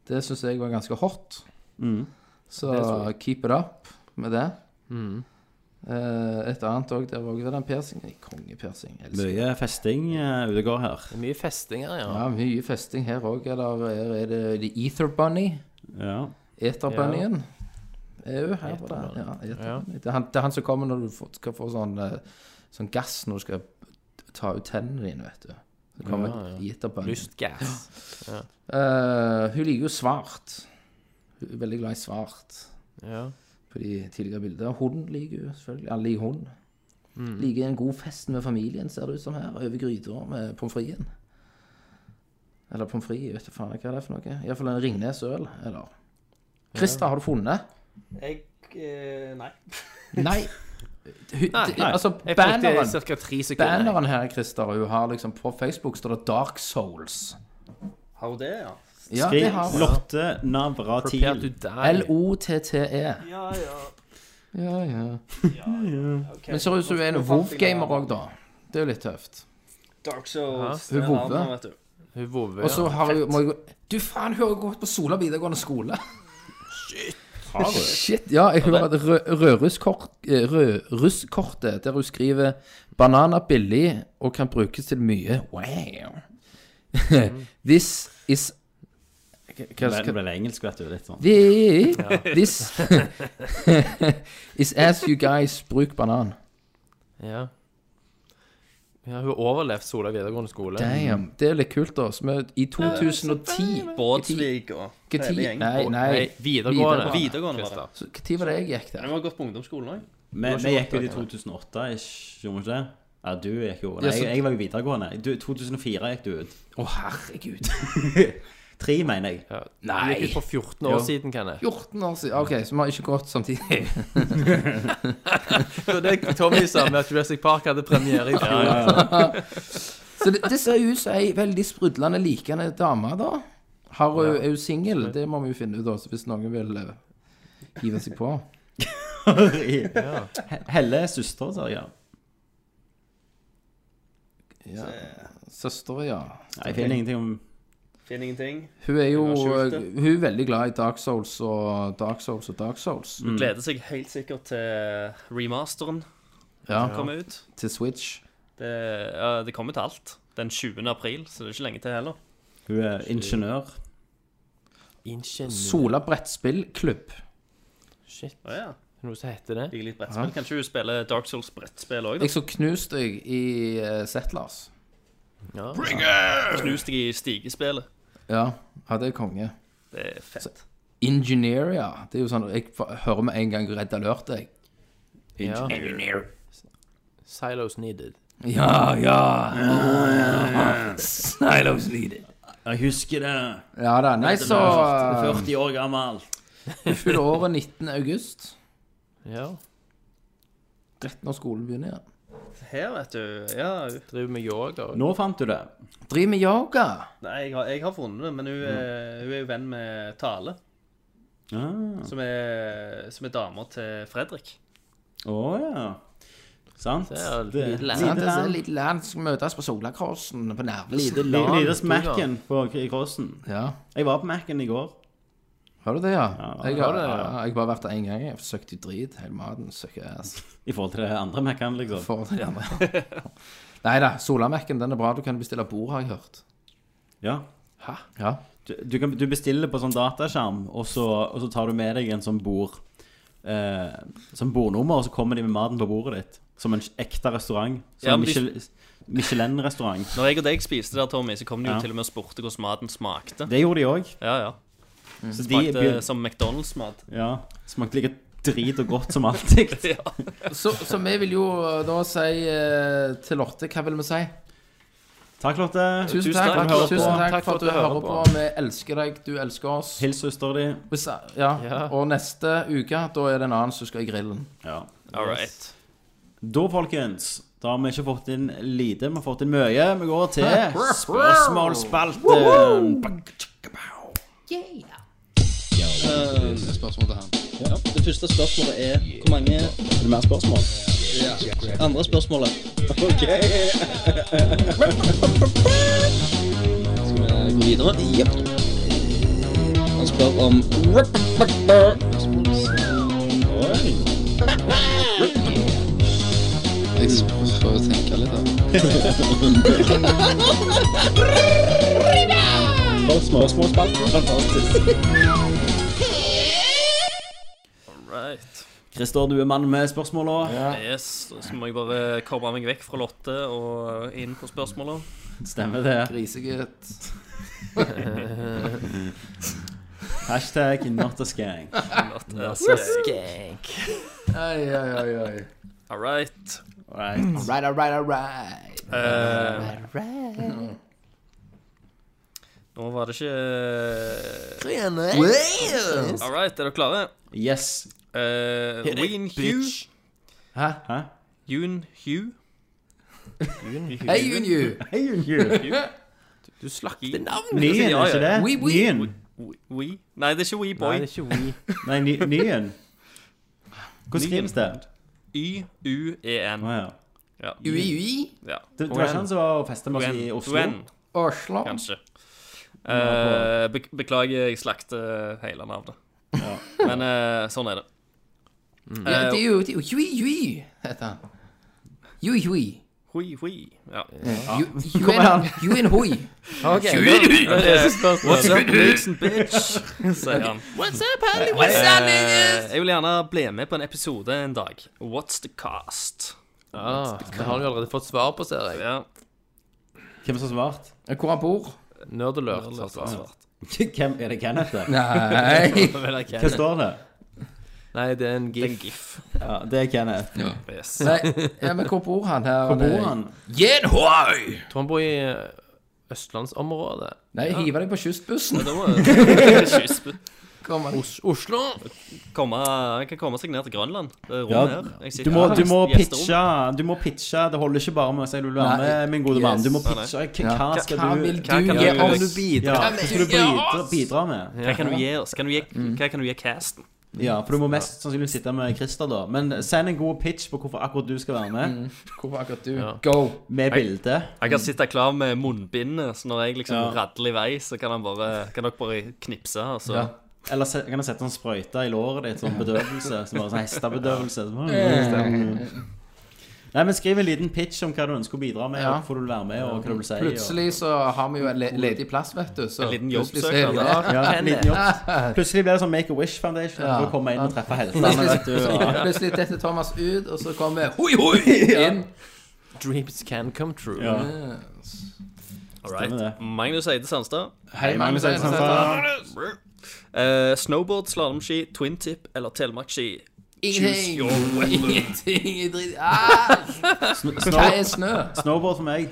[SPEAKER 6] Det syns jeg var ganske hot. Mm. Så keep it up med det. Eh, et annet òg, der var også den persingen. Kongepersing. Elsker.
[SPEAKER 5] Mye festing eh, ute og går her.
[SPEAKER 9] Det er mye festing her, ja.
[SPEAKER 6] Ja, mye festing her òg. Eller er er det The Ether Bunny?
[SPEAKER 5] Ja.
[SPEAKER 6] Eterbunnyen? Er jo her var det. Ja, Eterbunny. det, er han, det er han som kommer når du får, skal få sånn, eh, sånn gass når du skal ta ut tennene dine, vet du. Så kommer ja,
[SPEAKER 9] Lystgass.
[SPEAKER 6] Eh, hun liker jo svart. Hun er veldig glad i svart
[SPEAKER 9] Ja.
[SPEAKER 6] på de tidligere bildene. Hun liker jo selvfølgelig. Alle liker hun.
[SPEAKER 9] Mm.
[SPEAKER 6] Liker en god fest med familien, ser det ut som her. Over gryta med pommes fritesen. Eller pommes frites, jeg vet du faen hva det er for noe. Iallfall en Ringnes øl, eller Christer, har du funnet?
[SPEAKER 8] Jeg eh, Nei.
[SPEAKER 6] Nei. Hun,
[SPEAKER 9] Nei,
[SPEAKER 6] det- altså,
[SPEAKER 9] Jeg fikk det i
[SPEAKER 6] banneren,
[SPEAKER 9] cirka tre sekunder.
[SPEAKER 6] banneren her, Christer, hun har liksom På Facebook står det Dark Souls.
[SPEAKER 8] Har hun det, ja?
[SPEAKER 6] Ja, det
[SPEAKER 5] Skriv
[SPEAKER 6] har hun.
[SPEAKER 5] Lotte
[SPEAKER 9] Prepare to
[SPEAKER 5] Navratil.
[SPEAKER 9] die.
[SPEAKER 6] L-O-T-T-E.
[SPEAKER 8] Ja, ja.
[SPEAKER 6] E. Ja, ja.
[SPEAKER 8] ok.
[SPEAKER 6] Men ser ut som hun er en
[SPEAKER 8] Nå fant jeg
[SPEAKER 6] WoW-gamer
[SPEAKER 8] navnet.
[SPEAKER 6] òg, da. Det er jo litt tøft.
[SPEAKER 8] Dark Souls.
[SPEAKER 6] Hæ? Hun
[SPEAKER 8] det er
[SPEAKER 6] vovve.
[SPEAKER 8] navnet, vet du.
[SPEAKER 9] Hun vovve.
[SPEAKER 6] Og så har hun må jeg, gå- Du faen, hun har jo gått på Sola videregående skole. Shit. Ja, jeg hører at rø- rødrusskort- eh, rødrusskortet der hun skriver 'Bananer billig og kan brukes til mye'. Wow. This is Hva
[SPEAKER 5] Det
[SPEAKER 6] skal
[SPEAKER 5] ble det engelsk, vet du. Litt sånn.
[SPEAKER 6] Thi- This is as you guys bruk banan.
[SPEAKER 9] Ja. ja. Hun har overlevd Sola videregående skole.
[SPEAKER 6] Damn. Det er litt kult, da. Som er i 2010
[SPEAKER 8] Båtsvik og
[SPEAKER 6] Hva tid? Nei, nei.
[SPEAKER 9] Nei, videregående.
[SPEAKER 8] Videregående var det.
[SPEAKER 9] Christer.
[SPEAKER 6] Så hva tid var det jeg gikk
[SPEAKER 8] Men
[SPEAKER 6] der?
[SPEAKER 8] hun har gått på ungdomsskolen òg.
[SPEAKER 5] Vi, vi gikk ut i 2008, ish, gjorde vi ikke det? Ja, du gikk jo Nei,
[SPEAKER 6] Ja, så-
[SPEAKER 5] jeg, jeg var jo videregående. Du, 2004 gikk du ut.
[SPEAKER 6] Å, herregud.
[SPEAKER 5] Tre, mener jeg.
[SPEAKER 9] Ja.
[SPEAKER 6] Nei.
[SPEAKER 9] Hun gikk ut for 14 år
[SPEAKER 6] Jo.
[SPEAKER 9] siden, kan jeg.
[SPEAKER 6] 14 år siden. OK, så vi har ikke gått samtidig.
[SPEAKER 9] Det var det Tommy sa med at Jurassic Park hadde premiere i fjor.
[SPEAKER 6] Så det, det ser jo ut som ei veldig sprudlende, likende dame, da. Har hun, er hun singel? Det må vi jo finne ut, også, hvis noen vil eh, hive seg på.
[SPEAKER 5] He- Helle er søster, sa jeg. ja.
[SPEAKER 6] Ja. Søster, ja.
[SPEAKER 5] Nei, Jeg finner ingenting om
[SPEAKER 8] Finner ingenting.
[SPEAKER 6] Hun er jo
[SPEAKER 8] Hun har skjult det.
[SPEAKER 6] hun er veldig glad i Dark Souls og Dark Souls og Dark Souls.
[SPEAKER 8] Hun Mm. gleder seg helt sikkert til remasteren
[SPEAKER 6] Ja,
[SPEAKER 8] som kommer ut.
[SPEAKER 6] til Switch.
[SPEAKER 8] Det, ja, det kommer til alt. Den 20. april, så det er ikke lenge til heller.
[SPEAKER 5] Hun er ingeniør.
[SPEAKER 9] Ingeniør.
[SPEAKER 6] Sola brettspillklubb.
[SPEAKER 9] Shit.
[SPEAKER 8] Å ja.
[SPEAKER 9] Noe som heter det?
[SPEAKER 8] Ligger litt brettspill. Kanskje hun spiller Dark Souls brettspill òg, da.
[SPEAKER 6] Jeg så knust deg i eh, Settlers.
[SPEAKER 9] Ja.
[SPEAKER 8] Knus deg i stigespillet.
[SPEAKER 6] Ja, ja, det er konge.
[SPEAKER 8] Det er fett.
[SPEAKER 6] Engineer, ja. Det er jo sånn Jeg fa- hører med en gang Red Alert, jeg.
[SPEAKER 9] ja. Silos needed.
[SPEAKER 6] Ja, ja. Silos needed.
[SPEAKER 5] Jeg husker det.
[SPEAKER 6] Ja da. Nei, så um,
[SPEAKER 5] 40 år gammel.
[SPEAKER 6] Hun fyller året 19. august.
[SPEAKER 9] Ja.
[SPEAKER 6] Rett når skolen begynner igjen.
[SPEAKER 8] Her, vet du Ja, hun-
[SPEAKER 9] Driver med yoga. og-
[SPEAKER 5] Nå fant du det.
[SPEAKER 6] Driver med yoga.
[SPEAKER 8] nei, jeg har, jeg har funnet det, men hun, er- hun er jo venn med Tale,
[SPEAKER 5] Ah.
[SPEAKER 8] som er, som er dama til Fredrik.
[SPEAKER 5] Å ja. Sant?
[SPEAKER 9] er det
[SPEAKER 5] Det-
[SPEAKER 9] lite land.
[SPEAKER 6] Sant,
[SPEAKER 5] Lite
[SPEAKER 6] det er så
[SPEAKER 5] land.
[SPEAKER 6] Lite land skal møtes på Solakrossen på
[SPEAKER 5] Lite
[SPEAKER 6] Nervesen.
[SPEAKER 5] land. Lite
[SPEAKER 9] vet du, da.
[SPEAKER 5] smerken på i crossen.
[SPEAKER 6] Ja.
[SPEAKER 5] Jeg var på Mac-en i går.
[SPEAKER 6] Har du det, ja?
[SPEAKER 5] Ja,
[SPEAKER 6] Jeg
[SPEAKER 5] har
[SPEAKER 6] har
[SPEAKER 5] det,
[SPEAKER 6] det.
[SPEAKER 5] ja.
[SPEAKER 6] Ja, jeg har bare vært der én gang. Jeg har søkt i drit. Hele maten søkker ass.
[SPEAKER 5] I forhold til det andre Mac-en, liksom.
[SPEAKER 6] For de andre. Nei da. Solamekken, den er bra. Du kan bestille bord, har jeg hørt.
[SPEAKER 5] Ja.
[SPEAKER 6] Ja.
[SPEAKER 5] Du, du, kan, du bestiller på sånn dataskjerm, og så, og så tar du med deg en sånn bord eh, Sånn bordnummer, og så kommer de med maten på bordet ditt. Som en ekte restaurant. Som
[SPEAKER 8] Ja,
[SPEAKER 5] en
[SPEAKER 8] men de-
[SPEAKER 5] Michel, Michelin-restaurant.
[SPEAKER 8] Når jeg og deg spiste der, Tommy, så kom de jo
[SPEAKER 5] Ja.
[SPEAKER 8] til og med og spurte hvordan maten smakte.
[SPEAKER 5] Det gjorde de òg.
[SPEAKER 8] Ja, ja.
[SPEAKER 5] Så de
[SPEAKER 8] Smakte
[SPEAKER 5] begyn-
[SPEAKER 8] som McDonald's-mat.
[SPEAKER 5] ja, smakte like drit og godt som alltid.
[SPEAKER 6] Så, så vi vil jo da si eh, til Lotte Hva vil vi si?
[SPEAKER 5] Takk, Lotte.
[SPEAKER 6] Tusen
[SPEAKER 8] Tusen
[SPEAKER 6] takk,
[SPEAKER 8] takk.
[SPEAKER 5] Takk for at du
[SPEAKER 6] tusen
[SPEAKER 5] hører på.
[SPEAKER 6] takk, for at du hører på. Vi elsker deg, du elsker oss.
[SPEAKER 5] Hils søstera di.
[SPEAKER 6] Hvis, ja. Og neste uke, da er det en annen som skal i grillen.
[SPEAKER 5] Ja.
[SPEAKER 8] All right.
[SPEAKER 5] Da, folkens, da har vi ikke fått inn lite, vi har fått inn mye. Vi går til spørsmålsspalten.
[SPEAKER 10] Det første spørsmålet er hvor mange
[SPEAKER 5] Er det mer spørsmål?
[SPEAKER 10] andre spørsmålet? Ok. Skal vi gå videre? Jepp. Han spør om
[SPEAKER 8] Right.
[SPEAKER 5] Christer, du er mannen med spørsmåla.
[SPEAKER 8] Yes, så må jeg bare komme meg vekk fra Lotte og inn på spørsmålet.
[SPEAKER 5] Stemmer det.
[SPEAKER 6] Grisegutt.
[SPEAKER 5] Hashtag not a skank.
[SPEAKER 6] Oi, oi, oi, oi.
[SPEAKER 8] All right.
[SPEAKER 5] Right.
[SPEAKER 6] Right, all right, all right.
[SPEAKER 8] Eh, nå var det ikke All right, er dere klare?
[SPEAKER 5] Yes.
[SPEAKER 8] Uh, Ween Hugh.
[SPEAKER 6] Hæ?
[SPEAKER 5] Hæ?
[SPEAKER 8] Yoon Hugh.
[SPEAKER 6] Hei, Junju.
[SPEAKER 5] Hei, Junju.
[SPEAKER 8] Du slakter navn!
[SPEAKER 5] Nyen, er ikke det?
[SPEAKER 6] Oui, oui.
[SPEAKER 5] Nyen.
[SPEAKER 8] We? Nei, det er ikke Wee
[SPEAKER 9] Nei,
[SPEAKER 8] Boy.
[SPEAKER 9] det er ikke We.
[SPEAKER 5] Nei, ny, nyen. Hvordan skrives det?
[SPEAKER 8] Y-U-E-N.
[SPEAKER 5] Å ja.
[SPEAKER 8] Ja.
[SPEAKER 6] Ui, ui.
[SPEAKER 8] Ja.
[SPEAKER 5] Det, det var ikke han som var og festa med oss i
[SPEAKER 8] Duen.
[SPEAKER 5] Oslo?
[SPEAKER 8] Duen,
[SPEAKER 6] Oslo.
[SPEAKER 8] kanskje. Eh, be beklager, jeg slakter hele navnet. Men eh, sånn er det.
[SPEAKER 6] Mm.
[SPEAKER 8] Eh,
[SPEAKER 6] Ja, det er jo det er jo Jui, jui, heter han. Jui, jui.
[SPEAKER 8] Hui, hui. Ja.
[SPEAKER 6] Eh, Juen, juen hui.
[SPEAKER 8] What's up, Nixon, bitch? sier han.
[SPEAKER 6] What's up, Harley? What's up,
[SPEAKER 8] Eh, Jeg vil gjerne bli med på en episode en dag. What's the cost?
[SPEAKER 9] Ah, det har du allerede fått svar på, ser jeg.
[SPEAKER 8] Ja,
[SPEAKER 5] Hvem som har svart?
[SPEAKER 6] Hvor han bor?
[SPEAKER 9] Nerdelert har svart.
[SPEAKER 5] Hvem er det Kenneth er?
[SPEAKER 6] Nei.
[SPEAKER 5] Hva står det?
[SPEAKER 9] Nei, det er en
[SPEAKER 8] det er en
[SPEAKER 9] gif.
[SPEAKER 8] gif.
[SPEAKER 5] Ja, det er Kenneth.
[SPEAKER 8] Yes.
[SPEAKER 6] Nei. Ja, men hvor bor han her?
[SPEAKER 5] Hvor bor han?
[SPEAKER 9] Jeg tror han bor i eh, østlandsområdet.
[SPEAKER 6] Nei, hive deg på kystbussen.
[SPEAKER 8] Da må jeg
[SPEAKER 6] Kom han.
[SPEAKER 9] Os Oslo?
[SPEAKER 8] komme, jeg kan komme seg ned til Grønland. Det er rom
[SPEAKER 5] Ja,
[SPEAKER 8] her. Jeg sitter
[SPEAKER 5] Du må,
[SPEAKER 8] her.
[SPEAKER 5] du må
[SPEAKER 8] Gjesterom.
[SPEAKER 5] pitche. Du må pitche. Det holder ikke bare med å si du vil være
[SPEAKER 6] Nei.
[SPEAKER 5] med, min gode mann. Du må
[SPEAKER 8] Nei, nei.
[SPEAKER 5] pitche. Hva hva
[SPEAKER 6] Ja.
[SPEAKER 5] skal
[SPEAKER 6] Hva
[SPEAKER 5] du
[SPEAKER 6] vil du
[SPEAKER 5] ja,
[SPEAKER 8] Hva kan du
[SPEAKER 6] gjøre?
[SPEAKER 8] gi oss?
[SPEAKER 6] Vil du bidra?
[SPEAKER 5] Hva skal du bidra, bidra med?
[SPEAKER 8] Hva kan du gi oss? Kan du gi,
[SPEAKER 5] Mm.
[SPEAKER 8] hva kan du gi casten?
[SPEAKER 5] Ja, For du må mest sannsynligvis sitte med Christer, da. Men send en god pitch på hvorfor akkurat du skal være med,
[SPEAKER 6] Hvor var akkurat du? Go.
[SPEAKER 5] med bilde.
[SPEAKER 8] Jeg kan sitte klar med munnbindet, så når jeg liksom
[SPEAKER 5] Mm. Ja.
[SPEAKER 8] radler i vei, så kan, han bare, kan dere bare knipse. Og så.
[SPEAKER 6] Ja.
[SPEAKER 5] Eller se, kan jeg sette en sprøyte i låret ditt, sånn bedøvelse. Som bare sånn hestebedøvelse. Så bare- Nei, men Skriv en liten pitch om hva du ønsker å bidra med,
[SPEAKER 6] Ja.
[SPEAKER 5] og hvorfor du vil være med. og hva du vil si. og-
[SPEAKER 6] Plutselig så har vi jo en le ledig plass, vet du. Så
[SPEAKER 8] En liten
[SPEAKER 6] plutselig så
[SPEAKER 8] jobbsøknad,
[SPEAKER 6] er vi
[SPEAKER 8] da.
[SPEAKER 6] der.
[SPEAKER 5] Ja, en liten jobb. Plutselig blir det sånn Make a Wish Foundation.
[SPEAKER 6] Ja.
[SPEAKER 5] For å komme inn og treffe heltene.
[SPEAKER 6] Plutselig,
[SPEAKER 5] vet du, og-
[SPEAKER 6] plutselig detter Thomas ut, og så kommer hoi, hoi inn.
[SPEAKER 9] Dreams can come true.
[SPEAKER 5] Ja.
[SPEAKER 8] All right.
[SPEAKER 5] Stemmer det.
[SPEAKER 8] Magnus Eide Sandstad.
[SPEAKER 6] Hei, Magnus Eidesen.
[SPEAKER 8] Eh, snowboard, slalåmski, twin tip eller telemarkski? Choose
[SPEAKER 6] Ingenting.
[SPEAKER 8] your weapon.
[SPEAKER 6] Ingenting i dritt. Ah, hva er snø?
[SPEAKER 5] Snowboard for meg.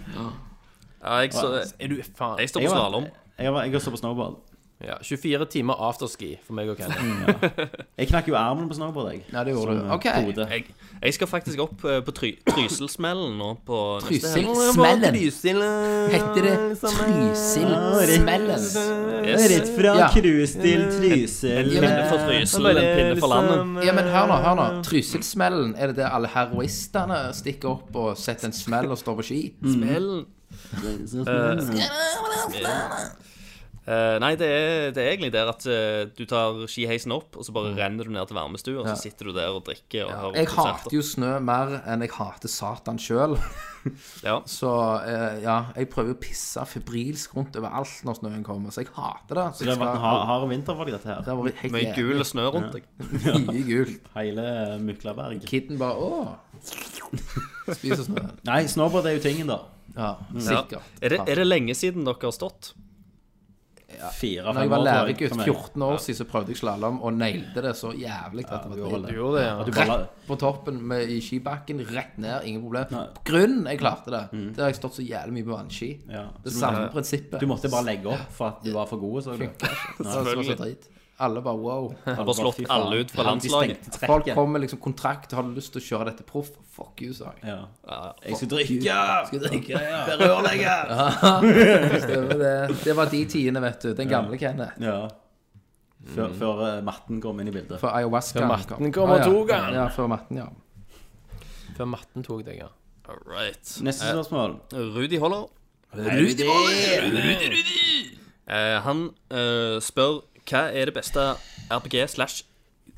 [SPEAKER 8] Ja, jeg, så,
[SPEAKER 9] Er du faen
[SPEAKER 8] jeg står
[SPEAKER 5] Jeg
[SPEAKER 8] på
[SPEAKER 5] var-
[SPEAKER 8] slalåm.
[SPEAKER 5] Jeg, var, jeg også på snowboard.
[SPEAKER 9] Ja, 24 timer afterski for meg og Kenneth.
[SPEAKER 5] Jeg knakk jo armen på snowboard, jeg.
[SPEAKER 6] Ja, det gjorde
[SPEAKER 5] Som,
[SPEAKER 6] du.
[SPEAKER 5] eh,
[SPEAKER 6] Ok.
[SPEAKER 5] hode.
[SPEAKER 8] Jeg, jeg skal faktisk opp eh, på try, Trysilsmellen nå på neste helg.
[SPEAKER 6] Trysilsmellen. Heter det Trysilsmellen?
[SPEAKER 5] Rett fra
[SPEAKER 6] Ja.
[SPEAKER 5] cruise til Trysil.
[SPEAKER 6] Ja, men-
[SPEAKER 8] Pinne for Trysil, en pinne for landet.
[SPEAKER 6] Ja, men hør nå, hør nå. Trysilsmellen, er det der alle heroistene stikker opp og setter en smell og står på ski?
[SPEAKER 8] Mm. Smellen. Eh, nei, det er, det er egentlig der at eh, du tar skiheisen opp, og så bare renner du ned til varmestua, og så sitter du der og drikker og hører
[SPEAKER 6] Jeg
[SPEAKER 8] konserter.
[SPEAKER 6] hater jo snø mer enn jeg hater Satan sjøl.
[SPEAKER 8] Ja.
[SPEAKER 6] Så eh, ja, jeg prøver å pisse febrilsk rundt overalt når snøen kommer, så jeg hater det. Så
[SPEAKER 5] Det
[SPEAKER 6] jeg
[SPEAKER 5] har vært en hard, hard vinter for deg, dette her.
[SPEAKER 6] Det har vært helt
[SPEAKER 8] Mye
[SPEAKER 6] jævlig.
[SPEAKER 8] gul snø rundt deg.
[SPEAKER 6] Mye gult.
[SPEAKER 5] Hele Myklaberg.
[SPEAKER 6] Kidden bare åh. Spiser snø.
[SPEAKER 5] Nei, snowboard er jo tingen, da.
[SPEAKER 6] Ja,
[SPEAKER 8] Ja.
[SPEAKER 6] sikkert.
[SPEAKER 8] Er, det, er det lenge siden dere har stått?
[SPEAKER 5] fire-fem
[SPEAKER 6] Når jeg var
[SPEAKER 5] tror jeg,
[SPEAKER 6] læregutt
[SPEAKER 5] for meg.
[SPEAKER 6] 14 år siden, så prøvde jeg slalåm og nailede det så jævlig at det var
[SPEAKER 5] gjorde
[SPEAKER 6] dritt.
[SPEAKER 5] det.
[SPEAKER 9] gjorde det, ja.
[SPEAKER 5] At du bare, la-
[SPEAKER 6] På toppen med, i skibakken, rett ned, ingen problem.
[SPEAKER 5] Nei.
[SPEAKER 6] På grunnen jeg klarte det. Der har jeg stått så jævlig mye på vannski.
[SPEAKER 5] Ja.
[SPEAKER 6] Det samme prinsippet.
[SPEAKER 5] du måtte bare legge opp for at du var for god. Så du
[SPEAKER 6] Så- så- så drit. Alle bare wow.
[SPEAKER 5] hadde
[SPEAKER 8] bare slått
[SPEAKER 5] fy faen.
[SPEAKER 8] alle ut
[SPEAKER 5] Ja,
[SPEAKER 8] fra
[SPEAKER 5] de
[SPEAKER 8] landslaget.
[SPEAKER 5] stengte
[SPEAKER 6] Folk
[SPEAKER 5] trekket.
[SPEAKER 6] kommer med liksom kontrakt og har lyst til å kjøre dette proff. Fuck you, sa jeg.
[SPEAKER 5] Ja. Jeg skal drikke!
[SPEAKER 6] Skal jeg drikke? Stemmer det. Det var de tidene, vet du. Den gamle Kenneth.
[SPEAKER 5] Ja.
[SPEAKER 8] Mm.
[SPEAKER 5] Før, før eh, matten kom inn i bildet.
[SPEAKER 6] Før ayahuasca.
[SPEAKER 9] Før matten
[SPEAKER 6] kom.
[SPEAKER 9] kommer
[SPEAKER 6] Ah, ja.
[SPEAKER 9] og tok han.
[SPEAKER 6] Ja, før matten, ja.
[SPEAKER 9] Før matten tok deg, ja.
[SPEAKER 8] All right.
[SPEAKER 5] Neste spørsmål.
[SPEAKER 8] Rudi Holler.
[SPEAKER 5] Rudi
[SPEAKER 8] Eh, han eh, spør hva er det beste RPG slash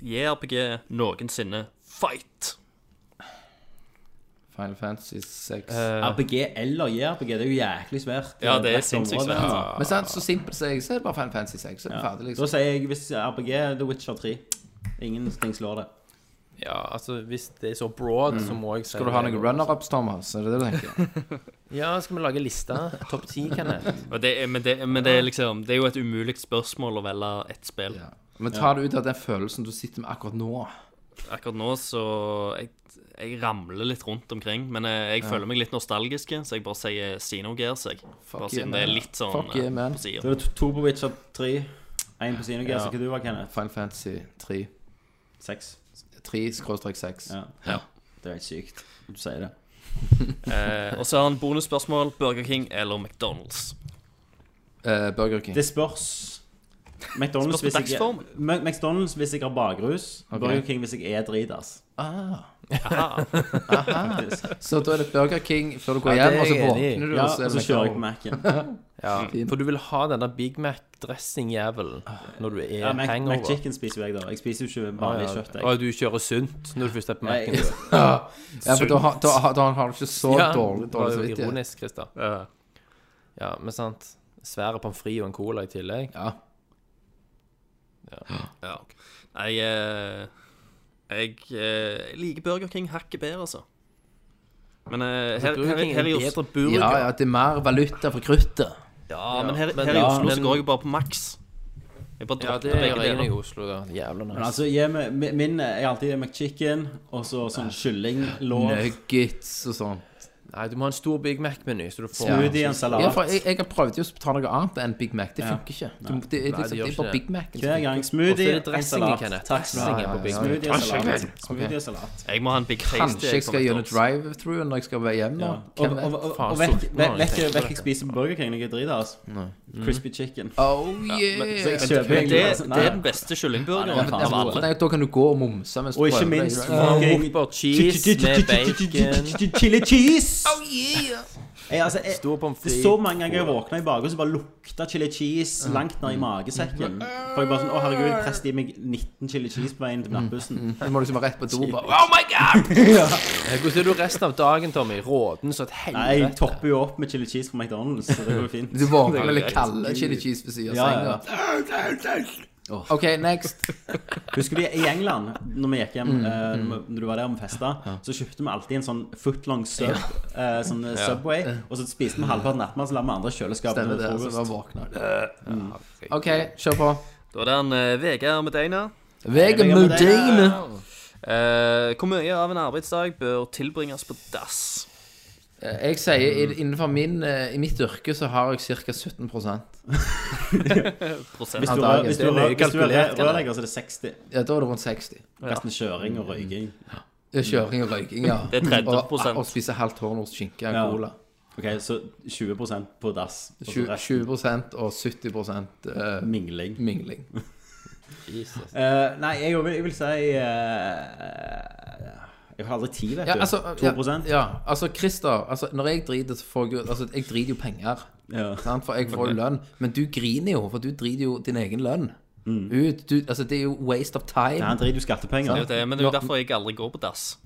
[SPEAKER 8] JRPG noensinne fight?
[SPEAKER 6] Final Fantasy 6.
[SPEAKER 5] Eh, RPG eller JRPG, det er jo jæklig svært.
[SPEAKER 8] Ja, det er
[SPEAKER 5] bredt
[SPEAKER 8] sinnssykt
[SPEAKER 5] område.
[SPEAKER 8] svært.
[SPEAKER 6] Men sant, så simpelt som jeg, så er det bare Final Fantasy 6. Så er det ferdig,
[SPEAKER 5] altså. Da
[SPEAKER 6] liksom.
[SPEAKER 5] sier jeg hvis RPG The Witcher 3. Ingenting slår det.
[SPEAKER 9] Ja, altså, hvis det er så broad, så må jeg si
[SPEAKER 6] Skal du ha
[SPEAKER 9] det.
[SPEAKER 6] noen runner-ups, Thomas? Er det det du tenker?
[SPEAKER 9] Ja, skal vi lage lista? Topp ti, Kenneth?
[SPEAKER 8] Og det er, men det, men det, er liksom, det er jo et umulig spørsmål å velge ett spill.
[SPEAKER 6] Ja. Men ta det ut av den følelsen du sitter med akkurat nå.
[SPEAKER 8] Akkurat nå så jeg, jeg ramler litt rundt omkring, men jeg, jeg føler meg litt nostalgisk, så jeg bare sier Xenogears, jeg. Bare
[SPEAKER 6] Fuck yeah,
[SPEAKER 8] siden det er
[SPEAKER 6] man.
[SPEAKER 8] litt sånn
[SPEAKER 6] Fuck
[SPEAKER 8] eh,
[SPEAKER 6] yeah, man.
[SPEAKER 8] på siden.
[SPEAKER 5] Da er det to- to på Witcher 3, én på Sinogear, så hva du var, Kenneth?
[SPEAKER 6] Final Fantasy 3.
[SPEAKER 5] Seks.
[SPEAKER 6] 3-6.
[SPEAKER 5] Ja.
[SPEAKER 8] Ja.
[SPEAKER 5] Det er helt sykt. Du sier det.
[SPEAKER 8] Eh, og så har han bonusspørsmål Burger King eller McDonald's.
[SPEAKER 6] Eh, Burger King.
[SPEAKER 5] Det spørs. McDonald's,
[SPEAKER 8] Spørs
[SPEAKER 5] hvis
[SPEAKER 8] på
[SPEAKER 5] jeg,
[SPEAKER 8] dagsform.
[SPEAKER 5] Ma- McDonald's hvis jeg har bakrus. Burger King hvis jeg er dritas.
[SPEAKER 6] Ah.
[SPEAKER 5] faktisk.
[SPEAKER 6] Så da er det Burger King før du går
[SPEAKER 9] Ja,
[SPEAKER 6] hjem,
[SPEAKER 9] det
[SPEAKER 6] og så
[SPEAKER 9] er jeg
[SPEAKER 6] våkner du,
[SPEAKER 9] enig i.
[SPEAKER 5] Ja,
[SPEAKER 6] og så
[SPEAKER 5] og
[SPEAKER 6] er
[SPEAKER 5] så
[SPEAKER 6] det oh.
[SPEAKER 5] kjører jeg på
[SPEAKER 6] McDonald's.
[SPEAKER 5] Mac-en.
[SPEAKER 9] Ja, for du vil ha denne Big Mac-dressing-jævelen når du er
[SPEAKER 5] Ja, Mac,
[SPEAKER 9] hangover.
[SPEAKER 5] McChicken spiser jo jeg, da. Jeg spiser jo ikke
[SPEAKER 9] Ja,
[SPEAKER 6] Ah,
[SPEAKER 5] vanlig
[SPEAKER 9] ja.
[SPEAKER 5] kjøtt.
[SPEAKER 9] Og
[SPEAKER 5] Jeg.
[SPEAKER 9] du kjører sunt når du først er på Mac-en.
[SPEAKER 5] Jeg,
[SPEAKER 9] du.
[SPEAKER 6] Ja, for da, har- da, har- da har du ikke så
[SPEAKER 9] Ja,
[SPEAKER 6] dårlig,
[SPEAKER 9] det
[SPEAKER 6] dårlig
[SPEAKER 9] var jo
[SPEAKER 6] samvittighet.
[SPEAKER 9] Ironisk, Christer. Ja, men sant. Svære pommes frites og en cola i tillegg.
[SPEAKER 6] Ja.
[SPEAKER 8] Ja. Jeg, eh, jeg eh, liker Burger King hakket bedre, altså. Men
[SPEAKER 6] Altså,
[SPEAKER 8] eh, her, her,
[SPEAKER 9] Burger
[SPEAKER 8] her,
[SPEAKER 9] King er
[SPEAKER 8] i
[SPEAKER 9] en
[SPEAKER 8] Os-
[SPEAKER 9] bedre burger.
[SPEAKER 6] ja, ja, det er mer valuta for kruttet.
[SPEAKER 8] Ja, men her,
[SPEAKER 9] men-
[SPEAKER 8] her i
[SPEAKER 9] ja,
[SPEAKER 8] Oslo så
[SPEAKER 9] men-
[SPEAKER 8] går jeg jo bare på maks. Jeg bare
[SPEAKER 9] Ja, det
[SPEAKER 8] dropper
[SPEAKER 9] gjør
[SPEAKER 8] begge
[SPEAKER 9] jeg i
[SPEAKER 8] deler.
[SPEAKER 9] Oslo, da. Jævla
[SPEAKER 5] Men
[SPEAKER 9] nice.
[SPEAKER 5] altså, jeg, min er alltid McChicken, og så sånn kyllinglår.
[SPEAKER 6] Nuggets og sånn.
[SPEAKER 9] Nei, du må ha en stor Big Mac-meny, så du får
[SPEAKER 5] Smoothie, en salat.
[SPEAKER 6] Ja, for jeg, jeg har prøvd jo å ta noe annet enn Big Mac. Det funker ikke. Du, det, det,
[SPEAKER 9] Nei, det
[SPEAKER 6] det,
[SPEAKER 9] gjør
[SPEAKER 6] er bare
[SPEAKER 9] ikke det.
[SPEAKER 6] Big Mac.
[SPEAKER 5] Hver gang
[SPEAKER 9] Ofte er
[SPEAKER 5] smoothie,
[SPEAKER 9] det
[SPEAKER 5] en
[SPEAKER 9] dressingen,
[SPEAKER 5] salat.
[SPEAKER 9] Kenneth.
[SPEAKER 5] Takk skal
[SPEAKER 9] Dressingen
[SPEAKER 5] du ha.
[SPEAKER 9] på Big Mac.
[SPEAKER 5] Smoothie og salat. Smoothie og salat.
[SPEAKER 8] Jeg må ha en big taste.
[SPEAKER 6] Kanskje jeg skal gjøre
[SPEAKER 8] McDonald's.
[SPEAKER 6] drive-through når jeg skal være hjemme.
[SPEAKER 5] Ja.
[SPEAKER 6] Ja.
[SPEAKER 5] Og, og, og, og, og vekk vekk- vekk- vekk jeg spiser Burger King når jeg driter, altså.
[SPEAKER 9] Mm.
[SPEAKER 5] Crispy chicken.
[SPEAKER 9] Ah,
[SPEAKER 6] Oh yeah! Altså,
[SPEAKER 5] Jeg kjøper
[SPEAKER 8] Men det,
[SPEAKER 5] egentlig-
[SPEAKER 8] det er
[SPEAKER 5] Nei.
[SPEAKER 8] den beste
[SPEAKER 5] Ja,
[SPEAKER 8] kyllingburgeren
[SPEAKER 5] men det er
[SPEAKER 8] av alle.
[SPEAKER 6] Nei, da kan du gå og mumse mens
[SPEAKER 5] Og
[SPEAKER 6] du
[SPEAKER 5] ikke
[SPEAKER 6] prøver.
[SPEAKER 5] minst
[SPEAKER 6] Ja.
[SPEAKER 5] fucking
[SPEAKER 9] Whopper cheese med bacon. Oh,
[SPEAKER 5] Chili cheese! Jeg, altså, jeg,
[SPEAKER 9] Stor pommes
[SPEAKER 5] det er
[SPEAKER 9] frites.
[SPEAKER 5] så mange ganger jeg våkna i bakgrunnen, så bare lukta chili
[SPEAKER 6] Mm.
[SPEAKER 5] cheese langt ned i magesekken. For jeg bare sånn Å, herregud, jeg presset i meg 19 chili cheese på veien til nattbussen.
[SPEAKER 6] Du må liksom være rett på do. bare,
[SPEAKER 9] Oh my god! Hvordan er du resten av dagen, Tommy? Råden så et
[SPEAKER 5] Nei, jeg
[SPEAKER 9] helvete.
[SPEAKER 5] topper jo opp med chili cheese fra McDonald's, så det går jo fint.
[SPEAKER 6] Du våkner med litt kalde chili cheese ved siden av
[SPEAKER 5] Ja, ja.
[SPEAKER 6] senga. OK, next.
[SPEAKER 5] Husker du i England, når vi gikk hjem,
[SPEAKER 6] Mm.
[SPEAKER 5] eh, når vi- når du var der og vi festa, så kjøpte vi alltid en sånn footlong sub, eh, sånn eh, Subway, og så spiste vi halvparten nattmat, så la vi andre i kjøleskapet
[SPEAKER 6] Stemmer
[SPEAKER 5] til
[SPEAKER 6] det. Så bare
[SPEAKER 5] frokost.
[SPEAKER 6] våkner
[SPEAKER 8] Eh, mm.
[SPEAKER 6] OK, kjør på.
[SPEAKER 8] Da er det en eh, Vegard Medina.
[SPEAKER 6] Vegard Modine.
[SPEAKER 8] Eh, hvor mye av en arbeidsdag bør tilbringes på dass?
[SPEAKER 6] Eh, Jeg sier i-
[SPEAKER 5] Mm.
[SPEAKER 6] innenfor min eh, I mitt yrke så har jeg ca. 17
[SPEAKER 8] Prosent.
[SPEAKER 5] Hvis du
[SPEAKER 6] dagen.
[SPEAKER 5] er- hvis du
[SPEAKER 9] Det er
[SPEAKER 5] er
[SPEAKER 9] nøye
[SPEAKER 5] hvis du er
[SPEAKER 9] kalkulert, eller?
[SPEAKER 5] rørlegger, så er det 60.
[SPEAKER 6] Ja, da er det rundt 60.
[SPEAKER 5] Resten kjøring og røyking.
[SPEAKER 6] Det er Kjøring og røyking, ja.
[SPEAKER 8] Det er 30%.
[SPEAKER 6] Og, og spise halvt horn hos skinke og
[SPEAKER 5] Ja.
[SPEAKER 6] cola.
[SPEAKER 5] Ok, så 20 på dass. Og så
[SPEAKER 6] 20,
[SPEAKER 5] Altså resten
[SPEAKER 6] og 70 eh,
[SPEAKER 5] mingling.
[SPEAKER 6] mingling.
[SPEAKER 5] Eh, nei, jeg vil, jeg vil si eh, Jeg har aldri tid, vet du.
[SPEAKER 6] Ja, altså,
[SPEAKER 5] 2
[SPEAKER 6] ja, ja, altså Christer, altså, når jeg driter, så får jeg jo Altså, jeg driter jo penger,
[SPEAKER 5] Ja.
[SPEAKER 6] sant? for jeg får jo lønn. Men du griner jo, for du driter jo din egen lønn ut. Du, altså, det er jo waste of
[SPEAKER 5] Nei, Han
[SPEAKER 6] time.
[SPEAKER 5] driter jo skattepenger.
[SPEAKER 8] Det, er jo det, men det er jo derfor jeg aldri går på dass.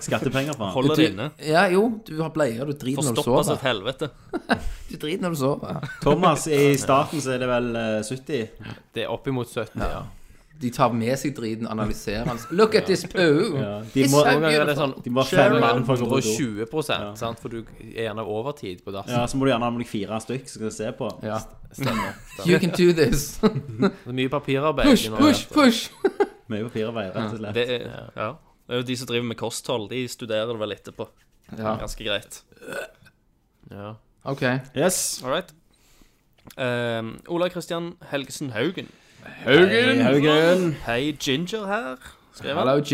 [SPEAKER 5] Skattepenger fra han.
[SPEAKER 8] Holder det inne.
[SPEAKER 6] Ja, jo, du har bleier, du driter når du
[SPEAKER 8] Forstopper som
[SPEAKER 6] sover.
[SPEAKER 8] et helvete.
[SPEAKER 6] Du driter når du sover.
[SPEAKER 5] Thomas, i starten så er det vel eh, 70?
[SPEAKER 9] Det er oppimot 70, ja.
[SPEAKER 6] De tar med seg driten, analyserer den. Look at this poo!
[SPEAKER 5] Ja, de
[SPEAKER 6] It's
[SPEAKER 5] må-
[SPEAKER 6] so
[SPEAKER 5] Noen
[SPEAKER 9] ganger er
[SPEAKER 6] beautiful.
[SPEAKER 9] det sånn
[SPEAKER 5] De må ha fem mann for å gå på do.
[SPEAKER 9] 120 sant? For du er gjerne overtid på dass.
[SPEAKER 5] Ja, så må du gjerne ha med deg fire stykk, så skal du se på.
[SPEAKER 6] Ja.
[SPEAKER 9] Stemmer.
[SPEAKER 6] You can do this.
[SPEAKER 9] Det er mye papirarbeid.
[SPEAKER 6] Push,
[SPEAKER 9] nå,
[SPEAKER 6] push,
[SPEAKER 9] vet du.
[SPEAKER 6] push.
[SPEAKER 5] Mye papirarbeid, rett og slett.
[SPEAKER 8] Det er, ja. det er jo de som driver med kosthold. De studerer det vel etterpå.
[SPEAKER 6] Ja,
[SPEAKER 8] Ganske greit.
[SPEAKER 9] Ja.
[SPEAKER 6] OK.
[SPEAKER 5] Yes.
[SPEAKER 8] All right. Ehm, Ola Kristian Helgesen Haugen.
[SPEAKER 5] Haugen! Haugen.
[SPEAKER 8] Hei, Ginger her. Skriver han.
[SPEAKER 6] Hello,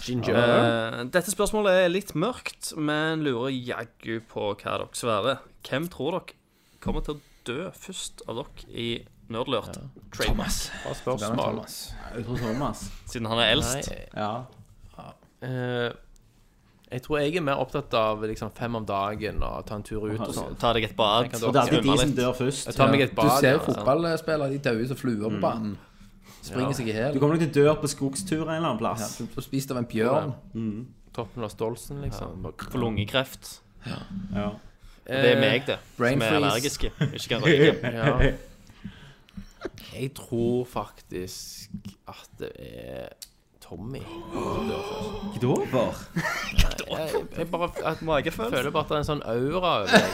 [SPEAKER 6] Ginger.
[SPEAKER 8] Eh, dette spørsmålet er litt mørkt, men lurer jaggu på hva dere svarer. Hvem tror dere kommer til å dø først av dere i Nerdlurt? Thomas.
[SPEAKER 9] Bra spørsmål.
[SPEAKER 5] Jeg tror Thomas.
[SPEAKER 8] Siden han er eldst.
[SPEAKER 9] Nei,
[SPEAKER 5] Ja.
[SPEAKER 9] eh, jeg tror jeg er mer opptatt av liksom, fem om dagen og ta en tur ut og sånn.
[SPEAKER 8] Ta deg et bad.
[SPEAKER 9] Jeg kan
[SPEAKER 5] Og det er alltid
[SPEAKER 8] svømme
[SPEAKER 5] de som
[SPEAKER 8] litt.
[SPEAKER 5] dør først.
[SPEAKER 9] Jeg tar meg et
[SPEAKER 6] Du
[SPEAKER 9] bad.
[SPEAKER 6] ser jo
[SPEAKER 9] ja, altså. Mm. sant?
[SPEAKER 6] fotballspillere, de dauer som fluer på banen. Springer seg i
[SPEAKER 5] Du
[SPEAKER 6] hjel.
[SPEAKER 5] kommer nok til å dø på skogstur en eller annen plass. Mm.
[SPEAKER 6] Du blir spist av en bjørn.
[SPEAKER 9] Toppen av Stolsen, liksom. Eh,
[SPEAKER 8] For lungekreft.
[SPEAKER 5] Ja.
[SPEAKER 8] Det er meg, det.
[SPEAKER 6] Brain
[SPEAKER 8] Som er
[SPEAKER 6] freeze.
[SPEAKER 8] allergiske. Ikke kan røyke.
[SPEAKER 9] Ja. Jeg tror faktisk at det er Tommy. som dør først.
[SPEAKER 5] Gdover.
[SPEAKER 9] Jeg, jeg bare at,
[SPEAKER 8] Magefølelse.
[SPEAKER 9] føler bare at det er en sånn aura over deg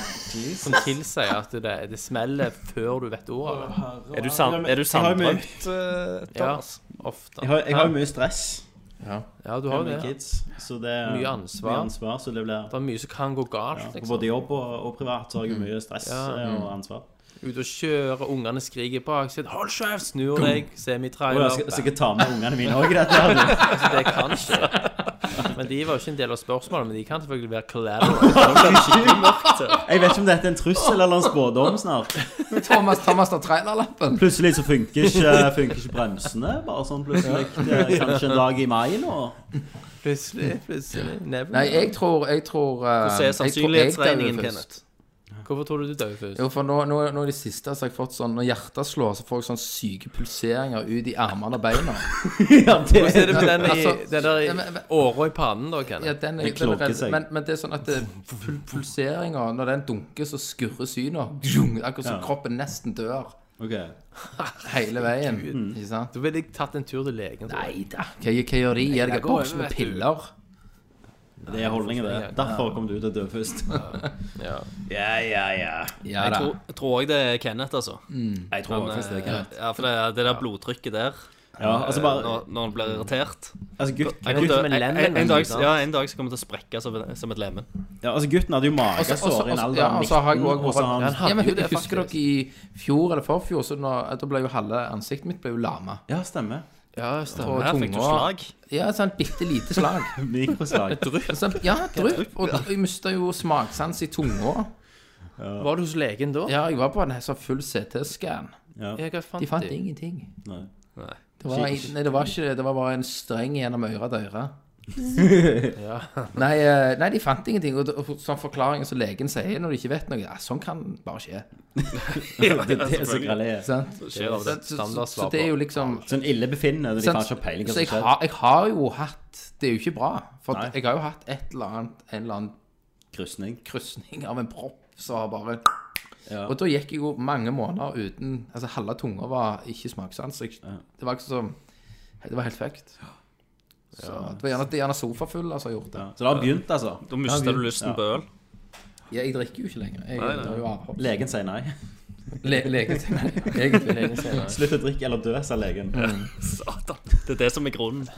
[SPEAKER 9] som tilsier at det, det smeller før du vet ordet. av det.
[SPEAKER 8] Er du, sand, er du
[SPEAKER 5] Jeg har jo mye-
[SPEAKER 8] sanddrømt, eh,
[SPEAKER 9] Ja,
[SPEAKER 8] Thomas?
[SPEAKER 9] ofte.
[SPEAKER 5] Jeg har- jeg har jo mye stress.
[SPEAKER 9] Ja, du
[SPEAKER 5] Jeg
[SPEAKER 9] har
[SPEAKER 5] har
[SPEAKER 9] jo
[SPEAKER 5] mye
[SPEAKER 9] det.
[SPEAKER 5] kids. Så det er
[SPEAKER 9] Mye ansvar.
[SPEAKER 5] Mye ansvar så det blir
[SPEAKER 9] Det er mye som kan gå
[SPEAKER 5] ja,
[SPEAKER 9] galt.
[SPEAKER 5] på
[SPEAKER 9] Liksom.
[SPEAKER 5] Både jobb og, og privat så har jeg jo mye stress
[SPEAKER 9] Mm. Ja. mm.
[SPEAKER 5] eh, og ansvar.
[SPEAKER 9] Ute og kjøre, ungene skriker bak. sier, 'Hold kjeft!' Snur deg,
[SPEAKER 5] Og
[SPEAKER 9] semitrailer.
[SPEAKER 5] jeg skal sikkert ta med ungene mine òg, dette. her.
[SPEAKER 9] Altså, det kan skje. Men de var jo ikke en del av spørsmålet, men de kan selvfølgelig være collateral.
[SPEAKER 5] Jeg vet ikke om dette er en trussel eller en spådom snart.
[SPEAKER 6] Thomas, Thomas tar trailerlappen.
[SPEAKER 5] Plutselig så funker ikke, funker ikke bremsene. Bare sånn plutselig. Det er kanskje en dag i mai nå.
[SPEAKER 9] Plutselig, plutselig. Never
[SPEAKER 6] Nei,
[SPEAKER 9] know.
[SPEAKER 6] jeg tror Jeg tror eh,
[SPEAKER 8] Hvordan er
[SPEAKER 6] jeg tror jeg
[SPEAKER 8] sannsynlighetsregningen,
[SPEAKER 6] dauer først.
[SPEAKER 8] Kenneth?
[SPEAKER 9] Hvorfor tror du du dør først?
[SPEAKER 6] Jo, for nå, nå, nå i det siste så har jeg fått sånn Når hjertet slår, så får jeg sånn syke pulseringer ut i armene og beina.
[SPEAKER 5] Ja, det
[SPEAKER 9] Hvordan er det med den, i,
[SPEAKER 6] Altså,
[SPEAKER 9] den der i
[SPEAKER 6] ja, men- men-
[SPEAKER 9] åra i pannen, da, Kenneth?
[SPEAKER 6] Ja, den er,
[SPEAKER 5] Det klokker
[SPEAKER 6] den er,
[SPEAKER 5] seg.
[SPEAKER 6] men, men det er sånn at det- pul pulseringa Når den dunker, så skurrer syna. Djung, Akkurat som
[SPEAKER 5] Ja.
[SPEAKER 6] kroppen nesten dør
[SPEAKER 5] Ok.
[SPEAKER 6] hele veien. Ikke sant?
[SPEAKER 9] Da ville jeg tatt en tur til legen. tror
[SPEAKER 6] Nei
[SPEAKER 9] jeg.
[SPEAKER 6] da. Hva, hva gjør de? Gir deg en
[SPEAKER 9] går
[SPEAKER 6] boks
[SPEAKER 9] over,
[SPEAKER 6] med
[SPEAKER 9] vet du.
[SPEAKER 6] piller?
[SPEAKER 5] Det er holdningen, det. Derfor kom du til å dø først.
[SPEAKER 9] Ja.
[SPEAKER 5] Ja, ja, ja.
[SPEAKER 6] Ja
[SPEAKER 8] Jeg
[SPEAKER 6] da.
[SPEAKER 8] tror- jeg tror òg det er Kenneth, altså.
[SPEAKER 5] Jeg tror faktisk det. Kenneth.
[SPEAKER 8] Ja, for det, det der blodtrykket der,
[SPEAKER 5] Ja, altså bare
[SPEAKER 8] når, når han blir irritert
[SPEAKER 5] altså, gutt, gutt,
[SPEAKER 8] Han kommer til å-
[SPEAKER 9] som en lemen,
[SPEAKER 8] en, en, dag,
[SPEAKER 9] sant?
[SPEAKER 8] ja, en dag så kommer han til å sprekke som, som et lemen.
[SPEAKER 5] ja, altså Gutten hadde jo
[SPEAKER 6] Også- også-
[SPEAKER 5] magesår i en
[SPEAKER 6] også- altså,
[SPEAKER 5] alder
[SPEAKER 6] ja,
[SPEAKER 5] av
[SPEAKER 6] og så har jeg også-
[SPEAKER 5] 19,
[SPEAKER 6] sånn-
[SPEAKER 5] og så har han
[SPEAKER 6] Ja, men
[SPEAKER 9] hadde jo det,
[SPEAKER 6] Husker dere i fjor eller forfjor, så nå- da ble jo halve ansiktet mitt ble jo lama.
[SPEAKER 5] Ja, stemmer.
[SPEAKER 9] Ja,
[SPEAKER 6] Og
[SPEAKER 9] stemmer.
[SPEAKER 8] Her fikk du
[SPEAKER 6] tunga
[SPEAKER 8] slag.
[SPEAKER 6] Ja, et sånt bitte lite slag.
[SPEAKER 5] Mikroslag.
[SPEAKER 6] Sånn, ja, drypp. Og jeg mista jo smakssans i tunga.
[SPEAKER 9] Var du hos legen da?
[SPEAKER 6] Ja, jeg var på en sånn full CT-scan.
[SPEAKER 5] Ja.
[SPEAKER 9] Ja, hva fant
[SPEAKER 6] De fant
[SPEAKER 9] de?
[SPEAKER 6] ingenting.
[SPEAKER 5] Nei.
[SPEAKER 6] Det var, nei, det var ikke det. Det var bare en streng gjennom øret døra. nei, eh, nei, de fant ingenting. Og det- og sånn forklaring som legen sier når de ikke vet noe ja, Sånn kan bare skje.
[SPEAKER 5] Det er det som greier.
[SPEAKER 6] Sant?
[SPEAKER 8] Skjer av det.
[SPEAKER 6] Så, så, så, så det er jo liksom
[SPEAKER 5] Sånn illebefinnende. De
[SPEAKER 6] sant?
[SPEAKER 5] kan ikke ha peiling på
[SPEAKER 6] Så
[SPEAKER 5] hva
[SPEAKER 6] jeg,
[SPEAKER 5] som skjer.
[SPEAKER 6] har- jeg har jo hatt Det er jo ikke bra. For
[SPEAKER 5] Nei.
[SPEAKER 6] jeg har jo hatt et eller annet, en eller annen
[SPEAKER 5] Krysning.
[SPEAKER 6] krysning av en propp som har bare
[SPEAKER 5] Ja.
[SPEAKER 6] Og da gikk jeg jo mange måneder uten Altså halve tunga var ikke smakssans. så jeg- Det var ikke som Det var helt fucked. Så det var gjerne, det er gjerne sofafuller som har gjort det.
[SPEAKER 5] Ja. Så det har begynt, altså.
[SPEAKER 8] Da mister du lysten på øl.
[SPEAKER 6] Ja, jeg drikker jo ikke lenger. Jeg
[SPEAKER 8] Nei, nei.
[SPEAKER 6] er jo avhopp.
[SPEAKER 5] Legen sier nei.
[SPEAKER 6] Le legen sier nei. Egentlig legen sier nei.
[SPEAKER 5] Slutt å drikke eller dø, sa legen.
[SPEAKER 8] Satan. Det er det som er grunnen.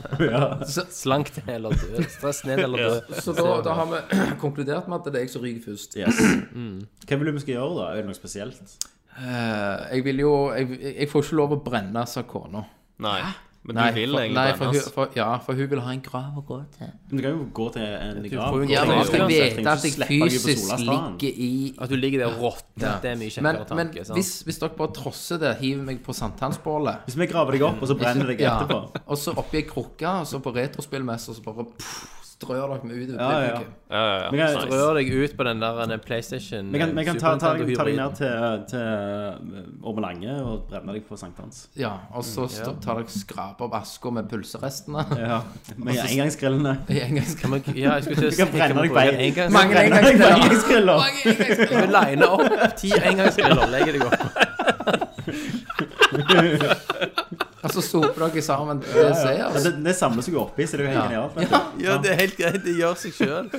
[SPEAKER 9] Slank ned eller dø. Stress ned eller dø.
[SPEAKER 6] Så da, da har vi konkludert med at det er jeg som ryker først.
[SPEAKER 5] Yes.
[SPEAKER 6] Mm.
[SPEAKER 5] Hva vil du vi skal gjøre, da? Er det noe spesielt?
[SPEAKER 6] Eh, jeg vil jo jeg, jeg får ikke lov å brenne, sa kona.
[SPEAKER 8] Nei. Men
[SPEAKER 6] Nei,
[SPEAKER 8] du vil
[SPEAKER 6] for-
[SPEAKER 8] egentlig
[SPEAKER 6] nei, for
[SPEAKER 8] brennes.
[SPEAKER 6] hun- for- Ja, for hun vil ha en grav å gå til.
[SPEAKER 5] Men Du kan jo gå til en grav.
[SPEAKER 9] får jo
[SPEAKER 6] Ja,
[SPEAKER 9] men
[SPEAKER 6] men
[SPEAKER 9] jeg
[SPEAKER 6] jeg
[SPEAKER 9] skal
[SPEAKER 6] skal
[SPEAKER 5] Uansett,
[SPEAKER 6] vite at
[SPEAKER 5] trenger ikke
[SPEAKER 6] jeg
[SPEAKER 5] slippe deg på
[SPEAKER 6] fysisk
[SPEAKER 5] Solastranden.
[SPEAKER 6] ligger i
[SPEAKER 9] At du ligger der og råtner, det er mye
[SPEAKER 6] Men,
[SPEAKER 9] kjekkere
[SPEAKER 6] men
[SPEAKER 9] tanke.
[SPEAKER 5] sånn.
[SPEAKER 9] sant?
[SPEAKER 6] hvis, hvis dere bare trosser det, hiver meg på sankthansbålet
[SPEAKER 5] Hvis vi graver deg opp, og så brenner deg
[SPEAKER 6] Ja.
[SPEAKER 5] etterpå
[SPEAKER 6] Og så oppi ei krukke, og så på retrospillmesse, og så bare pff, strør dere meg ut over
[SPEAKER 5] Ja, ja, ja.
[SPEAKER 6] publikum.
[SPEAKER 8] Ja, ja, ja.
[SPEAKER 5] Vi kan,
[SPEAKER 8] Nice.
[SPEAKER 9] Rør deg ut på den der den PlayStation eh,
[SPEAKER 5] vi kan, vi kan ta, ta,
[SPEAKER 9] Super
[SPEAKER 5] deg- ta deg
[SPEAKER 9] Nintendo-hybriden.
[SPEAKER 5] ned til, til Ormelange og brenne deg på sankthans.
[SPEAKER 6] Ja, og så
[SPEAKER 5] Mm,
[SPEAKER 6] stå- tar dere skraper opp aska med pølserestene.
[SPEAKER 5] Ja, med engangsgrillene.
[SPEAKER 6] I engangskammer.
[SPEAKER 9] Men, ja, jeg skulle til å
[SPEAKER 5] Vi kan
[SPEAKER 9] si,
[SPEAKER 5] brenne
[SPEAKER 9] vi
[SPEAKER 5] deg på
[SPEAKER 9] bruke
[SPEAKER 5] en-
[SPEAKER 9] en gang-
[SPEAKER 6] Mange
[SPEAKER 5] Brenne deg på engangsgriller!
[SPEAKER 6] Mange engangskammer.
[SPEAKER 9] Line opp ti engangsgriller, legger deg opp.
[SPEAKER 6] Og så soper dere sammen til det
[SPEAKER 5] Ja,
[SPEAKER 6] ser. altså.
[SPEAKER 5] det, det samler seg jo oppi, så det er jo helt genialt. vet du.
[SPEAKER 9] Ja, det er helt greit. Det gjør seg sjøl.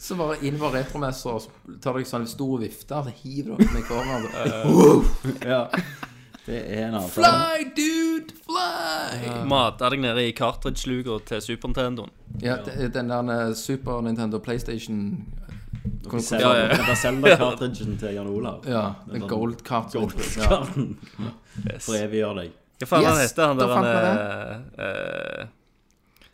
[SPEAKER 6] Så bare inn på retromesser, og så tar dere sånn stor vifte, og så hiver dere med hverandre.
[SPEAKER 5] Ja. Det er en avtale.
[SPEAKER 6] Fly, dude, fly!
[SPEAKER 8] Mata deg nede i cartridge-luka til Super Nintendoen.
[SPEAKER 6] Ja, det- den der eh, Super Nintendo PlayStation eh,
[SPEAKER 5] Selda,
[SPEAKER 8] ja, ja.
[SPEAKER 5] det er Zelda-cartridgen til Jan Olav.
[SPEAKER 6] Ja, den gold card. Ja.
[SPEAKER 5] Gold-karten. For evig gjør deg.
[SPEAKER 8] Hva faen han
[SPEAKER 6] Yes,
[SPEAKER 8] heter han
[SPEAKER 6] da
[SPEAKER 8] der
[SPEAKER 6] fant
[SPEAKER 8] han eh, eh,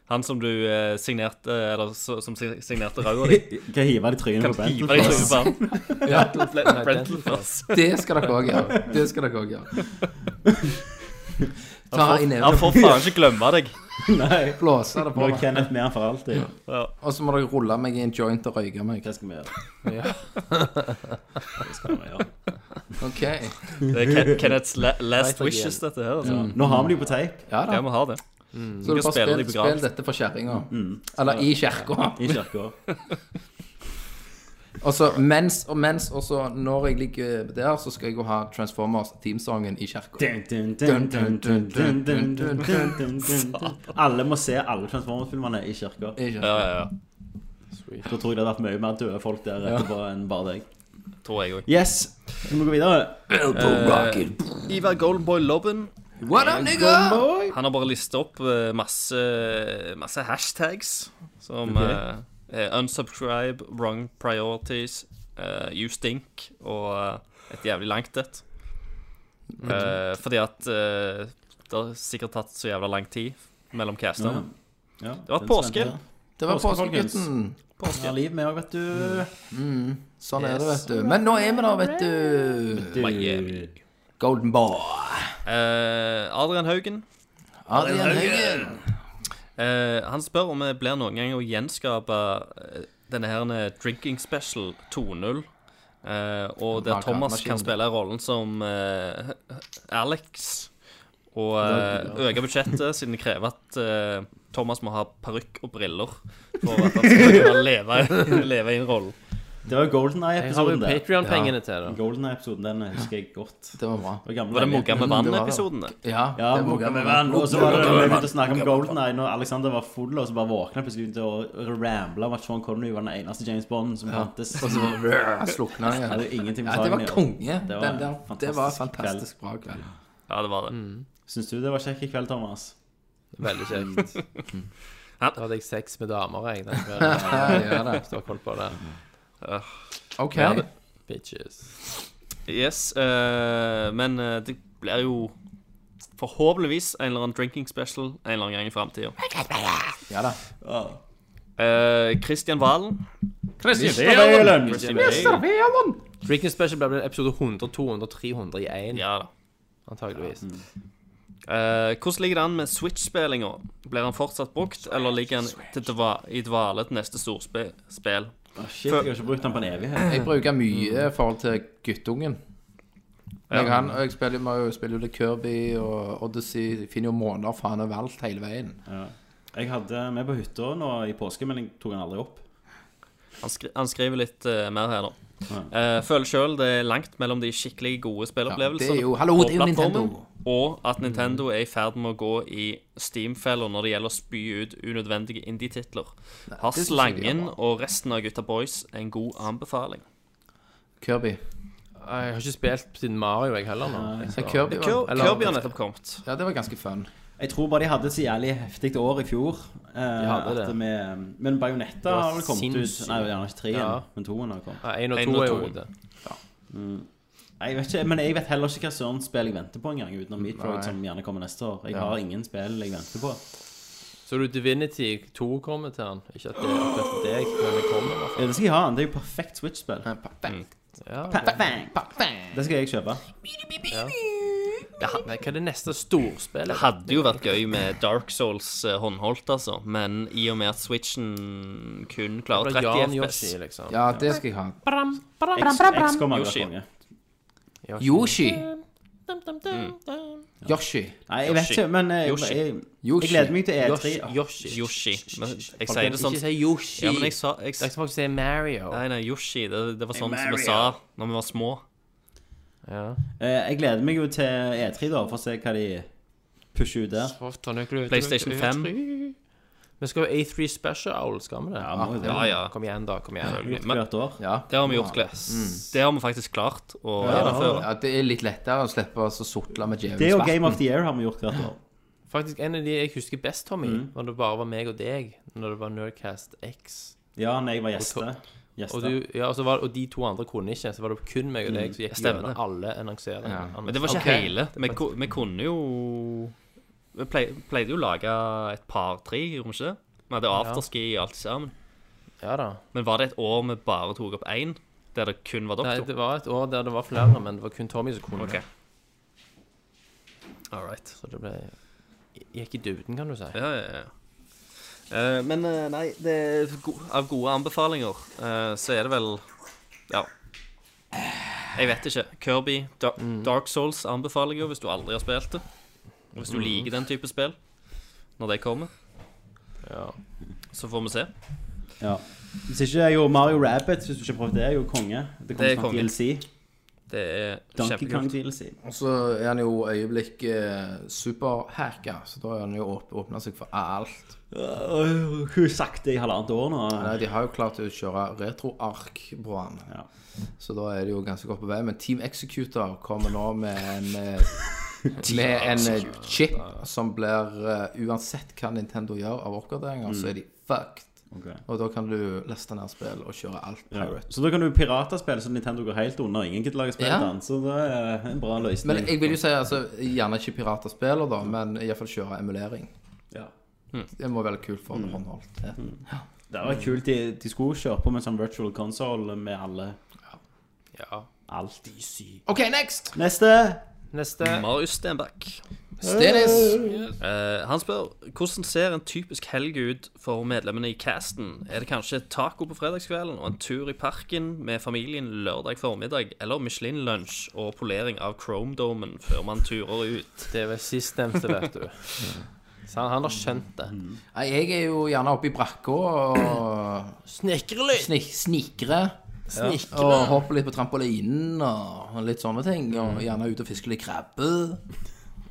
[SPEAKER 8] Han som du eh, signerte Eller så, som sig- signerte ræva di.
[SPEAKER 5] Kan hive det i trynet
[SPEAKER 8] Kan
[SPEAKER 5] på Bent.
[SPEAKER 8] hive deg i trynet på han.
[SPEAKER 9] Brentel
[SPEAKER 8] Brentel Foss.
[SPEAKER 6] Det skal dere òg gjøre. Det skal dere også gjøre. Ta i
[SPEAKER 8] Han
[SPEAKER 6] neven,
[SPEAKER 8] får faen ikke glemme deg.
[SPEAKER 5] Nei.
[SPEAKER 6] blåse det
[SPEAKER 5] Nå
[SPEAKER 6] på
[SPEAKER 5] er
[SPEAKER 6] meg.
[SPEAKER 5] Kenneth med han for alltid.
[SPEAKER 6] Og så må dere rulle meg i en joint og røyke meg.
[SPEAKER 5] Hva skal vi gjøre?
[SPEAKER 6] Ja.
[SPEAKER 5] Det skal vi gjøre.
[SPEAKER 6] Ok.
[SPEAKER 8] Det er Ken- Kenneths la last wishes, dette her. Altså.
[SPEAKER 5] Nå har vi det jo på teip.
[SPEAKER 6] Ja
[SPEAKER 8] Ja,
[SPEAKER 6] da.
[SPEAKER 8] vi har det.
[SPEAKER 6] Så du bare
[SPEAKER 8] kan spille det
[SPEAKER 6] spill,
[SPEAKER 8] i begravelsen.
[SPEAKER 6] spill dette for kjerringa. Eller i kjerka.
[SPEAKER 5] I kirka.
[SPEAKER 6] Og så mens, og mens også når jeg ligger der, så skal jeg jo ha Transformers teamsongen i kjerka.
[SPEAKER 5] Alle må se alle Transformers-filmene i kirka.
[SPEAKER 6] I kirka.
[SPEAKER 8] Ja, ja, ja.
[SPEAKER 5] Da tror jeg det hadde vært mye mer døde folk der etterpå enn bare deg.
[SPEAKER 8] Tror jeg òg.
[SPEAKER 5] Yes, vi må gå videre.
[SPEAKER 8] Ivar Goldenboy Lobben.
[SPEAKER 6] Eh, What up, nigga?
[SPEAKER 8] Han har bare listet opp eh, masse, masse hashtags som eh, er unsubscribe, wrong priorities, eh, you stink og eh, et jævlig langt et. Eh, fordi at eh, det har sikkert tatt så jævla lang tid mellom castene.
[SPEAKER 5] Ja,
[SPEAKER 8] Det var påske.
[SPEAKER 6] Det var
[SPEAKER 5] Påske, folkens.
[SPEAKER 6] påskegutten.
[SPEAKER 5] Påske. Liv med òg, vet du.
[SPEAKER 6] Sånn er det, vet du. Men nå er vi der, vet du.
[SPEAKER 8] Miami.
[SPEAKER 6] Golden Boy.
[SPEAKER 8] Eh, Adrian Haugen
[SPEAKER 6] Adrian Haugen.
[SPEAKER 8] eh, Han spør om det blir noen gang å gjenskape eh, denne her Drinking Special 2.0. eh, og der
[SPEAKER 6] Makan-
[SPEAKER 8] Thomas kan
[SPEAKER 6] maskinen.
[SPEAKER 8] spille rollen som eh, Alex. Og eh, øke budsjettet, siden det krever at eh, Thomas må ha parykk og briller for at han skal kunne leve, leve i en rolle.
[SPEAKER 5] Det var
[SPEAKER 9] Jeg har jo
[SPEAKER 5] GoldenEye-episoden, det.
[SPEAKER 9] Patrion-pengene til det.
[SPEAKER 5] GoldenEye-episoden, den husker jeg godt.
[SPEAKER 6] Det var bra.
[SPEAKER 5] Det var gamle
[SPEAKER 8] Var det
[SPEAKER 5] dager.
[SPEAKER 8] Moga med
[SPEAKER 6] det var det.
[SPEAKER 8] vann-episoden? det?
[SPEAKER 6] Ja,
[SPEAKER 5] Ja,
[SPEAKER 6] det var
[SPEAKER 5] Moga
[SPEAKER 6] bra.
[SPEAKER 5] med vann. Og så var det vi begynte å snakke om GoldenEye når Alexander var full, og så bare våkna plutselig begynte å ramble om at Sean Connery var den eneste James Bond som fantes.
[SPEAKER 6] Og så bare slukna jeg.
[SPEAKER 5] Ja, det er ingenting
[SPEAKER 6] Ja,
[SPEAKER 5] med
[SPEAKER 6] det
[SPEAKER 5] saken å
[SPEAKER 6] var
[SPEAKER 5] gjøre.
[SPEAKER 6] konge.
[SPEAKER 5] Det var
[SPEAKER 6] Den der, det var
[SPEAKER 5] fantastisk
[SPEAKER 6] fantastisk bra kveld.
[SPEAKER 8] Ja, det var
[SPEAKER 6] Mm.
[SPEAKER 8] det.
[SPEAKER 5] Syns du det var kjekk i kveld, Thomas?
[SPEAKER 9] Veldig kjekt.
[SPEAKER 5] Mm.
[SPEAKER 9] Da hadde jeg sex med damer, jeg. Den kvelden.
[SPEAKER 6] Ja, ja, det.
[SPEAKER 9] Hvis du har koll på det.
[SPEAKER 6] OK.
[SPEAKER 9] Bitches.
[SPEAKER 8] Yes, eh, men eh, det blir jo forhåpentligvis en eller annen drinking special en eller annen gang i framtida.
[SPEAKER 6] Ja da.
[SPEAKER 8] Eh, Christian Valen. Christian Valen.
[SPEAKER 9] Drinking Special ble vel episode 100, 200, 300 i én,
[SPEAKER 8] Ja da.
[SPEAKER 9] antageligvis.
[SPEAKER 8] Eh, hvordan ligger det an med Switch-spillinga? Blir han fortsatt brukt, eller ligger han til dva i dvale til neste storspill?
[SPEAKER 5] Å, Ah, shit, jeg har ikke brukt den på en evighet.
[SPEAKER 8] Mm.
[SPEAKER 6] Jeg bruker mye i forhold til guttungen. Jeg, og han, og jeg spiller, må jo spille det Kirby og Odyssey. Finner jo måneder for han har valgt hele veien.
[SPEAKER 5] Jeg hadde med på hytta nå i påske, men jeg tok den aldri opp.
[SPEAKER 8] Han, skri han skriver litt eh, mer her, da. Eh, føler sjøl det er langt mellom de skikkelig gode
[SPEAKER 6] Ja,
[SPEAKER 8] spillopplevelsene
[SPEAKER 6] det er jo- hallo,
[SPEAKER 8] på
[SPEAKER 6] det er jo
[SPEAKER 8] plattformen,
[SPEAKER 6] Nintendo. Mm.
[SPEAKER 8] og at Nintendo er i ferd med å gå i Steam-feller når det gjelder å spy ut unødvendige indie-titler. Har
[SPEAKER 6] det synes jeg de
[SPEAKER 8] Slangen
[SPEAKER 6] gjør
[SPEAKER 8] og resten av Gutta Boys en god anbefaling?
[SPEAKER 6] Kirby.
[SPEAKER 9] Jeg har ikke spilt siden Mario, jeg heller. nå
[SPEAKER 6] Ja, Kirby var,
[SPEAKER 8] Kirby har nettopp kommet.
[SPEAKER 6] ja, det var ganske fun.
[SPEAKER 8] Mm.
[SPEAKER 5] Jeg tror bare de hadde et så jævlig heftig år i fjor. Eh,
[SPEAKER 9] hadde
[SPEAKER 5] at
[SPEAKER 9] det.
[SPEAKER 5] vi- men Bajonetta
[SPEAKER 9] var
[SPEAKER 5] har vel kommet
[SPEAKER 9] sinnssykt.
[SPEAKER 5] ut Nei, gjerne ikke treen,
[SPEAKER 9] Ja.
[SPEAKER 5] men toen har kommet.
[SPEAKER 9] Ja, Én og
[SPEAKER 8] En
[SPEAKER 9] to
[SPEAKER 8] og
[SPEAKER 9] er jo
[SPEAKER 8] to.
[SPEAKER 9] ute.
[SPEAKER 5] Nei, Jeg vet ikke, men jeg vet heller ikke hva søren spill jeg venter på engang, utenom Meatroid,
[SPEAKER 6] Nei.
[SPEAKER 5] som gjerne kommer neste år. Jeg har ingen spill jeg venter på.
[SPEAKER 9] Så du Divinity 2 kommer til han. Ikke at det er akkurat til deg, men det kommer i hvert fall.
[SPEAKER 5] Ja, det skal jeg ha. Det er jo perfekt Switch-spill.
[SPEAKER 6] Eh, pa- bang,
[SPEAKER 9] Ja,
[SPEAKER 5] Pa-
[SPEAKER 9] det-
[SPEAKER 5] bang.
[SPEAKER 6] pa- bang.
[SPEAKER 5] Det skal jeg kjøpe.
[SPEAKER 9] Nei, hva er det neste storspillet?
[SPEAKER 8] Det hadde jo vært gøy med Dark Souls eh, håndholdt, altså, men i og med at Switchen kun klarer
[SPEAKER 9] Det er
[SPEAKER 8] 30
[SPEAKER 9] Jan
[SPEAKER 8] FPS
[SPEAKER 9] Yoshi, liksom.
[SPEAKER 6] Ja, det skal jeg ha.
[SPEAKER 5] X, X kommer aldri
[SPEAKER 8] Yoshi.
[SPEAKER 5] til å være konge.
[SPEAKER 6] Yoshi.
[SPEAKER 9] Mm.
[SPEAKER 6] Yoshi.
[SPEAKER 5] Nei, jeg vet
[SPEAKER 8] Yoshi.
[SPEAKER 5] ikke, men eh,
[SPEAKER 8] Yoshi.
[SPEAKER 5] jeg, jeg
[SPEAKER 6] Yoshi.
[SPEAKER 5] gleder meg til E E3.
[SPEAKER 9] Yoshi. Yoshi.
[SPEAKER 8] Yoshi. Men Jeg sier det sånn
[SPEAKER 9] Ikke si Yoshi.
[SPEAKER 8] Ja, men jeg sa
[SPEAKER 9] Det
[SPEAKER 8] jeg,
[SPEAKER 9] er ikke som folk sier Mario.
[SPEAKER 8] Nei, nei, Yoshi. Det, det var sånn som vi sa når vi var små.
[SPEAKER 9] Ja.
[SPEAKER 5] Eh, Jeg gleder meg jo til E3, da, for å se hva de pusher ut der.
[SPEAKER 7] PlayStation 5.
[SPEAKER 9] Vi skal jo A3 Special, skal vi det?
[SPEAKER 5] Ja, må jo det.
[SPEAKER 8] Ja, ja.
[SPEAKER 9] Kom igjen, da. Kom igjen.
[SPEAKER 5] Gjort Hvert år.
[SPEAKER 6] Ja.
[SPEAKER 8] Det har vi gjort, Kles.
[SPEAKER 9] Mm.
[SPEAKER 8] Det har vi faktisk klart å gjennomføre.
[SPEAKER 6] ja, det er litt lettere å slippe å sotle med djevelens
[SPEAKER 5] Det og
[SPEAKER 6] verden.
[SPEAKER 5] Game of the Year har vi gjort hvert år.
[SPEAKER 9] Faktisk en av de jeg husker best, Tommy,
[SPEAKER 8] Mm.
[SPEAKER 9] når det bare var meg og deg, når det var Nerdcast X.
[SPEAKER 5] Ja, når jeg var gjeste.
[SPEAKER 9] Og,
[SPEAKER 5] gjeste.
[SPEAKER 9] du, ja, og, så var, og de to andre kunne ikke, så var det kun meg og deg som gikk
[SPEAKER 8] Stemmer
[SPEAKER 9] gjennom
[SPEAKER 8] Mm. det.
[SPEAKER 9] alle annonseringer.
[SPEAKER 8] Men det var ikke
[SPEAKER 9] Ok.
[SPEAKER 8] hele. Vi, ku- vi kunne jo Vi plei- pleide jo å lage et par-tre, gjorde vi ikke det? Vi hadde afterski og alt sammen.
[SPEAKER 9] Ja da.
[SPEAKER 8] Men var det et år vi bare tok opp én, der det kun var
[SPEAKER 9] Nei,
[SPEAKER 8] doktor?
[SPEAKER 9] det var et år der det var flere, men det var kun Tommy som kunne.
[SPEAKER 8] Ok.
[SPEAKER 9] det. Så det ble Gikk i dybden, kan du si.
[SPEAKER 8] Ja, ja, ja. Eh, men eh, nei, det er go av gode anbefalinger eh, så er det vel Ja. Jeg vet ikke. Kirby, da Dark Souls anbefaler jeg jo hvis du aldri har spilt det. Og hvis du liker den type spill når det kommer. Så får vi se.
[SPEAKER 5] Ja. Hvis ikke er jo Mario Rabbit, hvis du ikke har prøvd det, er jo konge. Det kommer
[SPEAKER 8] Det er
[SPEAKER 5] snart
[SPEAKER 8] konge.
[SPEAKER 5] DLC.
[SPEAKER 8] Det er
[SPEAKER 5] Donkey Kong
[SPEAKER 8] kjempekult.
[SPEAKER 5] DLC.
[SPEAKER 6] Og så er han jo øyeblikk eh, superhacka, så da har han jo åp åpna seg for alt.
[SPEAKER 5] Øh, Hun sakte i halvannet år nå.
[SPEAKER 6] Nei, de har jo klart å kjøre retroark på han,
[SPEAKER 5] Ja.
[SPEAKER 6] så da er det jo ganske godt på vei. Men Team Executor kommer nå med en eh, Med en eh,
[SPEAKER 5] altså.
[SPEAKER 6] chip som blir eh, Uansett hva Nintendo gjør av oppgraderinger,
[SPEAKER 5] Mm.
[SPEAKER 6] så er de fucked.
[SPEAKER 5] Ok.
[SPEAKER 6] Og da kan du laste ned spill og kjøre alt
[SPEAKER 5] Ja.
[SPEAKER 6] pirate.
[SPEAKER 5] Så da kan du piratespill som Nintendo går helt under. Ingen kan lage spill
[SPEAKER 6] Ja.
[SPEAKER 5] til den, så det er en bra løsning.
[SPEAKER 6] Men jeg vil jo si altså, gjerne ikke pirater spiller, da, men iallfall kjøre emulering.
[SPEAKER 5] Mm. ja. Mm.
[SPEAKER 6] Det må være kult for håndholdt.
[SPEAKER 5] Det var kult. De, de skulle kjøre på med en sånn virtual console med alle
[SPEAKER 9] Ja.
[SPEAKER 5] alt.
[SPEAKER 6] OK, next!
[SPEAKER 5] Neste!
[SPEAKER 9] Neste.
[SPEAKER 8] Marius Stenbakk.
[SPEAKER 6] Dennis!
[SPEAKER 8] Eh, han spør hvordan ser en typisk helg ut for medlemmene i casten? Er det kanskje taco på fredagskvelden og en tur i parken med familien lørdag formiddag, eller Michelin-lunsj og polering av Chrome-domen før man turer ut?
[SPEAKER 9] Det var sistnevnte, vet du. Så han, han har skjønt det.
[SPEAKER 8] Mm.
[SPEAKER 6] Nei, jeg er jo gjerne oppe i brakka og
[SPEAKER 9] Snekre litt!
[SPEAKER 6] snik snikre. Og hopper litt på trampolinen og litt sånne ting. Og gjerne ut og fisker litt krabbe.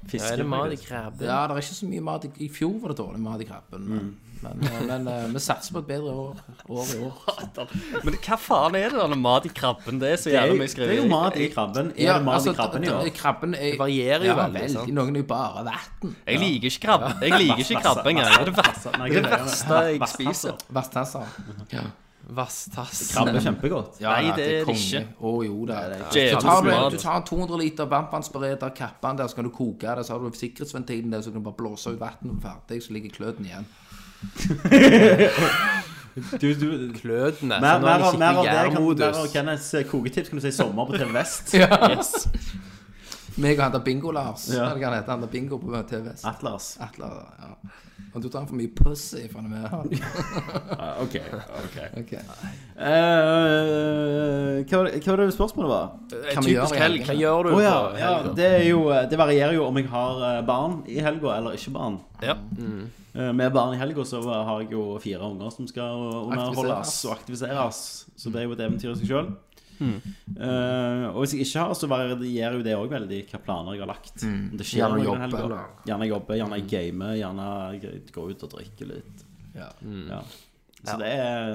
[SPEAKER 9] Ja, er det mat i krabbe?
[SPEAKER 6] Ja, det er ikke så mye mat i, I fjor var det dårlig mat i krabben,
[SPEAKER 5] Mm.
[SPEAKER 6] men, men, eh, men eh, vi satser på et bedre år, år i år.
[SPEAKER 8] Men hva faen er det da med mat i krabben? Det er så
[SPEAKER 5] Det er,
[SPEAKER 8] jævlig
[SPEAKER 5] jo-
[SPEAKER 8] mye
[SPEAKER 5] det er jo
[SPEAKER 8] skriving.
[SPEAKER 5] mat i krabben. Er det mat
[SPEAKER 8] altså,
[SPEAKER 5] i krabben i år?
[SPEAKER 6] altså, Krabben er,
[SPEAKER 9] varierer jo
[SPEAKER 6] ja,
[SPEAKER 9] veldig,
[SPEAKER 6] veldig.
[SPEAKER 9] sant?
[SPEAKER 6] Noen er jo bare vann.
[SPEAKER 8] Jeg liker ikke krabbe. Jeg liker ikke krabbe engang. Det er det verste,
[SPEAKER 5] Nei,
[SPEAKER 8] det er det
[SPEAKER 5] greier.
[SPEAKER 8] verste jeg spiser.
[SPEAKER 6] Vasstesser.
[SPEAKER 9] Vasstass.
[SPEAKER 5] Krabbe er kjempegodt.
[SPEAKER 6] Ja,
[SPEAKER 8] Nei,
[SPEAKER 6] ja,
[SPEAKER 8] det er det
[SPEAKER 6] konge.
[SPEAKER 8] ikke.
[SPEAKER 6] Å jo, det er det.
[SPEAKER 8] Det er
[SPEAKER 6] Så tar du,
[SPEAKER 8] tusen
[SPEAKER 6] du
[SPEAKER 8] grader.
[SPEAKER 6] tar 200 liter varmtvannsbereder av kappen der, så kan du koke det, så har du sikkerhetsventilen der, så kan du bare blåse ut vann og ferdig, så ligger kløten igjen.
[SPEAKER 5] Du, du,
[SPEAKER 8] Altså,
[SPEAKER 9] Klødene.
[SPEAKER 5] mer,
[SPEAKER 9] Sånn
[SPEAKER 5] mer, av-
[SPEAKER 9] skikkelig
[SPEAKER 5] mer av det kan,
[SPEAKER 9] gærmodus.
[SPEAKER 5] mer av Kenneths koketips kan du si sommer på TV Vest.
[SPEAKER 6] Yes. Meg og han der Bingo-Lars.
[SPEAKER 5] Ja.
[SPEAKER 6] Eller hva han heter, han der Bingo på TVS.
[SPEAKER 5] Atlas.
[SPEAKER 6] Atle, ja. Og du tar han for mye pussy for han er med.
[SPEAKER 5] Ah, OK. ok
[SPEAKER 6] Ok.
[SPEAKER 5] Eh, hva, var det- hva var det spørsmålet var?
[SPEAKER 6] Kan vi
[SPEAKER 8] Typisk
[SPEAKER 6] gjøre i
[SPEAKER 8] helg.
[SPEAKER 6] helgen?
[SPEAKER 9] Gjør du
[SPEAKER 5] Å ja,
[SPEAKER 9] på
[SPEAKER 5] ja Mm.
[SPEAKER 9] helga?
[SPEAKER 5] det, er jo, eh, det varierer jo om jeg har eh, barn i helga eller ikke barn.
[SPEAKER 8] Ja.
[SPEAKER 6] Mm.
[SPEAKER 5] Eh, Med barn i helga så har jeg jo fire unger som skal underholdes
[SPEAKER 6] Aktiviseres.
[SPEAKER 5] og aktiviseres. Så det er jo et eventyr i seg sjøl. Mm. Eh, og hvis jeg ikke har, så varierer jo det òg veldig hva planer jeg har lagt. Om Det skjer
[SPEAKER 6] Gjerne
[SPEAKER 5] noe i
[SPEAKER 6] jobb,
[SPEAKER 5] helga.
[SPEAKER 6] eller?
[SPEAKER 5] Gjerne jobbe, gjerne jeg gamer, gjerne jeg går ut og drikker litt.
[SPEAKER 6] Ja.
[SPEAKER 5] Ja. Så det er,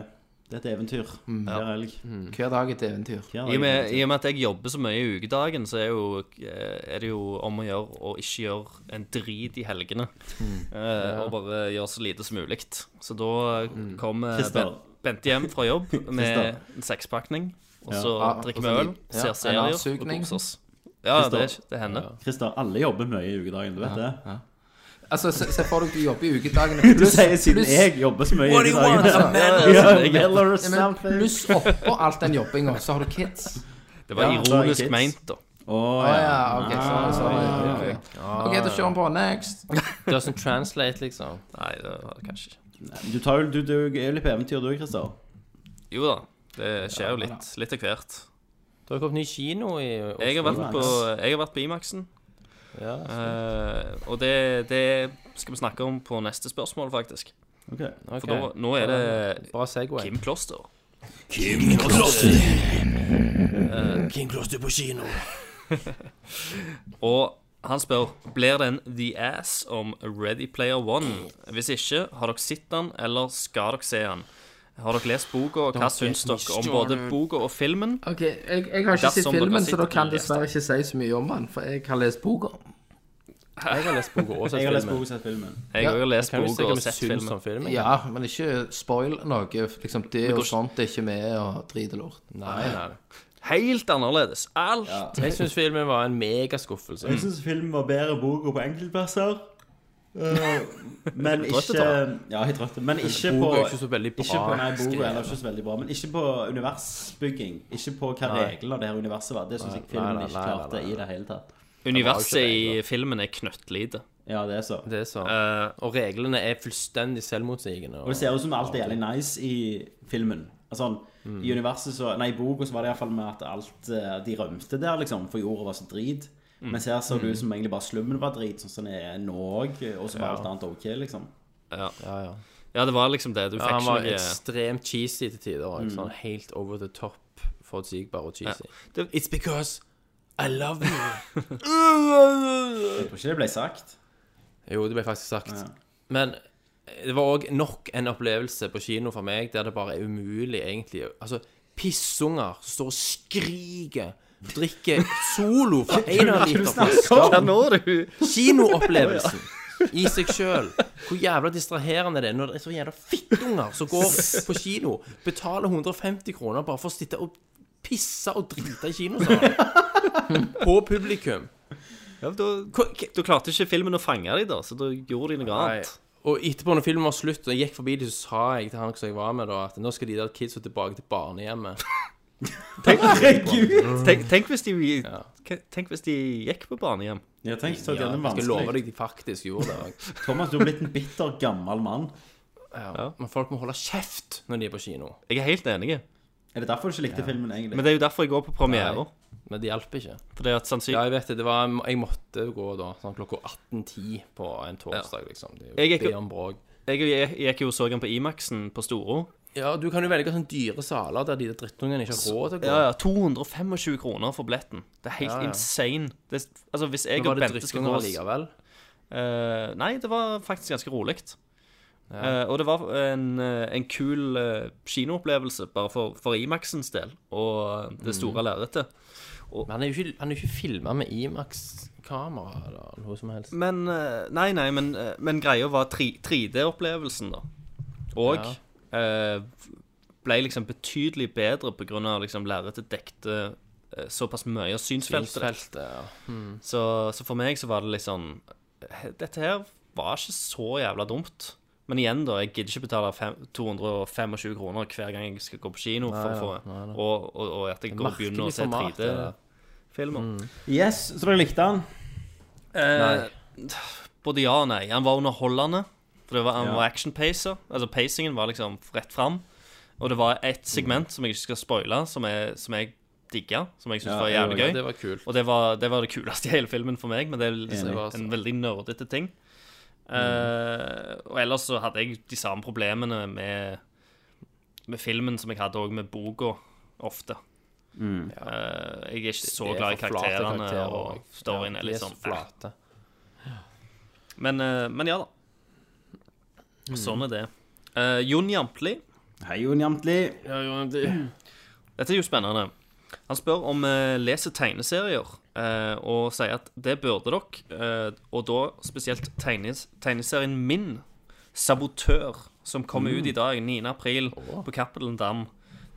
[SPEAKER 5] det er et eventyr hver helg.
[SPEAKER 8] Mm.
[SPEAKER 6] Hver dag et eventyr.
[SPEAKER 5] Hver
[SPEAKER 8] I og,
[SPEAKER 5] dag er
[SPEAKER 8] med,
[SPEAKER 5] det
[SPEAKER 8] I og med at jeg jobber så mye i ukedagen, så er, jo, eh, er det jo om å gjøre å ikke gjøre en drit i helgene. Eh, Og bare gjøre så lite som mulig. Så da kommer
[SPEAKER 5] Christer.
[SPEAKER 8] ben, Bente hjem fra jobb med en sekspakning, og
[SPEAKER 5] Ja.
[SPEAKER 8] så
[SPEAKER 6] Ja, og
[SPEAKER 8] drikker vi
[SPEAKER 6] så
[SPEAKER 8] øl,
[SPEAKER 6] litt- ja,
[SPEAKER 8] ser
[SPEAKER 6] en
[SPEAKER 8] serier og
[SPEAKER 6] avsugning.
[SPEAKER 8] koser oss. Ja,
[SPEAKER 5] Christer.
[SPEAKER 8] det er, det er henne.
[SPEAKER 5] Christer, alle jobber mye i ukedagen, du vet det?
[SPEAKER 6] Altså, se, se for deg du jobber i ukedagene.
[SPEAKER 5] Du
[SPEAKER 6] pluss-
[SPEAKER 5] sier siden
[SPEAKER 6] pluss-
[SPEAKER 5] jeg jobber så mye i
[SPEAKER 8] What do you want?
[SPEAKER 5] ukedagene.
[SPEAKER 8] A man or
[SPEAKER 5] Ja,
[SPEAKER 8] something?
[SPEAKER 5] Miller or
[SPEAKER 6] Ja, men
[SPEAKER 5] something.
[SPEAKER 6] pluss oppå alt den jobbinga, så har du kids.
[SPEAKER 8] Det var
[SPEAKER 5] Ja, så er det
[SPEAKER 8] ironisk
[SPEAKER 5] kids.
[SPEAKER 8] meint, da.
[SPEAKER 5] Å
[SPEAKER 6] Å
[SPEAKER 5] ja.
[SPEAKER 6] ja, ok, sorry, sorry. ok. Ok, da kjører vi på. Next.
[SPEAKER 9] Doesn't translate, liksom.
[SPEAKER 8] Nei, det var det kanskje ikke.
[SPEAKER 5] Du, tar, jo- du, du er jo litt på eventyr du, Christer.
[SPEAKER 8] Jo da, det skjer jo litt, litt av hvert.
[SPEAKER 9] Du har kommet ny kino i Oslo.
[SPEAKER 8] Jeg har vært på, jeg har vært på Imaxen.
[SPEAKER 9] ja.
[SPEAKER 8] Eh, og det, det skal vi snakke om på neste spørsmål, faktisk.
[SPEAKER 5] Ok.
[SPEAKER 9] ok.
[SPEAKER 8] For da, nå er det
[SPEAKER 9] Bra Segway.
[SPEAKER 8] Kim Kloster. Eh, Kim Kloster. Kim Kloster på kino. og Han spør blir det en The Ass om Ready Player One. Hvis ikke, har dere sett den, eller skal dere se den? Har dere lest boka, og hva syns dere om både boka og filmen?
[SPEAKER 6] Ok, jeg, jeg har ikke sett
[SPEAKER 8] Dersom dere
[SPEAKER 6] filmen,
[SPEAKER 8] sitter
[SPEAKER 6] så da kan
[SPEAKER 8] og
[SPEAKER 6] jeg dessverre ikke si så mye om den, for jeg har lest boka.
[SPEAKER 9] Jeg har lest boka og sett
[SPEAKER 5] Jeg har lest
[SPEAKER 9] filmen.
[SPEAKER 5] boka og sett filmen.
[SPEAKER 8] Jeg har jo lest
[SPEAKER 9] Kan du si
[SPEAKER 8] boka
[SPEAKER 9] hva
[SPEAKER 8] og
[SPEAKER 9] vi
[SPEAKER 8] sett
[SPEAKER 9] syns
[SPEAKER 8] filmen.
[SPEAKER 9] om filmen?
[SPEAKER 6] Ja, men ikke spoil noe. Liksom det og sånt er ikke med, og drit og lort.
[SPEAKER 9] Nei, nei.
[SPEAKER 8] Helt annerledes. Alt
[SPEAKER 9] Jeg syns filmen var en megaskuffelse.
[SPEAKER 5] Jeg syns filmen var bedre boka på enkeltplasser. Eh, men
[SPEAKER 8] Trøtte,
[SPEAKER 5] ikke
[SPEAKER 8] tror
[SPEAKER 5] Ja, jeg er trøtt. Men ikke
[SPEAKER 9] Boka
[SPEAKER 5] på
[SPEAKER 9] er ikke så veldig bra
[SPEAKER 5] Ikke på, nei, boka er
[SPEAKER 9] skrevet.
[SPEAKER 5] heller ikke så veldig bra, men ikke på universbygging. Ikke på hva reglene av det her universet var. Det syns jeg
[SPEAKER 9] nei,
[SPEAKER 5] filmen
[SPEAKER 9] nei,
[SPEAKER 5] ikke
[SPEAKER 9] nei,
[SPEAKER 5] klarte
[SPEAKER 9] nei, nei.
[SPEAKER 5] i det hele tatt.
[SPEAKER 8] Universet i filmen er knøttlite.
[SPEAKER 5] Ja, det er så.
[SPEAKER 9] Det er så.
[SPEAKER 8] Eh,
[SPEAKER 9] Og reglene er fullstendig selvmotsigende.
[SPEAKER 5] Og det ser ut som alt er jævlig nice i filmen. Altså, I universet så Nei, i boka så var det iallfall med at alt eh, De rømte der, liksom, for jorda var så drit. Mens her så det ut som egentlig bare slummen var drit, sånn som det er nå òg. Og så var alt annet ok, liksom.
[SPEAKER 8] ja, det var liksom det. Du
[SPEAKER 9] Ja,
[SPEAKER 8] fikk
[SPEAKER 9] han var
[SPEAKER 8] ikke noe
[SPEAKER 9] ekstremt cheesy til tider. også, Sånn helt over the top, forutsigbar og cheesy.
[SPEAKER 8] Det-
[SPEAKER 9] It's because I love you.
[SPEAKER 5] Jeg tror ikke det ble sagt.
[SPEAKER 9] jo, det ble faktisk sagt. Men eh, det var òg nok en opplevelse på kino for meg der det bare er umulig, egentlig. Altså, pissunger som står og skriker, drikker solo fra en av liter flasker.
[SPEAKER 8] Nå, du!
[SPEAKER 9] Kinoopplevelsen i seg sjøl. Hvor jævla distraherende det er når det er så jævla fittunger som går på kino, betaler 150 kroner bare for å sitte og pisse og drite i kinosalen. På publikum.
[SPEAKER 8] Ja, da, du klarte ikke filmen å fange dem, da, så da gjorde de noe annet.
[SPEAKER 9] Og etterpå, når filmen var slutt, og jeg gikk forbi dem, så sa jeg til han som jeg var med, da, at nå skal de der kidsa tilbake til barnehjemmet.
[SPEAKER 8] Tenk, tenk, hvis de, tenk hvis de gikk på barnehjem.
[SPEAKER 5] Jeg tenkte så det er
[SPEAKER 9] jeg skal love
[SPEAKER 5] vanskelig.
[SPEAKER 9] deg de faktisk gjorde det. og-
[SPEAKER 5] Thomas, du har blitt en bitter, gammel mann.
[SPEAKER 9] Ja. Men folk må holde kjeft når de er på kino.
[SPEAKER 8] Jeg er helt enig.
[SPEAKER 5] Er det derfor du ikke likte filmen, egentlig?
[SPEAKER 8] Men det er jo derfor jeg går på premiere.
[SPEAKER 9] Nei. Men det hjalp ikke.
[SPEAKER 8] Fordi at
[SPEAKER 9] Ja,
[SPEAKER 8] sannsynlig
[SPEAKER 9] jeg vet det. det var, jeg måtte gå da, sånn klokka 18.10 på en torsdag, liksom. Det er
[SPEAKER 8] Jeg
[SPEAKER 9] jo
[SPEAKER 8] gikk jo-
[SPEAKER 9] Bjørn Brog.
[SPEAKER 8] jeg, jeg gikk jo og så den på Imaxen på Storo.
[SPEAKER 9] Ja, du kan jo velge sånne dyre saler der de der drittungene ikke har råd til å gå.
[SPEAKER 8] Ja, ja, 225 kroner for billetten. Det er helt
[SPEAKER 9] Ja, ja.
[SPEAKER 8] insane. Det, altså, hvis jeg
[SPEAKER 9] Men var
[SPEAKER 8] og
[SPEAKER 9] det
[SPEAKER 8] Bente skal gå
[SPEAKER 9] drittunger
[SPEAKER 8] oss
[SPEAKER 9] likevel?
[SPEAKER 8] Eh, nei, det var faktisk ganske rolig. Eh, og det var en, eh, en kul eh, kinoopplevelse, bare for, for Imaxens del, og eh, det store lerretet.
[SPEAKER 9] Men han er jo ikke, han er jo ikke filma med Imax-kamera eller noe som helst.
[SPEAKER 8] Men eh, Nei, nei, men, eh, men greia var tri- 3D-opplevelsen, da. Og eh, ble liksom betydelig bedre på grunn av liksom lerretet dekte eh, såpass mye av synsfeltet. ditt.
[SPEAKER 9] Synsfeltet, ja. Hmm.
[SPEAKER 8] Så, så for meg så var det litt sånn Dette her var ikke så jævla dumt. Men igjen, da. Jeg gidder ikke betale fem, 225 kroner hver gang jeg skal gå på kino. for å få, Og, og, og at jeg går og begynner å
[SPEAKER 9] Merkelig
[SPEAKER 8] se
[SPEAKER 9] format. det der. Hmm.
[SPEAKER 8] 3D-filmer.
[SPEAKER 5] Yes, så dere likte han?
[SPEAKER 8] Eh, både ja og nei. Han var underholdende. For det var, han
[SPEAKER 5] Ja.
[SPEAKER 8] var action-pacer. Altså pacingen var liksom rett fram. Og det var ett
[SPEAKER 5] Mm.
[SPEAKER 8] segment som jeg ikke skal spoile, som jeg, som jeg digga. Som jeg syntes
[SPEAKER 5] Ja,
[SPEAKER 8] var
[SPEAKER 5] jeg
[SPEAKER 8] jævlig
[SPEAKER 5] også.
[SPEAKER 8] gøy.
[SPEAKER 9] Ja, det var kult.
[SPEAKER 8] Og det var, det var det kuleste i hele filmen for meg, men det er liksom
[SPEAKER 9] Enig.
[SPEAKER 8] en veldig nerdete ting.
[SPEAKER 5] Mm.
[SPEAKER 8] Eh, og ellers så hadde jeg de samme problemene med, med filmen som jeg hadde også med boka, ofte.
[SPEAKER 5] Mm.
[SPEAKER 8] Eh, jeg er ikke så
[SPEAKER 9] Det er
[SPEAKER 8] glad i
[SPEAKER 9] for flate
[SPEAKER 8] karakterene,
[SPEAKER 9] karakterer, og-
[SPEAKER 8] og storyen
[SPEAKER 9] ja,
[SPEAKER 8] er
[SPEAKER 9] de
[SPEAKER 8] litt sånn
[SPEAKER 9] så flate.
[SPEAKER 8] eh. Men, eh, men ja da.
[SPEAKER 9] Mm.
[SPEAKER 8] Sånn er det. Eh, Jon Jantli.
[SPEAKER 5] Hei, Jon Jamtli.
[SPEAKER 8] Dette er jo spennende. Han spør om vi leser tegneserier, eh, og sier at det burde dere, eh, og da spesielt tegnes, tegneserien min, Sabotør, som kommer ut i
[SPEAKER 5] Mm.
[SPEAKER 8] dag, 9. april, på Cappelen Dam.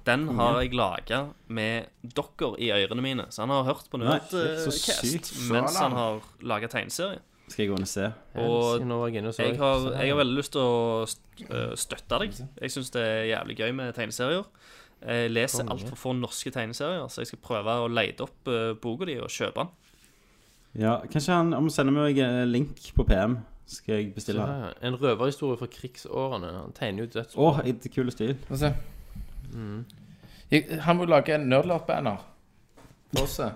[SPEAKER 8] Den har jeg laga med dere i ørene mine. Så han har hørt på
[SPEAKER 5] Nei, så
[SPEAKER 8] Nerdcast
[SPEAKER 5] sykt.
[SPEAKER 8] mens han har laga tegneserie.
[SPEAKER 5] Skal jeg gå inn og se?
[SPEAKER 8] Og
[SPEAKER 9] Nå var jeg inne og sånn. så.
[SPEAKER 8] jeg har, jeg har veldig lyst til å st- øh, støtte deg. Jeg syns det er jævlig gøy med tegneserier. Jeg leser altfor få norske tegneserier, så jeg skal prøve å leite opp uh, boka di og kjøpe den.
[SPEAKER 5] Ja, kanskje han om å sende meg eh, link på PM. Skal jeg bestille
[SPEAKER 9] Ja,
[SPEAKER 5] den?
[SPEAKER 9] ja. En røverhistorie fra krigsårene. Han tegner jo dødsbra.
[SPEAKER 5] Å, i det kule stil.
[SPEAKER 6] Få se. Jeg- Han må lage en nerdlert-banner. Få se.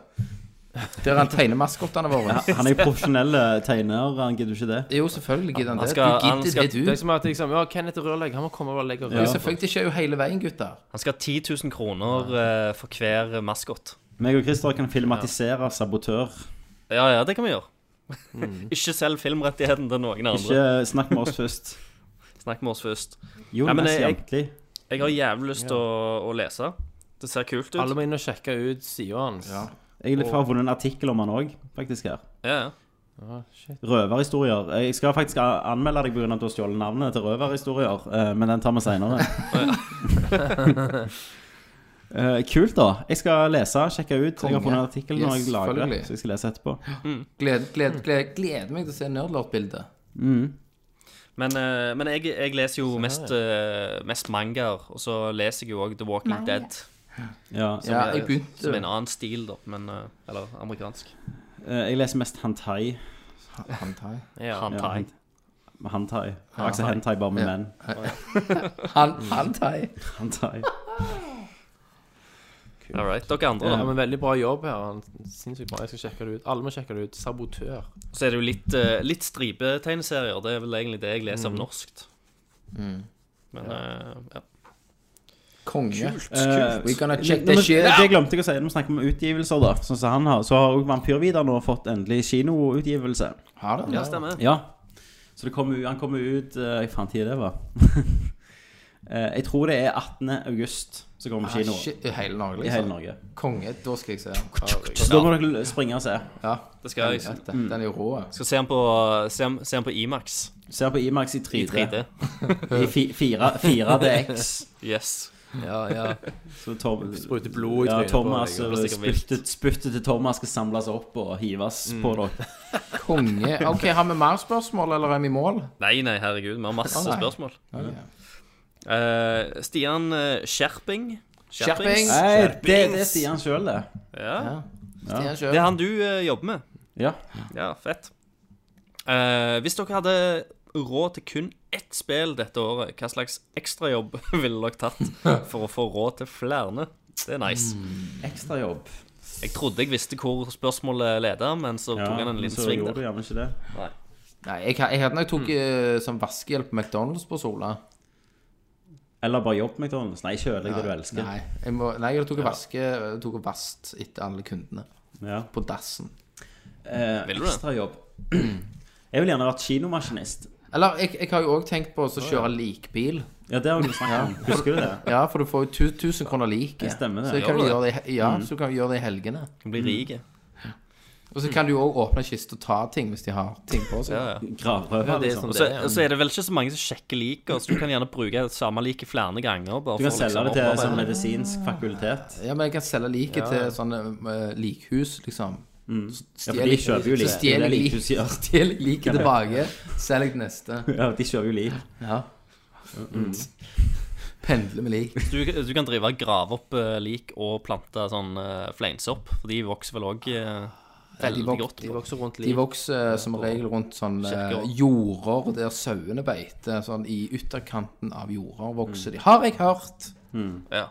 [SPEAKER 6] Der han tegner maskottene våre.
[SPEAKER 5] Han er jo profesjonell eh, tegner, han gidder jo ikke det.
[SPEAKER 6] Jo, selvfølgelig gidder han det.
[SPEAKER 8] skal-
[SPEAKER 6] du
[SPEAKER 8] han
[SPEAKER 6] gidder
[SPEAKER 8] skal-
[SPEAKER 6] det, du.
[SPEAKER 9] Det er som at liksom, ja, Kenneth Rørlegg han må komme og bare legge
[SPEAKER 6] Jo,
[SPEAKER 9] rør.
[SPEAKER 6] selvfølgelig skjer jo hele veien, gutter.
[SPEAKER 8] Han skal ha 10 000 kroner øh, for hver maskot.
[SPEAKER 5] Meg og Christer kan filmatisere Sabotør.
[SPEAKER 8] Ja, ja, det kan vi gjøre. Ikke selg filmrettigheten til noen
[SPEAKER 5] Ikke
[SPEAKER 8] andre.
[SPEAKER 5] eh, snakk med oss først.
[SPEAKER 8] Snakk med oss først. men
[SPEAKER 5] Jonas
[SPEAKER 8] jeg-
[SPEAKER 5] Jantli.
[SPEAKER 8] Jeg har jævlig lyst til å, å lese. Det ser kult ut.
[SPEAKER 9] Alle må inn og sjekke ut sida hans.
[SPEAKER 5] Jeg har litt funnet en artikkel om han òg, faktisk, her.
[SPEAKER 8] Ja, ja.
[SPEAKER 5] Røverhistorier. Jeg skal faktisk a- anmelde deg pga. at du har stjålet navnet til Røverhistorier, eh, men den tar vi seinere. Eh, Kult, da. Jeg skal lese, sjekke ut. Jeg har
[SPEAKER 6] Konge.
[SPEAKER 5] funnet en artikkel når
[SPEAKER 6] Yes,
[SPEAKER 5] jeg lager det,
[SPEAKER 6] selvfølgelig.
[SPEAKER 5] så jeg skal lese etterpå.
[SPEAKER 6] Gleder gled, gled, gleder meg til å se Nerdlord-bildet.
[SPEAKER 5] Mm.
[SPEAKER 8] Men, eh, men jeg, jeg leser jo mest, eh, mest mangaer, og så leser jeg jo òg The Walking
[SPEAKER 4] Manga.
[SPEAKER 8] Dead.
[SPEAKER 5] Ja,
[SPEAKER 8] Som,
[SPEAKER 6] Ja, jeg
[SPEAKER 8] er-
[SPEAKER 6] begynte-
[SPEAKER 8] som er en annen stil, da. Men, eh, eller amerikansk.
[SPEAKER 5] eh, Jeg leser mest Hantai.
[SPEAKER 6] Hentai.
[SPEAKER 5] Ja,
[SPEAKER 8] Hantai.
[SPEAKER 5] han- Hantai. Altså Hentai bare
[SPEAKER 6] Ja.
[SPEAKER 5] med menn.
[SPEAKER 6] Han, hentai.
[SPEAKER 5] Hantai.
[SPEAKER 8] All right. Dere andre,
[SPEAKER 9] Ja,
[SPEAKER 8] da.
[SPEAKER 9] men Veldig bra jobb her. Han, sinnssykt bra. Jeg skal sjekke det ut. Alle må sjekke det ut. Sabotør.
[SPEAKER 8] Så er det jo litt, eh, litt stripetegneserier. Det er vel egentlig det jeg leser om norskt. Men eh, ja.
[SPEAKER 6] Konge.
[SPEAKER 5] Eh,
[SPEAKER 6] We gonna check
[SPEAKER 5] Nå,
[SPEAKER 6] the
[SPEAKER 5] men,
[SPEAKER 6] shit.
[SPEAKER 5] Det glemte jeg å si når vi snakker om utgivelser, da. Sånn som han har. Så har òg Vampyr-Vidar nå fått endelig kinoutgivelse.
[SPEAKER 6] Har det?
[SPEAKER 8] ja, stemmer.
[SPEAKER 5] Ja. Så det kommer, han kommer ut eh, Jeg fant tid det var. Eh, jeg tror det er 18. august som kommer kino
[SPEAKER 6] Ah, Shit, I hele Norge,
[SPEAKER 5] Ah, i hele
[SPEAKER 6] liksom.
[SPEAKER 5] Norge.
[SPEAKER 6] Konge. Da skal jeg se. den.
[SPEAKER 5] Så da må dere springe og se.
[SPEAKER 6] Ja,
[SPEAKER 8] Det skal jeg
[SPEAKER 6] dette. Den er jo rå. altså.
[SPEAKER 8] skal se den på, se den- se den på Imax
[SPEAKER 5] Se på Imax i 3D.
[SPEAKER 8] i 3D.
[SPEAKER 5] I fi- fire- 4DX.
[SPEAKER 8] Yes.
[SPEAKER 9] Ja, ja.
[SPEAKER 5] Så Tom,
[SPEAKER 9] Sprute blod i
[SPEAKER 5] ja,
[SPEAKER 9] trynet
[SPEAKER 5] Thomas,
[SPEAKER 9] på deg.
[SPEAKER 8] og
[SPEAKER 5] eh,
[SPEAKER 8] det er sikkert vilt.
[SPEAKER 5] spyttet, spyttet til Thomas skal samles opp og hives
[SPEAKER 9] Mm.
[SPEAKER 5] på dere.
[SPEAKER 6] Konge. Ok, Har vi mer spørsmål, eller er vi i mål?
[SPEAKER 8] Nei, nei, herregud. Vi har masse
[SPEAKER 6] Å, nei.
[SPEAKER 8] spørsmål.
[SPEAKER 6] Ok.
[SPEAKER 8] Eh, Stian eh, Skjerping.
[SPEAKER 6] Skjerping!
[SPEAKER 8] Skjerpings.
[SPEAKER 5] Nei, det, det sier han sjøl, det.
[SPEAKER 8] Ja.
[SPEAKER 6] Stian
[SPEAKER 8] Det er
[SPEAKER 6] Kjøp.
[SPEAKER 8] han du eh, jobber med.
[SPEAKER 5] Ja.
[SPEAKER 8] Ja, fett. Eh, hvis dere hadde råd til kun ett spill dette året, hva slags ekstrajobb ville dere tatt for å få råd til flere? Det er nice.
[SPEAKER 5] Mm. Ekstrajobb.
[SPEAKER 8] Jeg trodde jeg visste hvor spørsmålet leda, men så tok han en
[SPEAKER 5] men
[SPEAKER 8] liten
[SPEAKER 5] så
[SPEAKER 8] sving
[SPEAKER 5] gjorde du
[SPEAKER 8] der.
[SPEAKER 5] gjerne ikke det.
[SPEAKER 6] Nei, jeg, jeg hadde nok tok eh, som vaskehjelp på McDonald's på Sola.
[SPEAKER 5] Eller bare jobb på McDonald's. Nei, kjøl deg det du elsker.
[SPEAKER 6] Nei, jeg, må, nei, jeg tok og vaske eh, Tok og vast etter alle kundene
[SPEAKER 5] Ja.
[SPEAKER 6] På dassen
[SPEAKER 5] Eh,
[SPEAKER 8] Vil du det?
[SPEAKER 5] Ekstrajobb. Jeg vil gjerne vært kinomaskinist.
[SPEAKER 6] Eller, jeg, jeg har jo også tenkt på å så kjøre likbil
[SPEAKER 5] Ja, det har vi snakket om. Husker du det?
[SPEAKER 6] Ja, for du får jo tu- 1000 kroner like
[SPEAKER 5] Det stemmer det. Mm.
[SPEAKER 6] Så kan
[SPEAKER 8] Gjør
[SPEAKER 6] du
[SPEAKER 8] det?
[SPEAKER 6] gjøre det, i he- ja, så kan du gjøre det i helgene
[SPEAKER 8] Kan bli rik.
[SPEAKER 6] Og
[SPEAKER 5] Mm.
[SPEAKER 6] så kan du jo også åpne kist og ta ting Hvis de har ting på seg
[SPEAKER 8] Ja, ja.
[SPEAKER 5] Gravrøver, liksom.
[SPEAKER 8] Og så og så er sånn det vel ikke så mange som sjekker liket, så du kan gjerne bruke det samme liket flere ganger. Bare
[SPEAKER 5] Du kan
[SPEAKER 8] for å
[SPEAKER 5] selge
[SPEAKER 8] liksom
[SPEAKER 5] det til
[SPEAKER 8] opparbeide
[SPEAKER 5] som medisinsk fakultet.
[SPEAKER 6] Ja, men jeg kan selge like til sånne eh, likhus, liksom. Så
[SPEAKER 5] Mm. Ja, for de
[SPEAKER 6] stjeler-
[SPEAKER 5] kjøper jo like.
[SPEAKER 6] Så stjeler
[SPEAKER 5] Det
[SPEAKER 6] jeg
[SPEAKER 5] er likhus, ja.
[SPEAKER 6] like, stjeler jeg like tilbake, selger jeg til neste.
[SPEAKER 5] Ja, de kjører jo lik.
[SPEAKER 6] Ja.
[SPEAKER 5] Mm.
[SPEAKER 6] Pendler med lik.
[SPEAKER 8] Du, du kan drive og grave opp eh, lik og plante sånn eh, fleinsopp, for de vokser vel òg
[SPEAKER 6] de
[SPEAKER 8] veldig
[SPEAKER 6] vok-
[SPEAKER 8] godt.
[SPEAKER 9] De vokser rundt
[SPEAKER 6] De
[SPEAKER 9] liv.
[SPEAKER 6] vokser eh, som regel rundt sånn eh,
[SPEAKER 8] Kirker.
[SPEAKER 6] jorder der sauene beiter. Sånn i ytterkanten av jorder vokser de. Har jeg hørt!
[SPEAKER 8] Ja.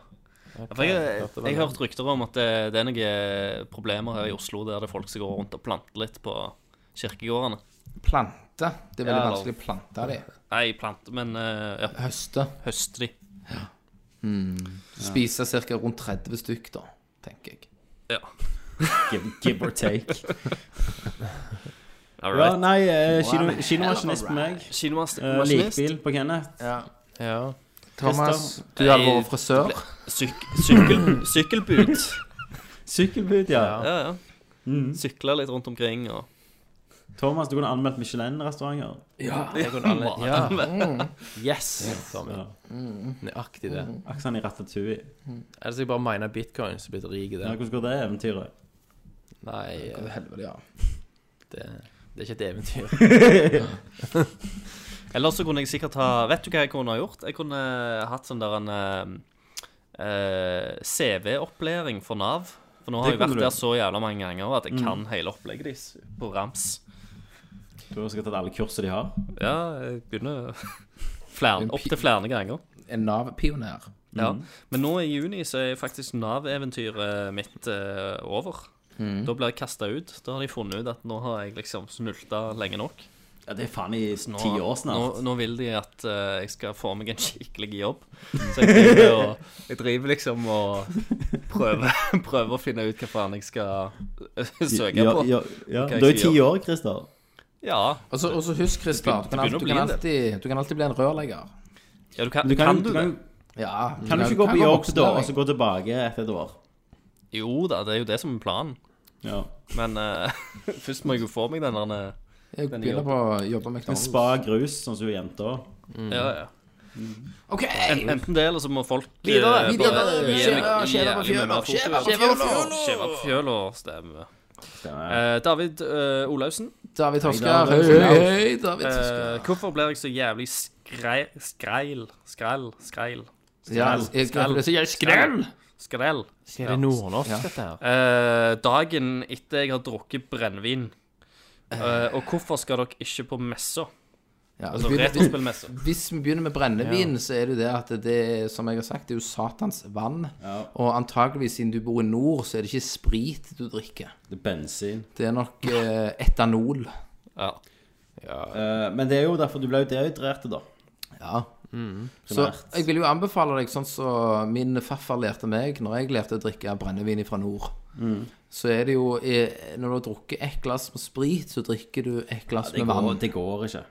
[SPEAKER 8] Ja, for jeg, jeg, jeg har hørt rykter om at det, det er noen eh, problemer her i Oslo der det er folk som går rundt og planter litt på kirkegårdene.
[SPEAKER 6] Plante. Det er veldig
[SPEAKER 8] Ja,
[SPEAKER 6] vanskelig å plante de.
[SPEAKER 8] Nei, plante, men eh, ja,
[SPEAKER 6] Høste.
[SPEAKER 8] høste de.
[SPEAKER 6] Spise ca. rundt 30 stykk, da, tenker jeg.
[SPEAKER 8] Ja.
[SPEAKER 5] Give, give or take.
[SPEAKER 8] All
[SPEAKER 5] Ja,
[SPEAKER 8] right.
[SPEAKER 5] nei, eh, kino, kinomaskinist på meg.
[SPEAKER 8] Kinomas-
[SPEAKER 5] Eh,
[SPEAKER 8] maskinist.
[SPEAKER 5] Likbil på Kenneth.
[SPEAKER 9] Ja.
[SPEAKER 6] Thomas, du hadde
[SPEAKER 8] Nei,
[SPEAKER 6] vært frisør.
[SPEAKER 8] Syk, sykkel, sykkelbud.
[SPEAKER 5] Sykkelbud, ja. Mm.
[SPEAKER 8] Ja, ja. Sykle litt rundt omkring og
[SPEAKER 5] Thomas, du kunne anmeldt Michelin-restauranter.
[SPEAKER 9] Jeg kunne alle, ja. Yes!
[SPEAKER 5] Ja.
[SPEAKER 9] Tommy. Nøyaktig det.
[SPEAKER 5] Aksan i Ratatouille.
[SPEAKER 9] Ellers jeg bare miner bitcoins og blitt rik i
[SPEAKER 5] Ja,
[SPEAKER 9] det.
[SPEAKER 5] hvordan går det eventyret?
[SPEAKER 9] Nei, eh,
[SPEAKER 6] Helvete, ja.
[SPEAKER 9] det, det er ikke et eventyr.
[SPEAKER 8] Ellers så kunne jeg sikkert ha Vet du hva jeg kunne ha gjort? Jeg kunne eh, hatt sånn der en eh, eh, CV-opplæring for Nav. For nå har
[SPEAKER 5] Det
[SPEAKER 8] jeg vært
[SPEAKER 5] kunne du.
[SPEAKER 8] der så jævla mange ganger at jeg kan hele opplegget deres på rams.
[SPEAKER 5] Du har sikkert tatt alle kursene de har.
[SPEAKER 8] Ja, jeg begynner flere, opp til flere ganger.
[SPEAKER 6] En Nav-pioner.
[SPEAKER 8] Ja. Men nå i juni så er faktisk Nav-eventyret mitt eh, over. Da blir jeg kasta ut. Da har de funnet ut at nå har jeg liksom snulta lenge nok.
[SPEAKER 5] Ja, det er faen i
[SPEAKER 8] Nå,
[SPEAKER 5] ti år snart.
[SPEAKER 8] Nå, nå vil de at eh, jeg skal få meg en skikkelig jobb. Så jeg driver, og, jeg driver liksom og prøver, prøver å finne ut hva faen jeg skal eh, søke
[SPEAKER 5] ja,
[SPEAKER 8] på.
[SPEAKER 5] ja, ja.
[SPEAKER 8] Hva jeg
[SPEAKER 5] Du er
[SPEAKER 8] skal
[SPEAKER 5] ti
[SPEAKER 8] gjøre.
[SPEAKER 5] år, Christer.
[SPEAKER 8] Ja.
[SPEAKER 6] Og så og så husk, Christer, du, kan
[SPEAKER 8] begynner
[SPEAKER 6] alt-
[SPEAKER 8] å
[SPEAKER 6] du,
[SPEAKER 8] bli
[SPEAKER 6] kan
[SPEAKER 8] en del.
[SPEAKER 6] alltid- du kan alltid bli en rørlegger.
[SPEAKER 8] ja du kan,
[SPEAKER 5] Du kan,
[SPEAKER 8] kan du
[SPEAKER 5] du kan,
[SPEAKER 8] det?
[SPEAKER 6] Ja,
[SPEAKER 5] kan du ikke gå på jobb da, og så
[SPEAKER 6] voksenlærling.
[SPEAKER 5] gå tilbake etter et år?
[SPEAKER 8] Jo da, det er jo det som er planen.
[SPEAKER 5] Ja.
[SPEAKER 8] Men eh, først må jeg jo få meg den der eh,
[SPEAKER 6] Jeg begynner på å jobbe med McDonald's.
[SPEAKER 5] Spa grus, sånn som hun jenta.
[SPEAKER 8] ja, ja.
[SPEAKER 6] OK!
[SPEAKER 8] En, enten det, eller så må folk eh,
[SPEAKER 6] Videre,
[SPEAKER 8] bare
[SPEAKER 6] videre,
[SPEAKER 8] gi
[SPEAKER 6] skjeva,
[SPEAKER 8] meg
[SPEAKER 6] skjeva på
[SPEAKER 8] jævlig
[SPEAKER 6] fjøla,
[SPEAKER 8] mye mer fokus.
[SPEAKER 6] skjeva på fjøla.
[SPEAKER 8] Skjeva på fjøla, stemmer.
[SPEAKER 5] Stemmer.
[SPEAKER 8] Eh, David eh, Olaussen,
[SPEAKER 6] David
[SPEAKER 5] Nei,
[SPEAKER 6] Toskar.
[SPEAKER 5] da er
[SPEAKER 6] Høy,
[SPEAKER 5] det
[SPEAKER 6] høy, høy, David
[SPEAKER 8] eh,
[SPEAKER 6] Toskar.
[SPEAKER 8] hvorfor blir jeg så jævlig skrei, skreil Skreil? Skreil?
[SPEAKER 6] Ja, jeg-
[SPEAKER 8] skrell.
[SPEAKER 6] jeg- jeg- Skrell!
[SPEAKER 8] Skrell.
[SPEAKER 9] Er det nordnorsk, dette her?
[SPEAKER 8] Eh, dagen etter jeg har drukket brennevin. Eh, og hvorfor skal dere ikke på messa?
[SPEAKER 6] Ja,
[SPEAKER 8] Altså
[SPEAKER 6] vi- vi-
[SPEAKER 8] retrospillmessa.
[SPEAKER 6] Hvis vi begynner med brennevin, så er det jo det at det er, som jeg har sagt, det er jo satans vann. Og antageligvis siden du bor i nord, så er det ikke sprit du drikker.
[SPEAKER 5] Det er bensin.
[SPEAKER 6] Det er nok eh, etanol.
[SPEAKER 8] Ja.
[SPEAKER 5] Eh, men det er jo derfor du ble jo dehydrert, da.
[SPEAKER 6] Ja. Så
[SPEAKER 5] Primært.
[SPEAKER 6] jeg vil jo anbefale deg sånn som min farfar lærte meg når jeg lærte å drikke brennevin fra nord.
[SPEAKER 5] Mm.
[SPEAKER 6] Så er det jo eh, Når du har drukket ett glass med sprit, så drikker du ett glass
[SPEAKER 5] Det
[SPEAKER 6] med
[SPEAKER 5] går,
[SPEAKER 6] vann.
[SPEAKER 5] det går ikke.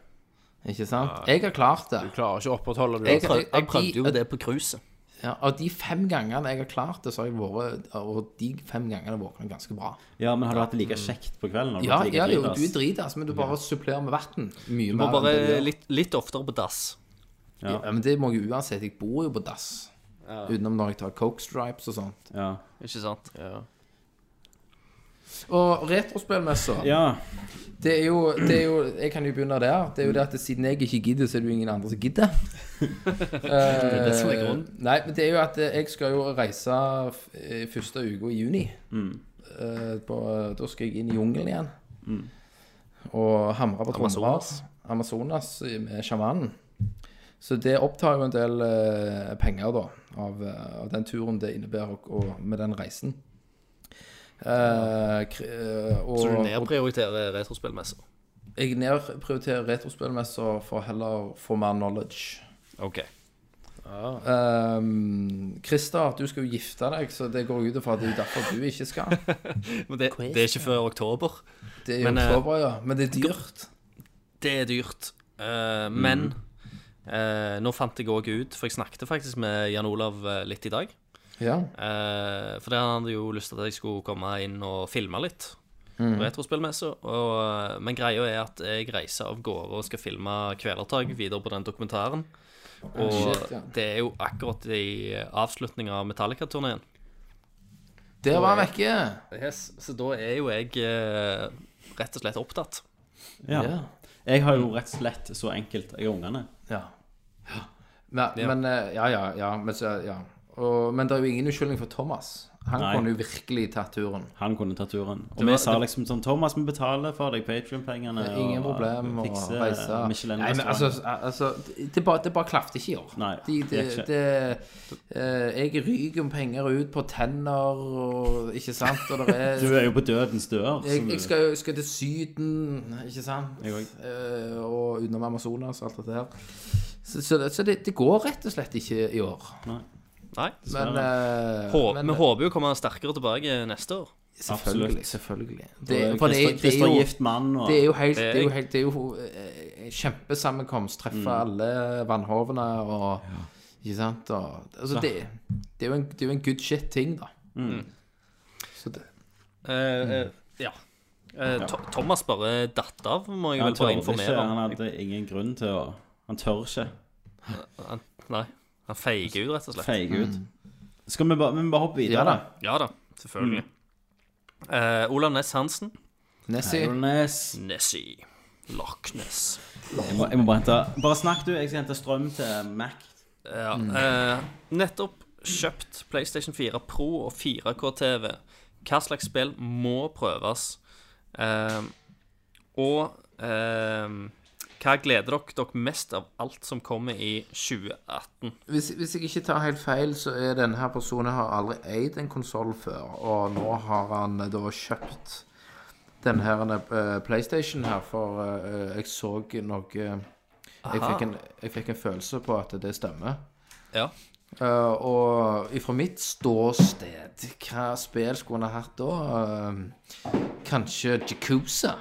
[SPEAKER 6] Ikke sant? Jeg har klart det.
[SPEAKER 9] Klarer ikke å opprettholde det.
[SPEAKER 6] Jeg, jeg,
[SPEAKER 8] Jeg prøvde jo
[SPEAKER 6] de-
[SPEAKER 8] det på cruiset.
[SPEAKER 6] Ja, av de fem gangene jeg har klart det, så har jeg vært Og de fem gangene våkna ganske bra.
[SPEAKER 5] Ja, men har du hatt det like kjekt på kvelden? Har du
[SPEAKER 6] Ja,
[SPEAKER 5] hatt det like
[SPEAKER 6] ja jo,
[SPEAKER 5] dritas?
[SPEAKER 6] du er dritass, men du bare supplerer med vann. Mye mer.
[SPEAKER 8] Må
[SPEAKER 6] enn det du
[SPEAKER 8] bare
[SPEAKER 6] gjør.
[SPEAKER 8] litt, litt oftere på dass.
[SPEAKER 6] ja. men det må jeg jo uansett. Jeg bor jo på dass. Utenom når jeg tar Coke Stripes og sånt.
[SPEAKER 5] Ja.
[SPEAKER 8] Ikke sant?
[SPEAKER 6] Og retrospillmessa,
[SPEAKER 5] ja.
[SPEAKER 6] det, er jo- det er jo Jeg kan jo begynne der. Det er jo det at siden jeg ikke gidder, så er det jo ingen andre som gidder. det er det som er grunnen. Nei, men det er jo at eh, jeg skal jo reise f- eh, første uka i juni. Eh, på, da skal jeg inn i jungelen igjen. Og hamre på trommer. Mm. Amazonas med sjamanen. Så det opptar jo en del eh, penger, da, av, eh, av den turen det innebærer, og, og med den reisen. Eh, kr- eh, og,
[SPEAKER 8] Så du
[SPEAKER 6] og
[SPEAKER 8] nedprioriterer retrospillmessa.
[SPEAKER 6] jeg nedprioriterer retrospillmesser for heller for mer knowledge.
[SPEAKER 8] OK.
[SPEAKER 6] Um, Christer, du skal jo gifte deg, så det går ut ifra at det er derfor du ikke skal.
[SPEAKER 8] Men det, det er ikke før oktober.
[SPEAKER 6] Det er jo
[SPEAKER 8] Men, eh,
[SPEAKER 6] oktober, ja. Men det er dyrt.
[SPEAKER 8] Det er dyrt. Eh, men eh, nå fant jeg òg ut, for jeg snakket faktisk med Jan Olav eh, litt i dag.
[SPEAKER 6] Ja.
[SPEAKER 8] Eh, for det hadde jo lyst til at jeg skulle komme inn og filme litt.
[SPEAKER 6] Mm.
[SPEAKER 8] på Retrospillmesse. Og, eh, men greia er at jeg reiser av gårde og skal filme Kvelertak videre på den dokumentaren. Og
[SPEAKER 6] shit, ja.
[SPEAKER 8] det er jo akkurat i avslutninga av Metallica-turneen.
[SPEAKER 6] Der var han vekke.
[SPEAKER 8] Så da er jo jeg eh, rett og slett opptatt.
[SPEAKER 5] ja. Jeg har jo rett og slett så enkelt Jeg har ungene.
[SPEAKER 6] Ja. Men, men eh, ja, ja, ja. Men, så, ja. Og, men det er jo ingen unnskyldning for Thomas. Han
[SPEAKER 5] Nei.
[SPEAKER 6] kunne jo virkelig tatt turen.
[SPEAKER 5] Han kunne ta turen. Og vi sa liksom sånn Thomas, vi betaler for deg Patrion-pengene.
[SPEAKER 6] Ingen problem å reise. eh, Nei, men altså, altså det, det bare, det bare klafte ikke i år.
[SPEAKER 5] eh, Nei,
[SPEAKER 6] de, det,
[SPEAKER 5] det gikk ikke.
[SPEAKER 6] det, eh, jeg ryker om penger ut på tenner og Ikke sant? Og det er
[SPEAKER 5] Du er jo på dødens dør.
[SPEAKER 6] Jeg,
[SPEAKER 5] så du-
[SPEAKER 6] jeg, skal, jeg skal til Syden, ikke sant?
[SPEAKER 5] Jeg òg.
[SPEAKER 6] Eh, og utenom Amazonas og alt dette her. Så, så, det, så det, det går rett og slett ikke i år.
[SPEAKER 8] Nei.
[SPEAKER 6] Men, eh,
[SPEAKER 8] Hå-
[SPEAKER 6] men-
[SPEAKER 8] vi håper jo å komme sterkere tilbake neste år.
[SPEAKER 6] Selvfølgelig.
[SPEAKER 5] Absolutt.
[SPEAKER 6] selvfølgelig.
[SPEAKER 5] Det,
[SPEAKER 6] Det, for det,
[SPEAKER 5] Christer,
[SPEAKER 6] det, er
[SPEAKER 5] Christer er
[SPEAKER 6] jo,
[SPEAKER 5] gift mann og
[SPEAKER 6] det er jo helt Det er Mm. jo,
[SPEAKER 8] jeg-
[SPEAKER 6] helt, det er jo eh, en kjempesammenkomst. Treffe alle vannhovene og Ikke sant? Og, altså, det, det, er jo en, det er jo en good shit-ting, da. Så det,
[SPEAKER 8] Eh,
[SPEAKER 5] Mm.
[SPEAKER 8] eh, ja. Eh, To Thomas bare datt av, må jeg
[SPEAKER 5] Han
[SPEAKER 8] vel
[SPEAKER 5] tør
[SPEAKER 8] bare
[SPEAKER 5] ikke.
[SPEAKER 8] informere om.
[SPEAKER 5] Han hadde ingen grunn til å Han tør ikke.
[SPEAKER 8] Han, nei, han feiger ut, rett og slett.
[SPEAKER 5] Feige
[SPEAKER 6] Mm.
[SPEAKER 5] ut. Skal vi bare, vi må bare hoppe videre?
[SPEAKER 6] ja da.
[SPEAKER 8] Ja da, selvfølgelig.
[SPEAKER 5] Mm.
[SPEAKER 8] Eh, Olav Næss Hansen.
[SPEAKER 6] Nessie.
[SPEAKER 5] Jonas.
[SPEAKER 8] Nessie. Loch Ness.
[SPEAKER 5] Jeg må, jeg må bare hente Bare snakk, du. Jeg skal hente strøm til Mac.
[SPEAKER 8] Ja.
[SPEAKER 5] Mm.
[SPEAKER 8] Eh, nettopp kjøpt PlayStation 4 Pro og 4K-TV. Hva slags spill må prøves? Eh, og eh, hva gleder dere dere mest av alt som kommer i 2018?
[SPEAKER 6] hvis, hvis jeg ikke tar helt feil, så er denne her personen har aldri eid en konsoll før, og nå har han da eh, kjøpt den her eh, PlayStation her, for eh, jeg så noe jeg fikk, en, jeg fikk en følelse på at det stemmer.
[SPEAKER 8] Ja.
[SPEAKER 6] Eh, og ifra mitt ståsted, hva spill skulle han ha hatt da? Eh, kanskje Jacuzza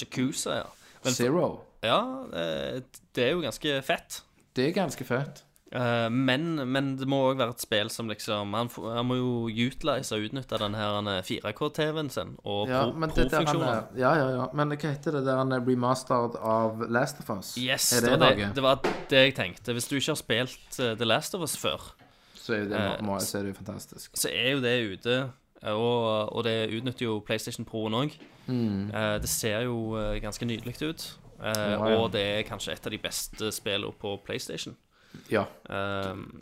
[SPEAKER 8] Jacuzza, ja. Men-
[SPEAKER 6] Zero.
[SPEAKER 8] Ja, eh, det er jo ganske fett.
[SPEAKER 6] Det er ganske fett.
[SPEAKER 8] Eh, Men, men det må òg være et spill som liksom Han, får- han må jo utleise og utnytte den her eh, 4K-TV-en sin og
[SPEAKER 6] Ja,
[SPEAKER 8] pro-
[SPEAKER 6] men det der han eh,
[SPEAKER 8] pro-funksjonen.
[SPEAKER 6] er, ja, ja, ja. Men hva heter det der han er remastered av Last of Us?
[SPEAKER 8] Yes,
[SPEAKER 6] er
[SPEAKER 8] det,
[SPEAKER 6] det,
[SPEAKER 8] var
[SPEAKER 6] noe?
[SPEAKER 8] det, det var det jeg tenkte. Hvis du ikke har spilt eh, The Last of Us før,
[SPEAKER 6] så er jo det,
[SPEAKER 8] eh,
[SPEAKER 6] må, så er det jo fantastisk.
[SPEAKER 8] så er jo det ute. eh, Og, og det utnytter jo PlayStation Pro-en òg.
[SPEAKER 6] Mm.
[SPEAKER 8] Det ser jo eh, ganske nydelig ut. eh,
[SPEAKER 6] ja.
[SPEAKER 8] Og det er kanskje et av de beste spillene på PlayStation.
[SPEAKER 6] Ja.
[SPEAKER 8] Ehm,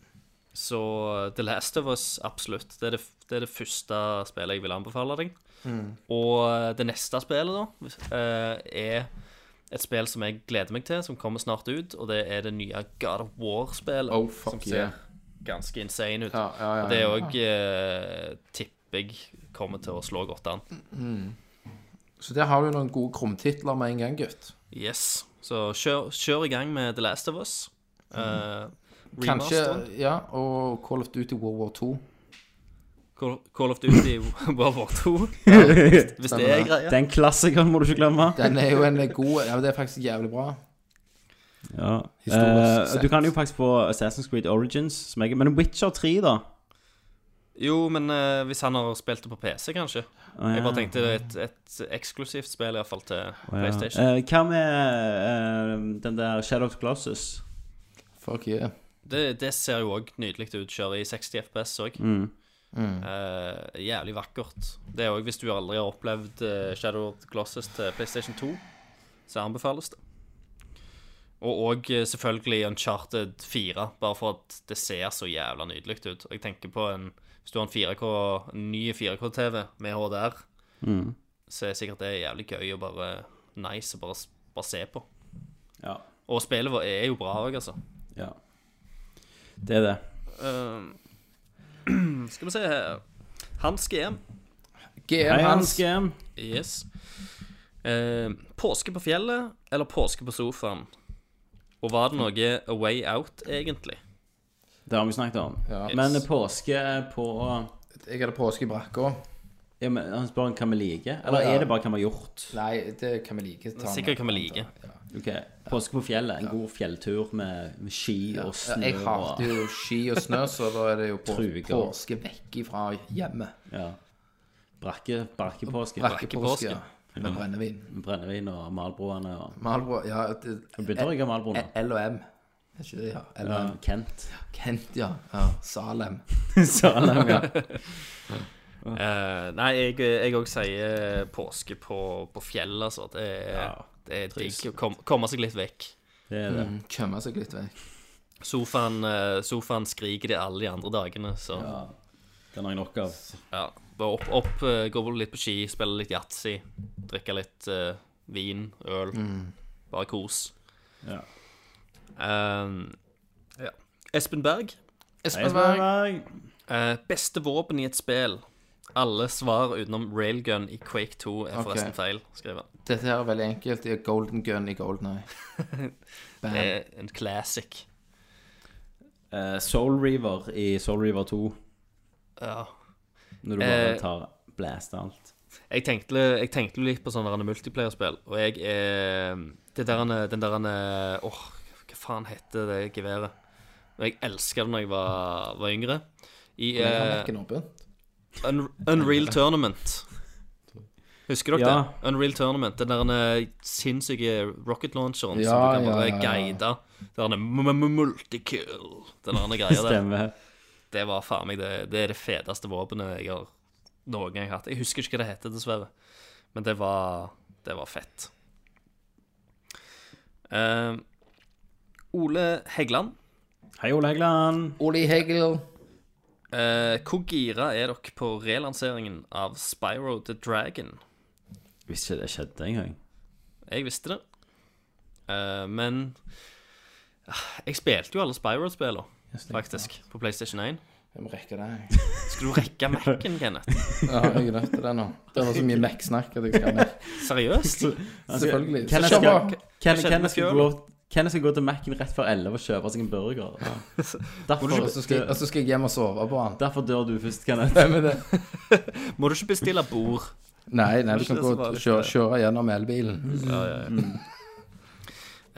[SPEAKER 8] så The Last of Us, absolutt. Det er det, det, er det første spillet jeg vil anbefale deg. Mm. Og eh, det neste spillet, da, hvis- eh, er et spill som jeg gleder meg til, som kommer snart ut, og det er det nye God of War-spillet.
[SPEAKER 6] Oh, fuck
[SPEAKER 8] som ser
[SPEAKER 6] yeah.
[SPEAKER 8] ganske insane ut.
[SPEAKER 6] Ja, ja, Oh. ja,
[SPEAKER 8] Og det
[SPEAKER 6] ja.
[SPEAKER 8] òg eh, tipper jeg kommer til å slå godt an.
[SPEAKER 6] Mm. Så der har du noen gode krumtitler med en gang, gutt.
[SPEAKER 8] Yes. Så kjør, kjør i gang med The Last of Us. Uh,
[SPEAKER 6] Mm. Kanskje, ja, og Call of Duty World War 2.
[SPEAKER 8] Call, Call of Duty World War 2. hvis, hvis det er greia.
[SPEAKER 5] Den klassikeren må du ikke glemme.
[SPEAKER 6] Den er jo en god Ja, det er faktisk jævlig bra.
[SPEAKER 5] Ja.
[SPEAKER 6] Historisk
[SPEAKER 5] Eh,
[SPEAKER 6] sett.
[SPEAKER 5] du kan jo faktisk på Assassin's Creed Origins, som jeg, men Witcher 3, da.
[SPEAKER 8] Jo, men eh, hvis han har spilt det på PC, kanskje.
[SPEAKER 5] Å,
[SPEAKER 8] Jeg
[SPEAKER 5] ja.
[SPEAKER 8] bare tenkte det er et, et eksklusivt spill, iallfall til
[SPEAKER 5] Å, ja.
[SPEAKER 8] PlayStation.
[SPEAKER 5] Eh, hva med eh, den der Shadow of the Colossus?
[SPEAKER 6] Fuck yeah.
[SPEAKER 8] Det, det ser jo òg nydelig ut. Kjører i 60 FPS òg. Eh, jævlig vakkert. Det er òg hvis du aldri har opplevd eh, Shadow of the Glosses til PlayStation 2, så anbefales det. Og òg eh, selvfølgelig Uncharted 4, bare for at det ser så jævla nydelig ut. Og Jeg tenker på en Hvis du har en 4K, en ny 4K-TV med HDR,
[SPEAKER 5] Mm.
[SPEAKER 8] så er sikkert det jævlig gøy og bare nice å bare, s- bare se på.
[SPEAKER 5] Ja.
[SPEAKER 8] Og spillet vårt er jo bra òg, altså.
[SPEAKER 5] ja. Det er det.
[SPEAKER 8] Ehm, skal vi se her Hans GM.
[SPEAKER 6] GM
[SPEAKER 5] Hei,
[SPEAKER 6] Hans.
[SPEAKER 5] Hans GM.
[SPEAKER 8] Yes. Ehm, påske på fjellet eller påske på sofaen? Og var det noe a way out, egentlig?
[SPEAKER 5] Det har vi snakket om.
[SPEAKER 6] Ja.
[SPEAKER 5] Men påske på
[SPEAKER 6] Jeg hadde påske i brakka.
[SPEAKER 5] ja, men Han spør hva vi liker, eller
[SPEAKER 6] ja.
[SPEAKER 5] er det bare hva vi har gjort?
[SPEAKER 6] Nei, det kan vi like. ta med.
[SPEAKER 8] Sikkert kan vi like.
[SPEAKER 5] Ok, Påske på fjellet. En god fjelltur med, med ski og
[SPEAKER 6] Ja,
[SPEAKER 5] snø.
[SPEAKER 6] Jeg
[SPEAKER 5] og-
[SPEAKER 6] hater jo ski og snø, så da er det jo på,
[SPEAKER 5] Truger.
[SPEAKER 6] påske vekk ifra hjemmet.
[SPEAKER 5] ja. Brakke, brakkepåske.
[SPEAKER 6] Brakkepåske. Med brennevin.
[SPEAKER 5] Med Brennevin og Malbroene og
[SPEAKER 6] Malbro Ja, det-
[SPEAKER 5] Begynner jeg med Malbroene?
[SPEAKER 6] L- L og M. Er ikke det, ja? L og
[SPEAKER 5] Ja,
[SPEAKER 6] M.
[SPEAKER 5] Kent.
[SPEAKER 6] Kent, ja. ja. Salem.
[SPEAKER 5] Salem, ja.
[SPEAKER 8] Eh, nei, jeg òg sier påske på, på fjellet, altså. Det er, det er digg å kom, komme seg litt vekk.
[SPEAKER 5] Det er det.
[SPEAKER 6] Mm, Kømme seg litt vekk.
[SPEAKER 8] Sofaen, eh, sofaen skriker det alle de andre dagene, så
[SPEAKER 5] Ja. Den har jeg nok av.
[SPEAKER 8] Ja. Bare opp, opp eh, gå litt på ski, spille litt yatzy, drikke litt eh, vin, øl.
[SPEAKER 6] Mm.
[SPEAKER 8] Bare kos.
[SPEAKER 5] Ja.
[SPEAKER 8] Ehm, ja. Espen Berg.
[SPEAKER 5] Hei,
[SPEAKER 6] Espen Berg.
[SPEAKER 5] Spenberg.
[SPEAKER 8] eh, beste våpen i et spill. Alle svar utenom railgun i Quake 2 er
[SPEAKER 6] Ok.
[SPEAKER 8] forresten feil, skriver han.
[SPEAKER 6] Dette her er veldig enkelt. Det er golden gun i golden eye. Bam.
[SPEAKER 8] Det er en classic.
[SPEAKER 5] Eh, Soul Reaver i Soul Reaver 2.
[SPEAKER 8] Ja.
[SPEAKER 5] Når du bare
[SPEAKER 8] Eh.
[SPEAKER 5] tar blast alt.
[SPEAKER 8] Jeg tenkte, jeg tenkte litt på sånne derne multiplayerspill, og jeg er det der, derne- Den der derne- Åh, hva faen heter det geværet? Og Jeg elska det da jeg var, var yngre. I
[SPEAKER 6] Jeg har
[SPEAKER 8] eh,
[SPEAKER 6] mekken åpen.
[SPEAKER 8] Un Unreal Tournament. Husker dere
[SPEAKER 5] Ja.
[SPEAKER 8] det? Unreal Tournament. Den der eh, sinnssyke rocket launcheren som
[SPEAKER 6] Ja,
[SPEAKER 8] du kan
[SPEAKER 6] ja,
[SPEAKER 8] bare
[SPEAKER 6] ja, ja.
[SPEAKER 8] guide. Den der m- m- multikill. Den der greia der.
[SPEAKER 5] Stemmer.
[SPEAKER 8] Det var faen meg det, det er det feteste våpenet jeg har noen gang hatt. Jeg husker ikke hva det heter, dessverre. Men det var Det var fett. Eh, Ole Heggeland.
[SPEAKER 5] Hei, Ole Heggeland.
[SPEAKER 6] Oli Hegel.
[SPEAKER 8] eh, hvor gira er dere på relanseringen av Spyro the Dragon?
[SPEAKER 5] Visste ikke det skjedde engang.
[SPEAKER 8] Jeg visste det. Eh, men ah, jeg spilte jo alle Spyro-spillene, faktisk, på PlayStation 1.
[SPEAKER 6] Jeg må rekke det. jeg.
[SPEAKER 8] Skal du rekke Mac-en, Kenneth?
[SPEAKER 6] Ja, jeg er nødt til det nå. Det var så mye Mac-snakk at jeg skal ned.
[SPEAKER 8] Seriøst?
[SPEAKER 6] Selvfølgelig. Så
[SPEAKER 5] Kenneth
[SPEAKER 6] kjør
[SPEAKER 5] skal,
[SPEAKER 6] på.
[SPEAKER 5] Kenneth-
[SPEAKER 8] skjedde
[SPEAKER 5] Kenneth
[SPEAKER 8] med
[SPEAKER 5] skal, gå, Kenneth skal gå til Mac-en rett før 11 og kjøpe seg en burger. Derfor,
[SPEAKER 6] Og så skal,
[SPEAKER 8] altså-
[SPEAKER 6] jeg- og så skal jeg hjem og sove på han.
[SPEAKER 5] derfor dør du først, Kenneth.
[SPEAKER 6] Hvem er det?
[SPEAKER 8] Må du ikke bestille bord?
[SPEAKER 6] Nei, nei, du kan
[SPEAKER 8] Det er
[SPEAKER 6] gå
[SPEAKER 8] så
[SPEAKER 6] og
[SPEAKER 8] farlig.
[SPEAKER 6] kjøre, kjøre gjennom elbilen.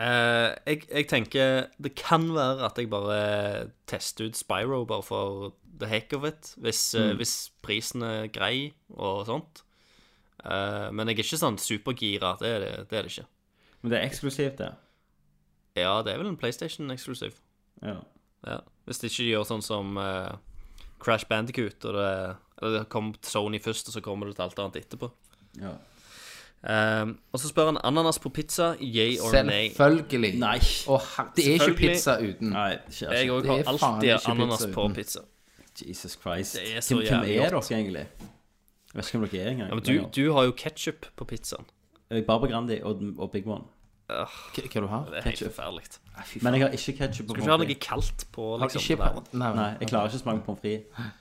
[SPEAKER 8] Eh, jeg, jeg tenker det kan være at jeg bare tester ut Spyro bare for the heck of it, hvis, eh, hvis prisen er grei og sånt. Eh, men jeg er ikke sånn supergira. Det er det, det er det ikke.
[SPEAKER 5] Men det er eksklusivt, det.
[SPEAKER 8] Ja, det er vel en PlayStation eksklusiv.
[SPEAKER 5] Ja.
[SPEAKER 8] Ja. Hvis de ikke gjør sånn som eh, Crash Bandicoot, og det, eller det kom til Sony først, og så kommer det til alt annet etterpå.
[SPEAKER 5] Ja.
[SPEAKER 8] Eh, og så spør han ananas på pizza, yay or nay.
[SPEAKER 6] altså. Selvfølgelig.
[SPEAKER 5] Nei.
[SPEAKER 6] Å, her- det er ikke
[SPEAKER 8] Selvfølgelig.
[SPEAKER 6] pizza uten.
[SPEAKER 5] Nei, skjer
[SPEAKER 8] Jeg
[SPEAKER 5] ikke.
[SPEAKER 8] òg
[SPEAKER 6] Det er
[SPEAKER 8] har
[SPEAKER 6] faen
[SPEAKER 8] alltid
[SPEAKER 6] ikke
[SPEAKER 8] ananas
[SPEAKER 6] pizza
[SPEAKER 8] på
[SPEAKER 6] uten.
[SPEAKER 8] pizza.
[SPEAKER 5] Jesus Christ.
[SPEAKER 8] Det er så
[SPEAKER 5] Hvem, hvem
[SPEAKER 8] jævlig
[SPEAKER 5] er dere
[SPEAKER 8] godt.
[SPEAKER 5] egentlig? Jeg vet ikke hvem dere er engang.
[SPEAKER 8] Ja, men du, du har jo ketsjup på pizzaen.
[SPEAKER 5] Jeg er Barbara Grandi og, og Big One.
[SPEAKER 6] Hva hva du har
[SPEAKER 8] Det er helt forferdelig. Skal
[SPEAKER 5] Men jeg har ikke ketsjup på
[SPEAKER 8] du ikke ha
[SPEAKER 5] pommes
[SPEAKER 8] noe
[SPEAKER 5] frites.
[SPEAKER 8] kaldt på,
[SPEAKER 6] Har
[SPEAKER 8] liksom?
[SPEAKER 6] ikke
[SPEAKER 8] der?
[SPEAKER 6] Nei,
[SPEAKER 5] Nei, jeg klarer ikke å smake pommes frites.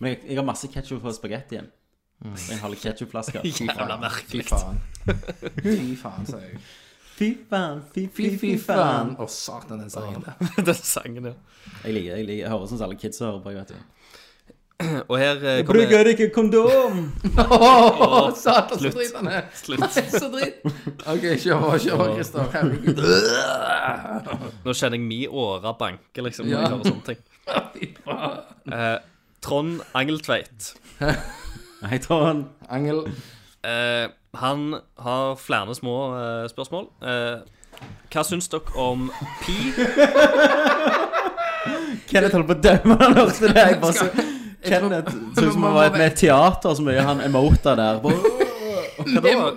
[SPEAKER 5] Men jeg, jeg har masse ketsjup på spagettien. Jeg har litt ketsjupflasker.
[SPEAKER 8] Jævla
[SPEAKER 6] Fy
[SPEAKER 8] merkelig.
[SPEAKER 6] faen. Fy faen, sa jeg.
[SPEAKER 5] Fy faen, fy,
[SPEAKER 6] Fy, fy faen. Å, satan, den sangen der.
[SPEAKER 8] Den sangen, ja.
[SPEAKER 5] Jeg liker jeg liker, jeg hører sånn som alle kids hører på. jeg vet du.
[SPEAKER 8] Og her eh, kommer
[SPEAKER 5] ikke kondom!
[SPEAKER 6] Å, satan, så drit han er.
[SPEAKER 8] slutt.
[SPEAKER 6] Så drit. OK, kjør på, kjør på, Christer. Herregud.
[SPEAKER 8] Nå kjenner jeg mi åre banke, liksom, når
[SPEAKER 6] Ja.
[SPEAKER 8] jeg hører sånne ting.
[SPEAKER 6] Fy faen.
[SPEAKER 8] Eh, Trond Angeltveit.
[SPEAKER 5] Hei, Trond.
[SPEAKER 6] Angel.
[SPEAKER 8] Eh, han har flere små eh, spørsmål. Eh, hva syns dere om pi?
[SPEAKER 5] Kenneth holdt på å dømme da han hørte det. Jeg bare så, Kenneth så ut som han var med i et teater, så mye han emota der. Bare,
[SPEAKER 6] Det må-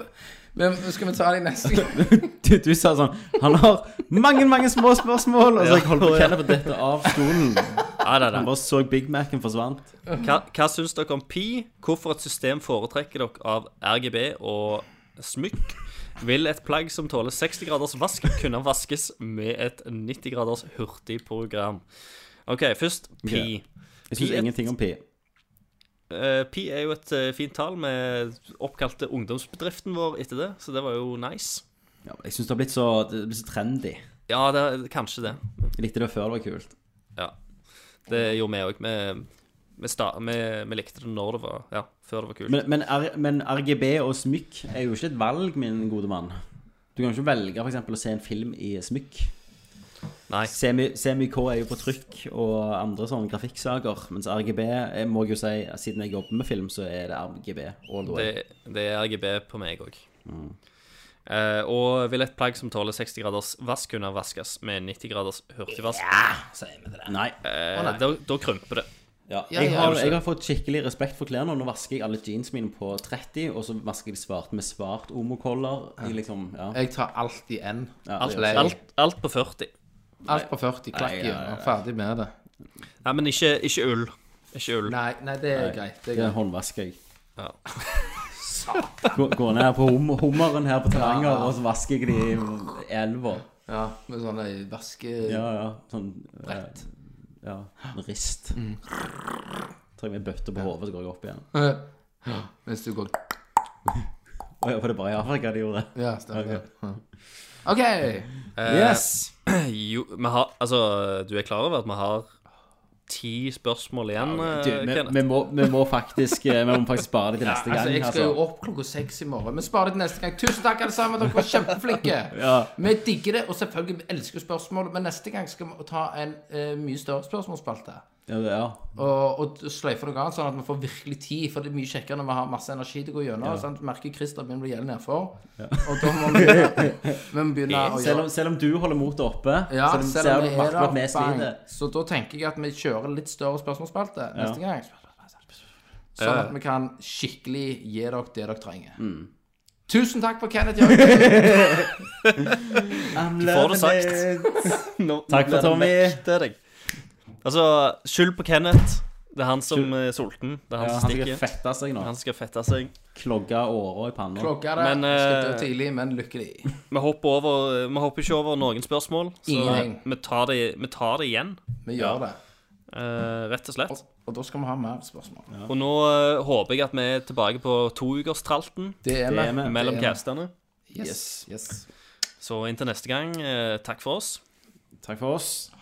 [SPEAKER 6] Men skal vi ta det i neste gang?
[SPEAKER 5] Du, du sa sånn Han har mange, mange små spørsmål. Og så jeg holdt på Kenneth på dette av stolen.
[SPEAKER 8] Nei, nei,
[SPEAKER 5] Han
[SPEAKER 8] nei.
[SPEAKER 5] bare så Big Mac-en forsvant.
[SPEAKER 8] Hva, hva syns dere om pi? Hvorfor et system foretrekker dere av RGB og smykk? Vil et plagg som tåler 60 graders vask, kunne vaskes med et 90 graders hurtigprogram? OK, først pi.
[SPEAKER 5] Jeg syns ingenting om pi.
[SPEAKER 8] Eh, Pi er jo et eh, fint tall. Vi oppkalte ungdomsbedriften vår etter det, så det var jo nice.
[SPEAKER 5] Ja, jeg syns det har blitt så, det har blitt så trendy.
[SPEAKER 8] Ja, det, er- kanskje det.
[SPEAKER 5] Jeg likte det før det var kult.
[SPEAKER 8] Det gjorde vi òg. Vi, vi, sta- vi, vi likte det når det var Ja, før det var kult.
[SPEAKER 5] Men, men, R, men RGB og smykk er jo ikke et valg, min gode mann. Du kan jo ikke velge for eksempel, å se en film i smykk.
[SPEAKER 8] Nei.
[SPEAKER 5] Semi- CMYK er jo på trykk og andre sånne grafikksaker. Mens RGB jeg eh, må jeg jo si, siden jeg jobber med film, så er det RGB. all the way.
[SPEAKER 8] Det, det er RGB på meg òg.
[SPEAKER 5] Mm.
[SPEAKER 8] Eh, og vil et plagg som tåler 60 graders vask, kunne vaskes med 90 graders hurtigvask?
[SPEAKER 6] Ah,
[SPEAKER 5] Nei.
[SPEAKER 8] Eh, da, da krymper det.
[SPEAKER 5] Ja.
[SPEAKER 6] Ja,
[SPEAKER 5] Jeg,
[SPEAKER 6] ja, altså-
[SPEAKER 5] har,
[SPEAKER 6] ja.
[SPEAKER 5] jeg har fått skikkelig respekt for klærne. og Nå vasker jeg alle jeans mine på 30, og så vasker jeg de svart med svart omokoller. i Liksom, ja.
[SPEAKER 6] Jeg tar alt i N.
[SPEAKER 8] Alt,
[SPEAKER 6] Lei.
[SPEAKER 8] alt, alt på 40.
[SPEAKER 6] Alt på 40. Klakk i øynene. Ferdig med det.
[SPEAKER 8] Nei, men ikke, ikke ull. Ikke ull.
[SPEAKER 6] Nei, nei, det er greit. Det er
[SPEAKER 5] Det
[SPEAKER 6] greit.
[SPEAKER 5] håndvasker jeg.
[SPEAKER 8] Ja.
[SPEAKER 5] Gå- Går ned på hum hummeren her på Tananger, og så vasker jeg de i elva.
[SPEAKER 6] Ja, med sånne vaske...
[SPEAKER 5] Ja, ja. Sånn Brett. Ja. en Rist.
[SPEAKER 6] Mm.
[SPEAKER 5] Tar jeg med bøtte på hodet, så går jeg opp igjen.
[SPEAKER 6] Mens du går
[SPEAKER 5] Å ja, var det bare i Afrika de gjorde det?
[SPEAKER 6] Ja, stemmer det. Ja. OK. Eh,
[SPEAKER 5] Yes!
[SPEAKER 8] Jo, vi har Altså, du er klar over at vi har ti spørsmål igjen,
[SPEAKER 5] Du,
[SPEAKER 8] eh,
[SPEAKER 5] vi,
[SPEAKER 8] Kenneth?
[SPEAKER 5] vi, må, vi, må faktisk, eh, vi må faktisk spare det til neste gang.
[SPEAKER 6] Altså, jeg skal
[SPEAKER 5] altså.
[SPEAKER 6] jo opp klokka seks i morgen. Men spar det til neste gang. Tusen takk, alle sammen. Dere var kjempeflinke. Vi digger det, og selvfølgelig vi elsker spørsmål. Men neste gang skal vi ta en eh, mye større spørsmålsspalte.
[SPEAKER 5] Ja, det- ja.
[SPEAKER 6] Og, og sløyfe noe annet, sånn at vi får virkelig tid. For det er mye kjekkere når vi har masse energi til å gå gjennom. Sant? Merker Christer begynner å bli gjelden nedfor. Og da må vi, vi må begynne å
[SPEAKER 5] Selv
[SPEAKER 6] gjøre
[SPEAKER 5] om, selv om du holder motet oppe,
[SPEAKER 6] Ja,
[SPEAKER 5] selv om,
[SPEAKER 6] selv om
[SPEAKER 5] du
[SPEAKER 6] vi
[SPEAKER 5] merker at vi
[SPEAKER 6] er der.
[SPEAKER 5] sliter.
[SPEAKER 6] bang. Så da tenker jeg at vi kjører litt større spørsmålsspalte neste gang. Sånn
[SPEAKER 8] Eh.
[SPEAKER 6] at vi kan skikkelig gi dere det dere trenger. Tusen takk for Kenneth Jørgen.
[SPEAKER 8] får det
[SPEAKER 5] Takk for Tommy.
[SPEAKER 8] Det er deg. Altså, skyld på Kenneth. Det er han som er sulten. Det er han
[SPEAKER 5] Ja, han
[SPEAKER 8] som
[SPEAKER 5] skal
[SPEAKER 8] stikker.
[SPEAKER 5] fette seg nå.
[SPEAKER 8] Han skal fette seg.
[SPEAKER 5] Klogge åra i panna.
[SPEAKER 6] Klokka er det.
[SPEAKER 8] Men, eh,
[SPEAKER 6] Skal dø tidlig, men lykkelig.
[SPEAKER 8] Vi hopper, over, vi hopper ikke over noen spørsmål. Så
[SPEAKER 6] Ingenting.
[SPEAKER 8] vi tar, det, vi tar det igjen.
[SPEAKER 6] Vi gjør det.
[SPEAKER 8] eh, rett og slett.
[SPEAKER 6] Og da skal vi ha mer spørsmål.
[SPEAKER 8] Og nå eh, håper jeg at vi er tilbake på toukerstralten
[SPEAKER 6] Det er vi.
[SPEAKER 8] mellom castene.
[SPEAKER 6] Yes. yes.
[SPEAKER 8] Så inntil neste gang, eh, takk for oss.
[SPEAKER 5] Takk for oss.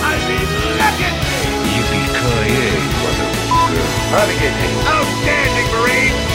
[SPEAKER 3] I mean, look at me!
[SPEAKER 1] Yippee-ki-yay, motherfucker.
[SPEAKER 3] Outstanding, Marine!